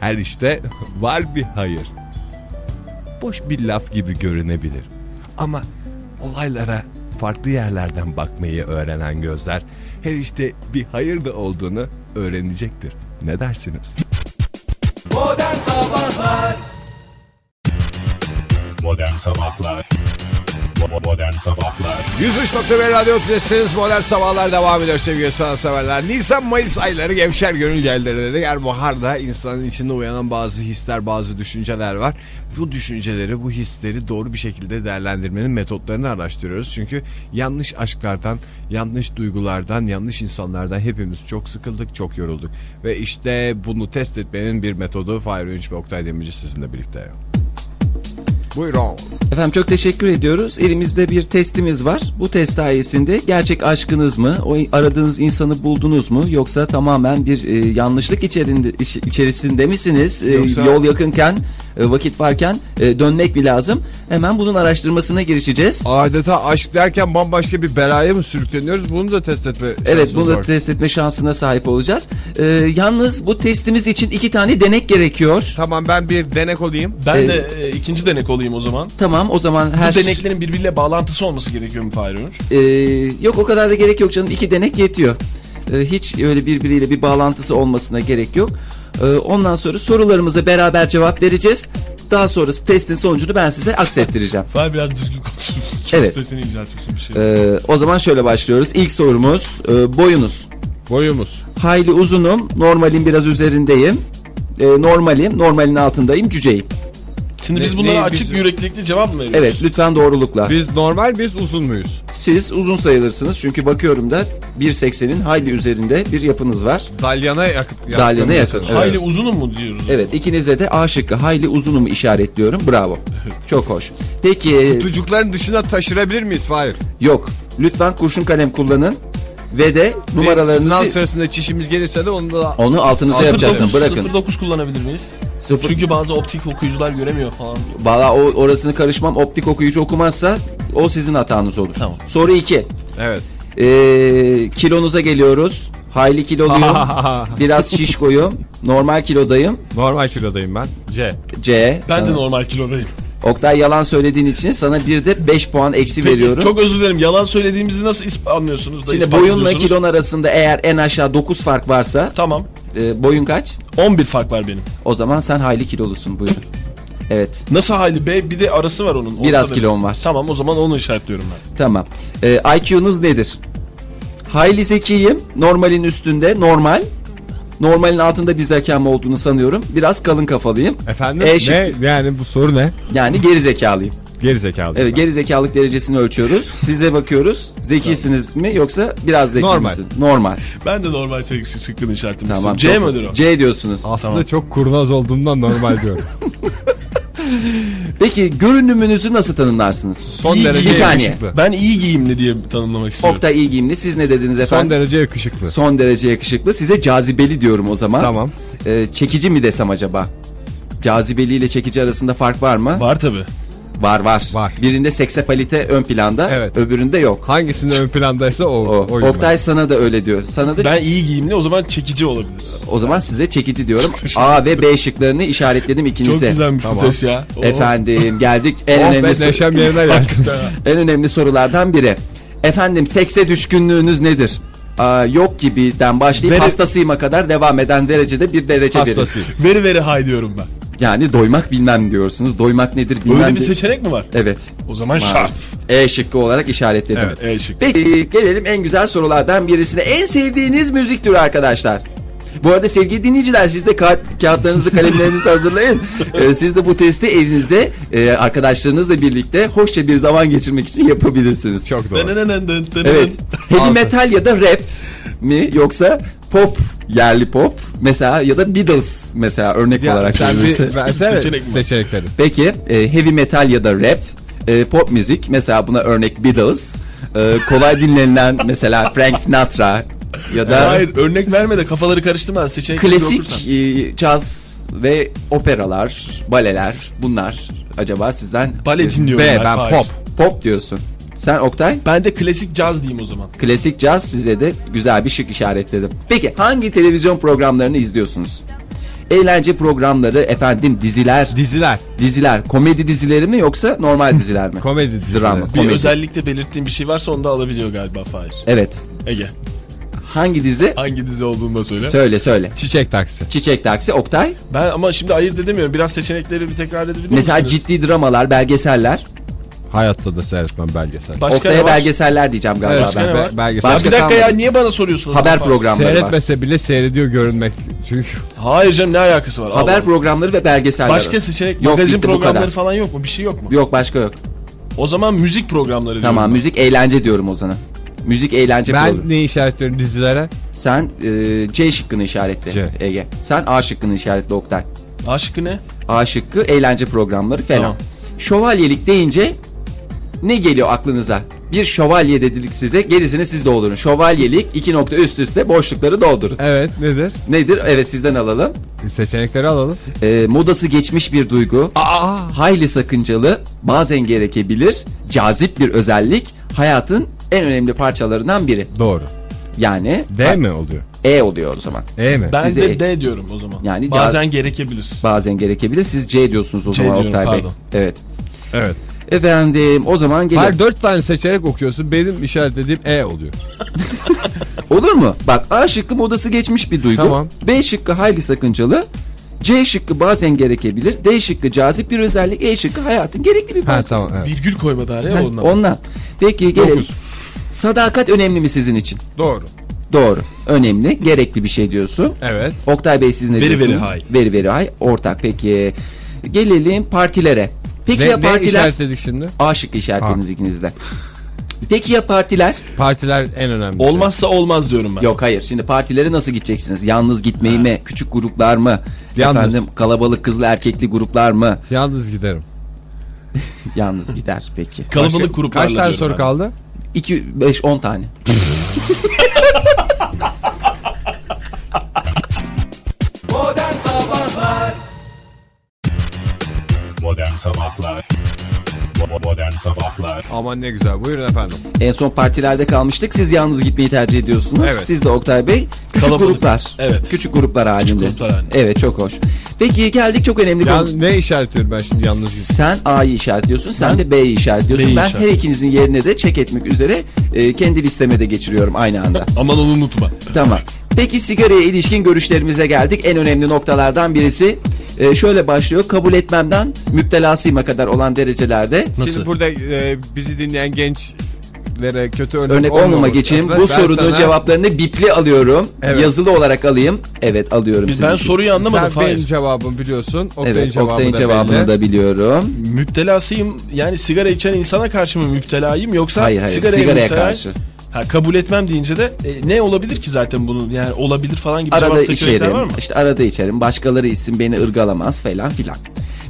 Speaker 9: Her işte var bir hayır. Boş bir laf gibi görünebilir. Ama olaylara farklı yerlerden bakmayı öğrenen gözler her işte bir hayır da olduğunu öğrenecektir. Ne dersiniz?
Speaker 1: Modern Sabahlar Bo- Modern Sabahlar
Speaker 6: 103.1 Radyo Tülesi'niz Modern Sabahlar devam ediyor sevgili sanatseverler. Nisan-Mayıs ayları gevşer gönül yerleri dedi. Yani baharda insanın içinde uyanan bazı hisler, bazı düşünceler var. Bu düşünceleri, bu hisleri doğru bir şekilde değerlendirmenin metotlarını araştırıyoruz. Çünkü yanlış aşklardan, yanlış duygulardan, yanlış insanlardan hepimiz çok sıkıldık, çok yorulduk. Ve işte bunu test etmenin bir metodu Fahir Önç ve Oktay Demirci sizinle birlikte. Buyurun.
Speaker 2: Efendim çok teşekkür ediyoruz. Elimizde bir testimiz var. Bu test sayesinde gerçek aşkınız mı, o aradığınız insanı buldunuz mu yoksa tamamen bir e, yanlışlık içerinde, iç- içerisinde misiniz? E,
Speaker 9: Yoksa-
Speaker 2: Yol yakınken, e, vakit varken e, dönmek mi lazım? Hemen bunun araştırmasına girişeceğiz.
Speaker 9: Adeta aşk derken bambaşka bir belaya mı sürükleniyoruz? Bunu da test etme
Speaker 2: Evet
Speaker 9: şansımız
Speaker 2: bunu da
Speaker 9: var.
Speaker 2: test etme şansına sahip olacağız. E, yalnız bu testimiz için iki tane denek gerekiyor.
Speaker 6: Tamam ben bir denek olayım.
Speaker 3: Ben
Speaker 2: Ee,
Speaker 3: de e, ikinci denek olayım o zaman.
Speaker 2: Tamam o zaman her şey-
Speaker 3: Bu deneklerin birbiriyle bağlantısı olması gerekiyor mu Fahir Önç?
Speaker 2: Ee, yok o kadar da gerek yok canım. İki denek yetiyor. Ee, hiç öyle birbiriyle bir bağlantısı olmasına gerek yok. Ee, ondan sonra sorularımıza beraber cevap vereceğiz. Daha sonrası testin sonucunu ben size aksettireceğim.
Speaker 3: Fahir biraz düzgün konuşuyorsun. Çok
Speaker 2: Evet.
Speaker 3: sesini inceltiyorsun bir şey.
Speaker 2: Ee, o zaman şöyle başlıyoruz. İlk sorumuz e, boyunuz.
Speaker 9: Boyumuz.
Speaker 2: Hayli uzunum. Normalin biraz üzerindeyim. Ee, normalim. Normalin altındayım. Cüceyim.
Speaker 3: Şimdi biz
Speaker 9: Ne-
Speaker 3: bunlara
Speaker 9: neyi
Speaker 3: açık
Speaker 9: biz-
Speaker 3: yüreklilikli cevap mı veriyoruz?
Speaker 2: Evet lütfen doğrulukla.
Speaker 9: Biz normal biz uzun muyuz?
Speaker 2: Siz uzun sayılırsınız. Çünkü bakıyorum da 1.80'in hayli üzerinde bir yapınız var.
Speaker 9: Dalyana yakıp
Speaker 2: Dalyana yakın,
Speaker 9: mesela.
Speaker 2: evet.
Speaker 3: Hayli uzunum mu diyoruz?
Speaker 2: Evet ikinize de A şıkkı hayli uzunumu işaretliyorum. Bravo. Çok hoş. Peki
Speaker 9: Tucukların dışına taşırabilir miyiz Fahir?
Speaker 2: yok. Lütfen kurşun kalem kullanın. Ve de
Speaker 9: Numaralarını sınav
Speaker 2: numaralarınızı
Speaker 9: sırasında çişimiz gelirse de onu da
Speaker 2: onu altınıza yapacaksın. Bırakın.
Speaker 3: 09 kullanabilir miyiz?
Speaker 2: Sıfır.
Speaker 3: Çünkü bazı optik okuyucular göremiyor falan.
Speaker 2: Valla o orasını karışmam. Optik okuyucu okumazsa o sizin hatanız olur.
Speaker 3: Tamam.
Speaker 2: Soru 2.
Speaker 9: Evet.
Speaker 2: Ee, kilonuza geliyoruz. Hayli kiloluyum. Biraz şişkoyum. Normal kilodayım.
Speaker 9: Normal kilodayım ben. C.
Speaker 2: C.
Speaker 3: Ben de
Speaker 2: sana-
Speaker 3: normal kilodayım.
Speaker 2: Oktay yalan söylediğin için sana bir de 5 puan eksi
Speaker 3: Peki,
Speaker 2: veriyorum.
Speaker 3: Çok özür dilerim. Yalan söylediğimizi nasıl isp- anlıyorsunuz? da
Speaker 2: Şimdi
Speaker 3: ispatlıyorsunuz?
Speaker 2: boyunla kilon arasında eğer en aşağı 9 fark varsa
Speaker 3: Tamam.
Speaker 2: e, boyun kaç?
Speaker 3: 11 fark var benim.
Speaker 2: O zaman sen hayli kilolusun buyurun. Evet
Speaker 3: Nasıl hali B? Bir de arası var onun.
Speaker 2: Biraz
Speaker 3: Ortada.
Speaker 2: kilon var.
Speaker 3: Tamam o zaman onu işaretliyorum ben.
Speaker 2: tamam. E, IQ'nuz nedir? Hayli zekiyim. Normalin üstünde normal. Normalin altında bir zekam olduğunu sanıyorum. Biraz kalın kafalıyım.
Speaker 9: Efendim?
Speaker 2: E şıkkı.
Speaker 9: ne? Yani bu soru ne?
Speaker 2: Yani geri zekalıyım.
Speaker 9: Geri zekalı.
Speaker 2: Evet geri zekalık derecesini ölçüyoruz. Size bakıyoruz. Zekisiniz mi yoksa biraz zeki
Speaker 9: Normal.
Speaker 2: misin? Normal.
Speaker 3: Ben de normal çelikçi sıkkın işaretimi
Speaker 2: Tamam.
Speaker 3: tamam, C
Speaker 2: çok-
Speaker 3: midir o?
Speaker 2: C diyorsunuz.
Speaker 9: Aslında
Speaker 3: Tamam.
Speaker 9: çok kurnaz olduğumdan normal diyorum.
Speaker 2: Peki görünümünüzü nasıl tanımlarsınız?
Speaker 9: Son
Speaker 2: Bir-
Speaker 9: derece
Speaker 2: Bir saniye.
Speaker 9: yakışıklı.
Speaker 3: Ben iyi giyimli diye tanımlamak istiyorum.
Speaker 2: Oktay iyi giyimli. Siz ne dediniz efendim?
Speaker 9: Son derece yakışıklı.
Speaker 2: Son derece yakışıklı. Size cazibeli diyorum o zaman.
Speaker 9: Tamam.
Speaker 2: Ee, çekici mi desem acaba? Cazibeli ile çekici arasında fark var mı?
Speaker 3: Var tabi.
Speaker 2: Var var.
Speaker 9: Var.
Speaker 2: Birinde seksapalite ön planda,
Speaker 9: Evet.
Speaker 2: öbüründe yok.
Speaker 9: Hangisinin ön plandaysa o.
Speaker 2: O.
Speaker 9: oyum ben.
Speaker 2: Oktay sana da öyle diyor. Sana da
Speaker 3: Ben iyi giyimli o zaman çekici olabilir.
Speaker 2: o zaman size çekici diyorum. A ve B şıklarını işaretledim
Speaker 3: Çok
Speaker 2: ikinize.
Speaker 3: güzelmiş bu
Speaker 9: Tamam.
Speaker 3: test ya. Oh.
Speaker 2: Efendim geldik en
Speaker 9: Oh
Speaker 2: önemli
Speaker 9: be
Speaker 2: sor-
Speaker 9: neşem yerine geldi.
Speaker 2: en önemli sorulardan biri. Efendim sekse düşkünlüğünüz nedir? Aa, yok gibiden başlayıp
Speaker 3: Dere-
Speaker 2: hastasıyıma kadar devam eden derecede bir derece verin.
Speaker 9: Hastası.
Speaker 3: Veri veri hay diyorum ben.
Speaker 2: Yani doymak bilmem diyorsunuz. Doymak nedir bilmem.
Speaker 3: Öyle bir
Speaker 2: di-
Speaker 3: seçenek mi var?
Speaker 2: Evet.
Speaker 3: O zaman şart.
Speaker 2: E şıkkı olarak işaretledim.
Speaker 9: Evet.
Speaker 3: E şık.
Speaker 2: Peki gelelim en güzel sorulardan birisine. En sevdiğiniz müzik türü arkadaşlar. Bu arada sevgili dinleyiciler siz de ka- kağıtlarınızı kalemlerinizi hazırlayın. Ee, siz de bu testi evinizde e, arkadaşlarınızla birlikte hoşça bir zaman geçirmek için yapabilirsiniz.
Speaker 9: Çok doğru.
Speaker 2: Evet. Heavy metal ya da rap mi yoksa pop yerli pop mesela ya da Beatles mesela örnek
Speaker 9: Ya,
Speaker 2: olarak
Speaker 9: sen bir
Speaker 2: verirse.
Speaker 9: versene
Speaker 3: Seçenek mi?
Speaker 9: seçenekleri.
Speaker 2: Peki e, heavy metal ya da rap, e, pop müzik mesela buna örnek Beatles, e, kolay dinlenilen mesela Frank Sinatra ya da
Speaker 3: Hayır örnek verme de kafaları karıştırma seçenekleri okursan.
Speaker 2: klasik e, caz ve operalar, baleler bunlar acaba sizden
Speaker 3: Bale dinliyorum
Speaker 9: B
Speaker 3: ben.
Speaker 9: ben
Speaker 3: Fahir.
Speaker 9: pop.
Speaker 2: pop diyorsun. Sen Oktay?
Speaker 3: Ben de klasik caz diyeyim o zaman.
Speaker 2: Klasik caz size de güzel bir şık işaretledim. Peki hangi televizyon programlarını izliyorsunuz? Eğlence programları, efendim diziler,
Speaker 9: Diziler.
Speaker 2: diziler, komedi dizileri mi yoksa normal diziler mi?
Speaker 9: Komedi dizileri.
Speaker 2: Drama.
Speaker 3: Bir
Speaker 2: Komedi.
Speaker 3: özellikle belirttiğim bir şey varsa onu da alabiliyor galiba Fahir.
Speaker 2: Evet.
Speaker 3: Ege.
Speaker 2: Hangi dizi?
Speaker 3: Hangi dizi olduğunu da söyle.
Speaker 2: Söyle söyle.
Speaker 9: Çiçek taksi.
Speaker 2: Çiçek Taksi, Oktay.
Speaker 3: Ben ama şimdi ayırt edemiyorum. Biraz seçenekleri bir tekrar edebilir
Speaker 2: Mesela
Speaker 3: misiniz?
Speaker 2: ciddi dramalar, belgeseller.
Speaker 9: Hayatta da seyretmem belgesel.
Speaker 3: Başka ne
Speaker 2: Oktay'a
Speaker 3: var?
Speaker 2: belgeseller diyeceğim galiba
Speaker 3: Başka
Speaker 2: ben.
Speaker 3: ne var?
Speaker 9: Be- belgesel.
Speaker 3: Ya
Speaker 2: Başka
Speaker 3: bir dakika
Speaker 2: kalmadı.
Speaker 3: ya niye bana soruyorsunuz?
Speaker 2: Haber programları var.
Speaker 9: Seyretmese bile seyrediyor görünmek. Çünkü
Speaker 3: Hayır canım ne alakası var?
Speaker 2: Haber
Speaker 3: Allah.
Speaker 2: programları ve belgeseller.
Speaker 3: Başka
Speaker 2: var.
Speaker 3: seçenek
Speaker 2: Yok,
Speaker 3: şey, magazin
Speaker 2: bitti, bu kadar.
Speaker 3: programları falan yok mu? Bir şey yok mu?
Speaker 2: Yok başka yok.
Speaker 3: O zaman müzik programları
Speaker 2: Tamam
Speaker 3: diyorum
Speaker 2: müzik eğlence diyorum o zaman. Müzik eğlence
Speaker 9: ben
Speaker 2: programı.
Speaker 9: neyi işaretliyorum dizilere?
Speaker 2: Sen e, C şıkkını işaretle
Speaker 9: C.
Speaker 2: Ege. Sen A şıkkını işaretle Oktay.
Speaker 3: ben. Aşkı ne?
Speaker 2: A şıkkı eğlence programları falan.
Speaker 3: Tamam.
Speaker 2: Şövalyelik deyince ne geliyor aklınıza? Bir şövalye dedik size gerisini siz doldurun. Şövalyelik iki nokta üst üste boşlukları doldurun.
Speaker 9: Evet nedir?
Speaker 2: Nedir? Evet sizden alalım.
Speaker 9: Seçenekleri alalım.
Speaker 2: E, modası geçmiş bir duygu. Hayli sakıncalı, bazen gerekebilir, cazip bir özellik, hayatın en önemli parçalarından biri.
Speaker 9: Doğru.
Speaker 2: Yani
Speaker 9: D mi oluyor?
Speaker 2: E oluyor o zaman.
Speaker 9: E mi?
Speaker 3: Ben
Speaker 2: Size-
Speaker 3: de D diyorum o zaman.
Speaker 2: Yani
Speaker 3: Bazen gerekebilir.
Speaker 2: Bazen gerekebilir. Siz C diyorsunuz o
Speaker 3: C
Speaker 2: zaman
Speaker 3: diyorum,
Speaker 2: Oktay Bey.
Speaker 3: pardon.
Speaker 2: Evet.
Speaker 9: Evet.
Speaker 2: Efendim o zaman gelir.
Speaker 9: Hayır dört tane seçerek okuyorsun. Benim işaretlediğim E oluyor.
Speaker 2: Olur mu? Bak A şıkkı modası geçmiş bir duygu.
Speaker 9: Tamam.
Speaker 2: B şıkkı hayli sakıncalı. C şıkkı bazen gerekebilir. D şıkkı cazip bir özellik. E şıkkı hayatın gerekli bir
Speaker 9: Ha
Speaker 2: parçası.
Speaker 9: tamam. Evet.
Speaker 3: Virgül koymadı araya
Speaker 2: Heh,
Speaker 3: ondan.
Speaker 2: Ondan. Peki gelelim.
Speaker 9: Dokuz.
Speaker 2: Sadakat önemli mi sizin için?
Speaker 9: Doğru.
Speaker 2: Doğru. Önemli. Gerekli bir şey diyorsun.
Speaker 9: Evet.
Speaker 2: Oktay Bey siz ne
Speaker 3: Very,
Speaker 2: diyorsunuz?
Speaker 3: very high.
Speaker 2: Veri veri hay. Ortak peki. Gelelim partilere. Peki ya
Speaker 9: Ne, ne
Speaker 2: partiler?
Speaker 9: işaretledik şimdi?
Speaker 2: A şıkkı işaretiniz ikiniz de. Peki ya partiler?
Speaker 9: Partiler en önemli.
Speaker 3: Olmazsa olmaz diyorum ben.
Speaker 2: Yok hayır. Şimdi partilere nasıl gideceksiniz? Yalnız gitmeyi mi? Küçük gruplar mı?
Speaker 9: Yalnız.
Speaker 2: Efendim kalabalık kızlı erkekli gruplar mı?
Speaker 9: şey. Yalnız giderim.
Speaker 2: Yalnız gider peki.
Speaker 3: Kalabalık gruplarla
Speaker 9: Kaç tane
Speaker 3: diyorum
Speaker 9: soru
Speaker 3: ben.
Speaker 9: kaldı?
Speaker 2: 2 5 10 tane.
Speaker 1: Modern Sabahlar Modern Sabahlar
Speaker 9: Aman ne güzel. Buyurun efendim.
Speaker 2: En son partilerde kalmıştık. Siz yalnız gitmeyi tercih ediyorsunuz.
Speaker 9: Evet.
Speaker 2: Siz de Oktay Bey. Küçük
Speaker 3: Kalabalık.
Speaker 2: gruplar.
Speaker 3: Evet.
Speaker 2: Küçük gruplar halinde.
Speaker 3: gruplar halinde.
Speaker 2: Evet çok hoş. Peki geldik çok önemli bir
Speaker 9: Yalnız, ne işaretliyorum ben şimdi yalnız giderim?
Speaker 2: Sen A'yı işaretliyorsun, sen de B'yi işaretliyorsun.
Speaker 3: B'yi
Speaker 2: ben her
Speaker 3: işaretliyorum.
Speaker 2: ikinizin yerine de çek etmek üzere e, kendi listeme de geçiriyorum aynı anda.
Speaker 3: Aman onu unutma.
Speaker 2: tamam. Peki sigaraya ilişkin görüşlerimize geldik. En önemli noktalardan birisi e, şöyle başlıyor. Kabul etmemden müptelasıyma kadar olan derecelerde
Speaker 3: Nasıl?
Speaker 9: Şimdi burada e, bizi dinleyen gençlere kötü örnek,
Speaker 2: örnek
Speaker 9: olmamak
Speaker 2: olmama geçeyim.
Speaker 9: adına
Speaker 2: Bu
Speaker 9: ben
Speaker 2: sorunun
Speaker 9: sana-
Speaker 2: cevaplarını bipli alıyorum.
Speaker 9: Evet.
Speaker 2: Yazılı olarak alayım. Evet alıyorum.
Speaker 3: Biz
Speaker 2: sizin
Speaker 3: ben
Speaker 2: için.
Speaker 3: soruyu anlamadım.
Speaker 9: Sen benim
Speaker 3: Hayır.
Speaker 9: cevabımı biliyorsun. Oktay'ın
Speaker 2: Evet,
Speaker 9: cevabı
Speaker 2: Oktay'ın
Speaker 9: da
Speaker 2: cevabını
Speaker 9: belli.
Speaker 2: da biliyorum.
Speaker 3: Müptelasıyım yani sigara içen insana karşı mı müptelayım yoksa
Speaker 2: Hayır hayır
Speaker 3: sigaraya,
Speaker 2: sigaraya
Speaker 3: müptela-
Speaker 2: karşı.
Speaker 3: Ha, kabul etmem deyince de e, ne olabilir ki zaten bunun yani olabilir falan gibi
Speaker 2: arada
Speaker 3: cevap seçenekler var
Speaker 2: içerim.
Speaker 3: mı?
Speaker 2: İşte arada içerim. Başkaları içsin beni ırgalamaz falan filan.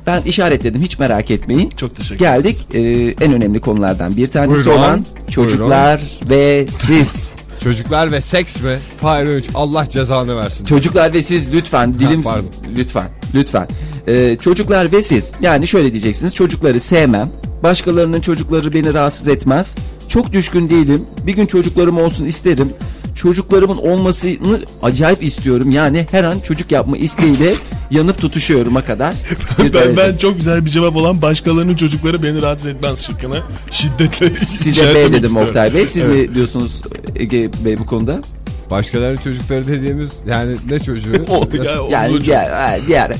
Speaker 2: Ben işaretledim hiç merak etmeyin.
Speaker 3: Çok teşekkür ederim.
Speaker 2: Geldik e, en önemli konulardan bir tanesi
Speaker 9: Buyurun.
Speaker 2: olan çocuklar ve siz.
Speaker 9: Çocuklar ve seks mi? Fahir Öğünç, Allah cezanı versin.
Speaker 2: çocuklar ve siz lütfen dilim
Speaker 9: pardon.
Speaker 2: lütfen lütfen. E, çocuklar ve siz. Yani şöyle diyeceksiniz. Çocukları sevmem. Başkalarının çocukları beni rahatsız etmez. Çok düşkün değilim. Bir gün çocuklarım olsun isterim. Çocuklarımın olmasını acayip istiyorum. Yani her an çocuk yapma isteğiyle yanıp tutuşuyorum'a kadar. bir
Speaker 3: Ben,
Speaker 2: derece.
Speaker 3: ben çok güzel bir cevap olan başkalarının çocukları beni rahatsız etmez şıkkına şiddetle
Speaker 2: Size B dedim Oktay Bey. Siz ne diyorsunuz Ege Bey bu konuda?
Speaker 9: Başkalarının çocukları dediğimiz yani ne çocuğu?
Speaker 2: Yani diğer, ha, diğer,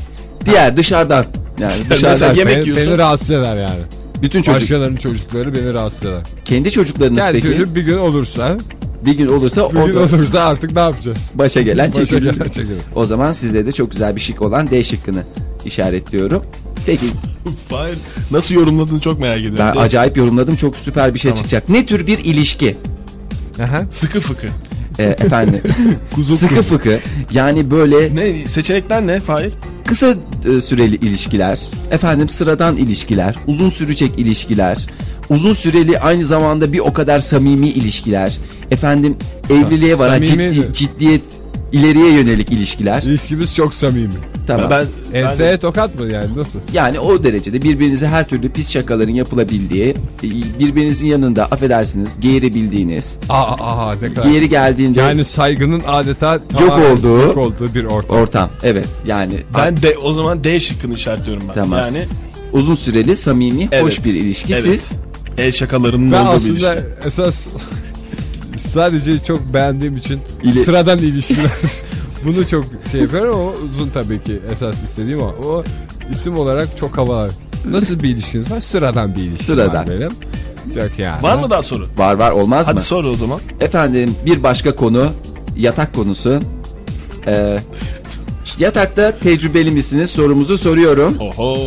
Speaker 2: diğer dışarıdan. Yani dışarıdan.
Speaker 3: yemek
Speaker 9: beni,
Speaker 3: yiyorsun.
Speaker 9: beni rahatsız eder yani.
Speaker 2: Bütün çocuk.
Speaker 9: Başkalarının çocukları beni rahatsız eder.
Speaker 2: Kendi çocuklarınız
Speaker 9: Yani
Speaker 2: peki
Speaker 9: çocuk bir gün olursa,
Speaker 2: bir gün olursa
Speaker 9: bir gün
Speaker 2: o da
Speaker 9: olursa artık ne yapacağız?
Speaker 2: başa gelen
Speaker 9: Başa
Speaker 2: çekilir.
Speaker 9: gelen çekilir.
Speaker 2: O zaman size de çok güzel bir şık olan D şıkkını işaretliyorum. Peki
Speaker 3: Hayır. Nasıl yorumladığını çok merak ediyorum.
Speaker 2: ben
Speaker 3: Değil mi?
Speaker 2: acayip yorumladım çok süper bir şey çıkacak. Ne tür bir ilişki?
Speaker 9: Aha.
Speaker 3: Sıkı fıkı.
Speaker 2: Ee, efendim sıkı fıkı yani böyle
Speaker 3: Ne seçenekler ne Fahir?
Speaker 2: kısa e, süreli ilişkiler, efendim sıradan ilişkiler, uzun sürecek ilişkiler, uzun süreli aynı zamanda bir o kadar samimi ilişkiler, efendim evliliğe varan
Speaker 9: samimi
Speaker 2: ciddi,
Speaker 9: mi?
Speaker 2: ciddiyet ileriye yönelik ilişkiler.
Speaker 9: İlişkimiz çok samimi.
Speaker 2: Tamam.
Speaker 3: Ben, ben
Speaker 9: Enseye tokat mı yani nasıl?
Speaker 2: Yani o derecede birbirinize her türlü pis şakaların yapılabildiği, e, birbirinizin yanında affedersiniz geğirebildiğiniz,
Speaker 9: Aa, aa ne kadar.
Speaker 2: geğeri geldiğinde
Speaker 9: Yani saygının adeta tamamen
Speaker 2: olduğu-
Speaker 9: yok olduğu bir ortam.
Speaker 2: ortam. Evet yani
Speaker 3: ben de o zaman D şıkkını işaretliyorum ben.
Speaker 2: tamam.
Speaker 3: Yani
Speaker 2: Uzun süreli, samimi, hoş
Speaker 3: Evet,
Speaker 2: bir ilişki.
Speaker 3: evet.
Speaker 2: Siz
Speaker 3: el E şakalarının
Speaker 9: Ben
Speaker 3: olduğu
Speaker 9: aslında
Speaker 3: bir ilişki.
Speaker 9: esas sadece çok beğendiğim için
Speaker 2: İli-
Speaker 9: sıradan ilişkiler. Bunu çok şey yapıyorum ama uzun tabii ki esas istediğim o. O isim olarak çok havalı. Nasıl bir ilişkiniz var? Sıradan bir ilişkim
Speaker 2: Sıradan.
Speaker 9: var benim. Çok yani.
Speaker 3: Var mı daha soru?
Speaker 2: Var var olmaz
Speaker 3: Hadi
Speaker 2: mı?
Speaker 3: sor o zaman.
Speaker 2: Efendim bir başka konu yatak konusu. Ee, yatakta tecrübeli misiniz sorumuzu soruyorum.
Speaker 3: Oho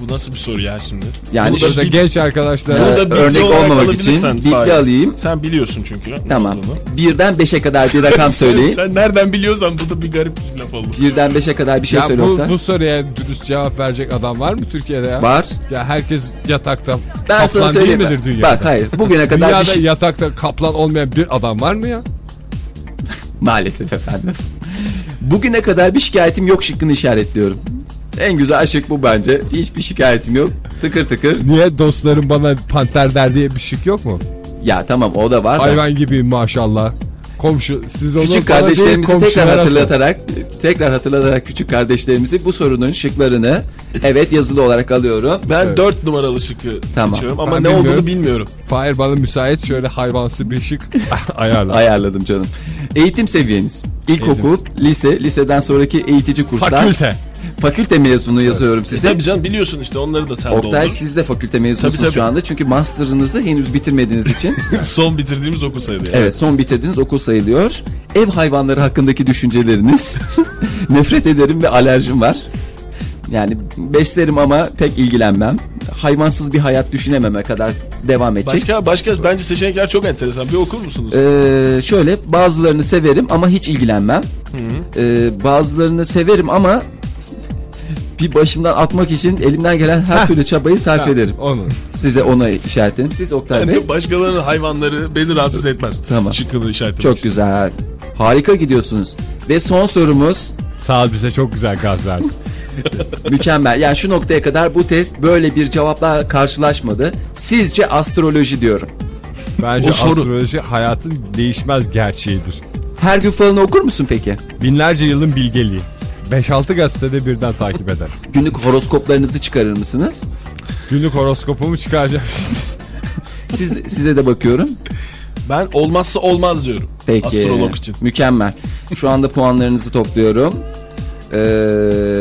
Speaker 3: bu nasıl bir soru ya şimdi?
Speaker 2: Yani
Speaker 3: Bunu da
Speaker 9: Burada
Speaker 3: bil-
Speaker 9: genç arkadaşlar.
Speaker 2: Bunu da-
Speaker 3: bilgi
Speaker 2: örnek
Speaker 3: olarak
Speaker 2: olmamak için
Speaker 3: alabilirsen
Speaker 2: bilgi
Speaker 3: Fahir.
Speaker 2: alayım.
Speaker 3: Sen biliyorsun çünkü. ne
Speaker 2: tamam.
Speaker 3: olduğunu.
Speaker 2: Birden beşe kadar bir rakam söyleyin.
Speaker 3: Sen nereden biliyorsan bu da bir garip bir laf oldu.
Speaker 2: Birden beşe kadar bir şey
Speaker 9: ya
Speaker 2: söyle
Speaker 9: bu,
Speaker 2: Oktay.
Speaker 9: bu soruya dürüst cevap verecek adam var mı Türkiye'de ya?
Speaker 2: Var.
Speaker 9: Ya herkes yatakta
Speaker 2: Ben
Speaker 9: kaplan
Speaker 2: sana
Speaker 9: değil
Speaker 2: söyleyeyim.
Speaker 9: midir
Speaker 2: mi?
Speaker 9: dünyada?
Speaker 2: Bak hayır. Bugüne kadar
Speaker 9: Dünyada
Speaker 2: bir şey...
Speaker 9: yatakta kaplan olmayan bir adam var mı ya?
Speaker 2: Maalesef efendim. Bugüne kadar bir şikayetim yok şıkkını işaretliyorum. En güzel şık bu bence. Hiçbir şikayetim yok. Tıkır tıkır.
Speaker 9: Niye dostlarım bana panter der diye bir şık yok mu?
Speaker 2: Ya tamam o da var da.
Speaker 9: Hayvan gibi maşallah. Komşu siz onu
Speaker 2: Küçük
Speaker 9: bana
Speaker 2: kardeşlerimizi tekrar
Speaker 9: değil, komşulara sorun.
Speaker 2: hatırlatarak tekrar hatırlatarak küçük kardeşlerimizi bu sorunun şıklarını evet yazılı olarak alıyorum.
Speaker 3: Ben 4 numaralı şıkı
Speaker 2: Tamam. E,
Speaker 3: seçiyorum ama
Speaker 9: Ben
Speaker 3: ne
Speaker 9: bilmiyorum.
Speaker 3: olduğunu bilmiyorum.
Speaker 9: Fahir bana müsait şöyle hayvansı bir şık ayarla.
Speaker 2: Ayarladım canım. Eğitim seviyeniz. İlkokul, lise, liseden sonraki eğitici kurslar.
Speaker 9: Fakülte. E,
Speaker 2: Fakülte mezunu yazıyorum size.
Speaker 3: Tabii canım biliyorsun işte onları da sen
Speaker 2: Oktay
Speaker 3: doldur.
Speaker 2: siz de fakülte mezunusunuz
Speaker 3: Tabii, tabii.
Speaker 2: şu anda. Çünkü master'ınızı henüz bitirmediğiniz için.
Speaker 3: Son bitirdiğimiz okul sayılıyor.
Speaker 2: evet son bitirdiğiniz okul sayılıyor. Ev hayvanları hakkındaki düşünceleriniz. Nefret ederim ve alerjim var. Yani beslerim ama pek ilgilenmem. Hayvansız bir hayat düşünememe kadar devam edecek.
Speaker 3: Başka başka bence seçenekler çok enteresan. Bir okur musunuz?
Speaker 2: Ee, şöyle bazılarını severim ama hiç ilgilenmem. Ee, bazılarını severim ama bir başımdan atmak için elimden gelen her türlü çabayı sarf ederim.
Speaker 9: Onu.
Speaker 2: Size ona işaret ederim. Siz Oktay
Speaker 3: Ben
Speaker 2: Bey.
Speaker 3: de başkalarının hayvanları beni rahatsız etmez.
Speaker 2: Tamam.
Speaker 3: Şıkkını işaretlemek
Speaker 2: Çok güzel. Harika gidiyorsunuz. Ve son sorumuz
Speaker 9: Sağ ol bize çok güzel gaz verdi.
Speaker 2: mükemmel. Yani şu noktaya kadar bu test böyle bir cevapla karşılaşmadı. Sizce astroloji diyorum.
Speaker 9: Bence
Speaker 3: O soru-
Speaker 9: astroloji hayatın değişmez gerçeğidir.
Speaker 2: Her gün falan okur musun peki?
Speaker 9: Binlerce yılın bilgeliği. 5-6 gazetede birden takip eder.
Speaker 2: Günlük horoskoplarınızı çıkarır mısınız?
Speaker 9: Günlük horoskopumu çıkaracağım.
Speaker 2: Siz, size de bakıyorum.
Speaker 3: Ben olmazsa olmaz diyorum.
Speaker 2: Peki.
Speaker 3: Astrolog için.
Speaker 2: Mükemmel. Şu anda puanlarınızı topluyorum. Ee,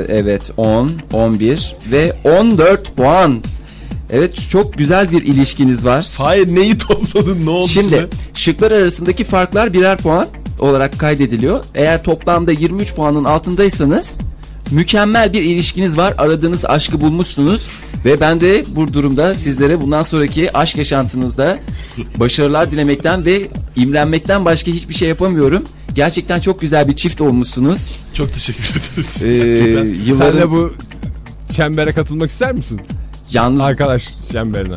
Speaker 2: evet 10, 11 ve 14 puan. Evet çok güzel bir ilişkiniz var.
Speaker 3: Hayır neyi topladın ne oldu
Speaker 2: Şimdi şıklar arasındaki farklar birer puan olarak kaydediliyor. Eğer toplamda 23 puanın altındaysanız mükemmel bir ilişkiniz var. Aradığınız aşkı bulmuşsunuz ve ben de bu durumda sizlere bundan sonraki aşk yaşantınızda başarılar dilemekten ve imrenmekten başka hiçbir şey yapamıyorum. Gerçekten çok güzel bir çift olmuşsunuz.
Speaker 3: Çok teşekkür ederiz.
Speaker 2: Ee,
Speaker 3: Gerçekten.
Speaker 2: yılların
Speaker 9: Sen de bu çembere katılmak ister misin?
Speaker 2: yalnız
Speaker 9: Arkadaş çemberine.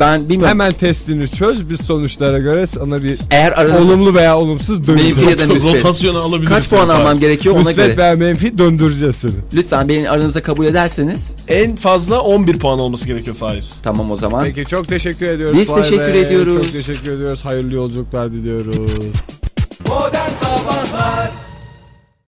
Speaker 2: ben bilmiyorum.
Speaker 9: Hemen testini çöz biz sonuçlara göre sana bir
Speaker 2: Eğer aranızda
Speaker 9: olumlu veya olumsuz
Speaker 2: menfi ya
Speaker 9: döndüreceğiz.
Speaker 2: da müsbet.
Speaker 3: Rotasyonu alabilirsin.
Speaker 2: Kaç puan
Speaker 3: Fahir.
Speaker 2: almam gerekiyor ona
Speaker 9: Müsbet
Speaker 2: göre.
Speaker 9: veya menfi döndüreceğiz seni.
Speaker 2: Lütfen beni aranıza kabul ederseniz
Speaker 3: En fazla 11 puan olması gerekiyor Fahir.
Speaker 2: tamam o zaman.
Speaker 9: Peki çok teşekkür ediyoruz.
Speaker 2: Biz
Speaker 9: Fahir
Speaker 2: teşekkür
Speaker 9: Bey.
Speaker 2: ediyoruz.
Speaker 9: Çok teşekkür ediyoruz. Hayırlı yolculuklar diliyoruz.
Speaker 12: Modern Sabahlar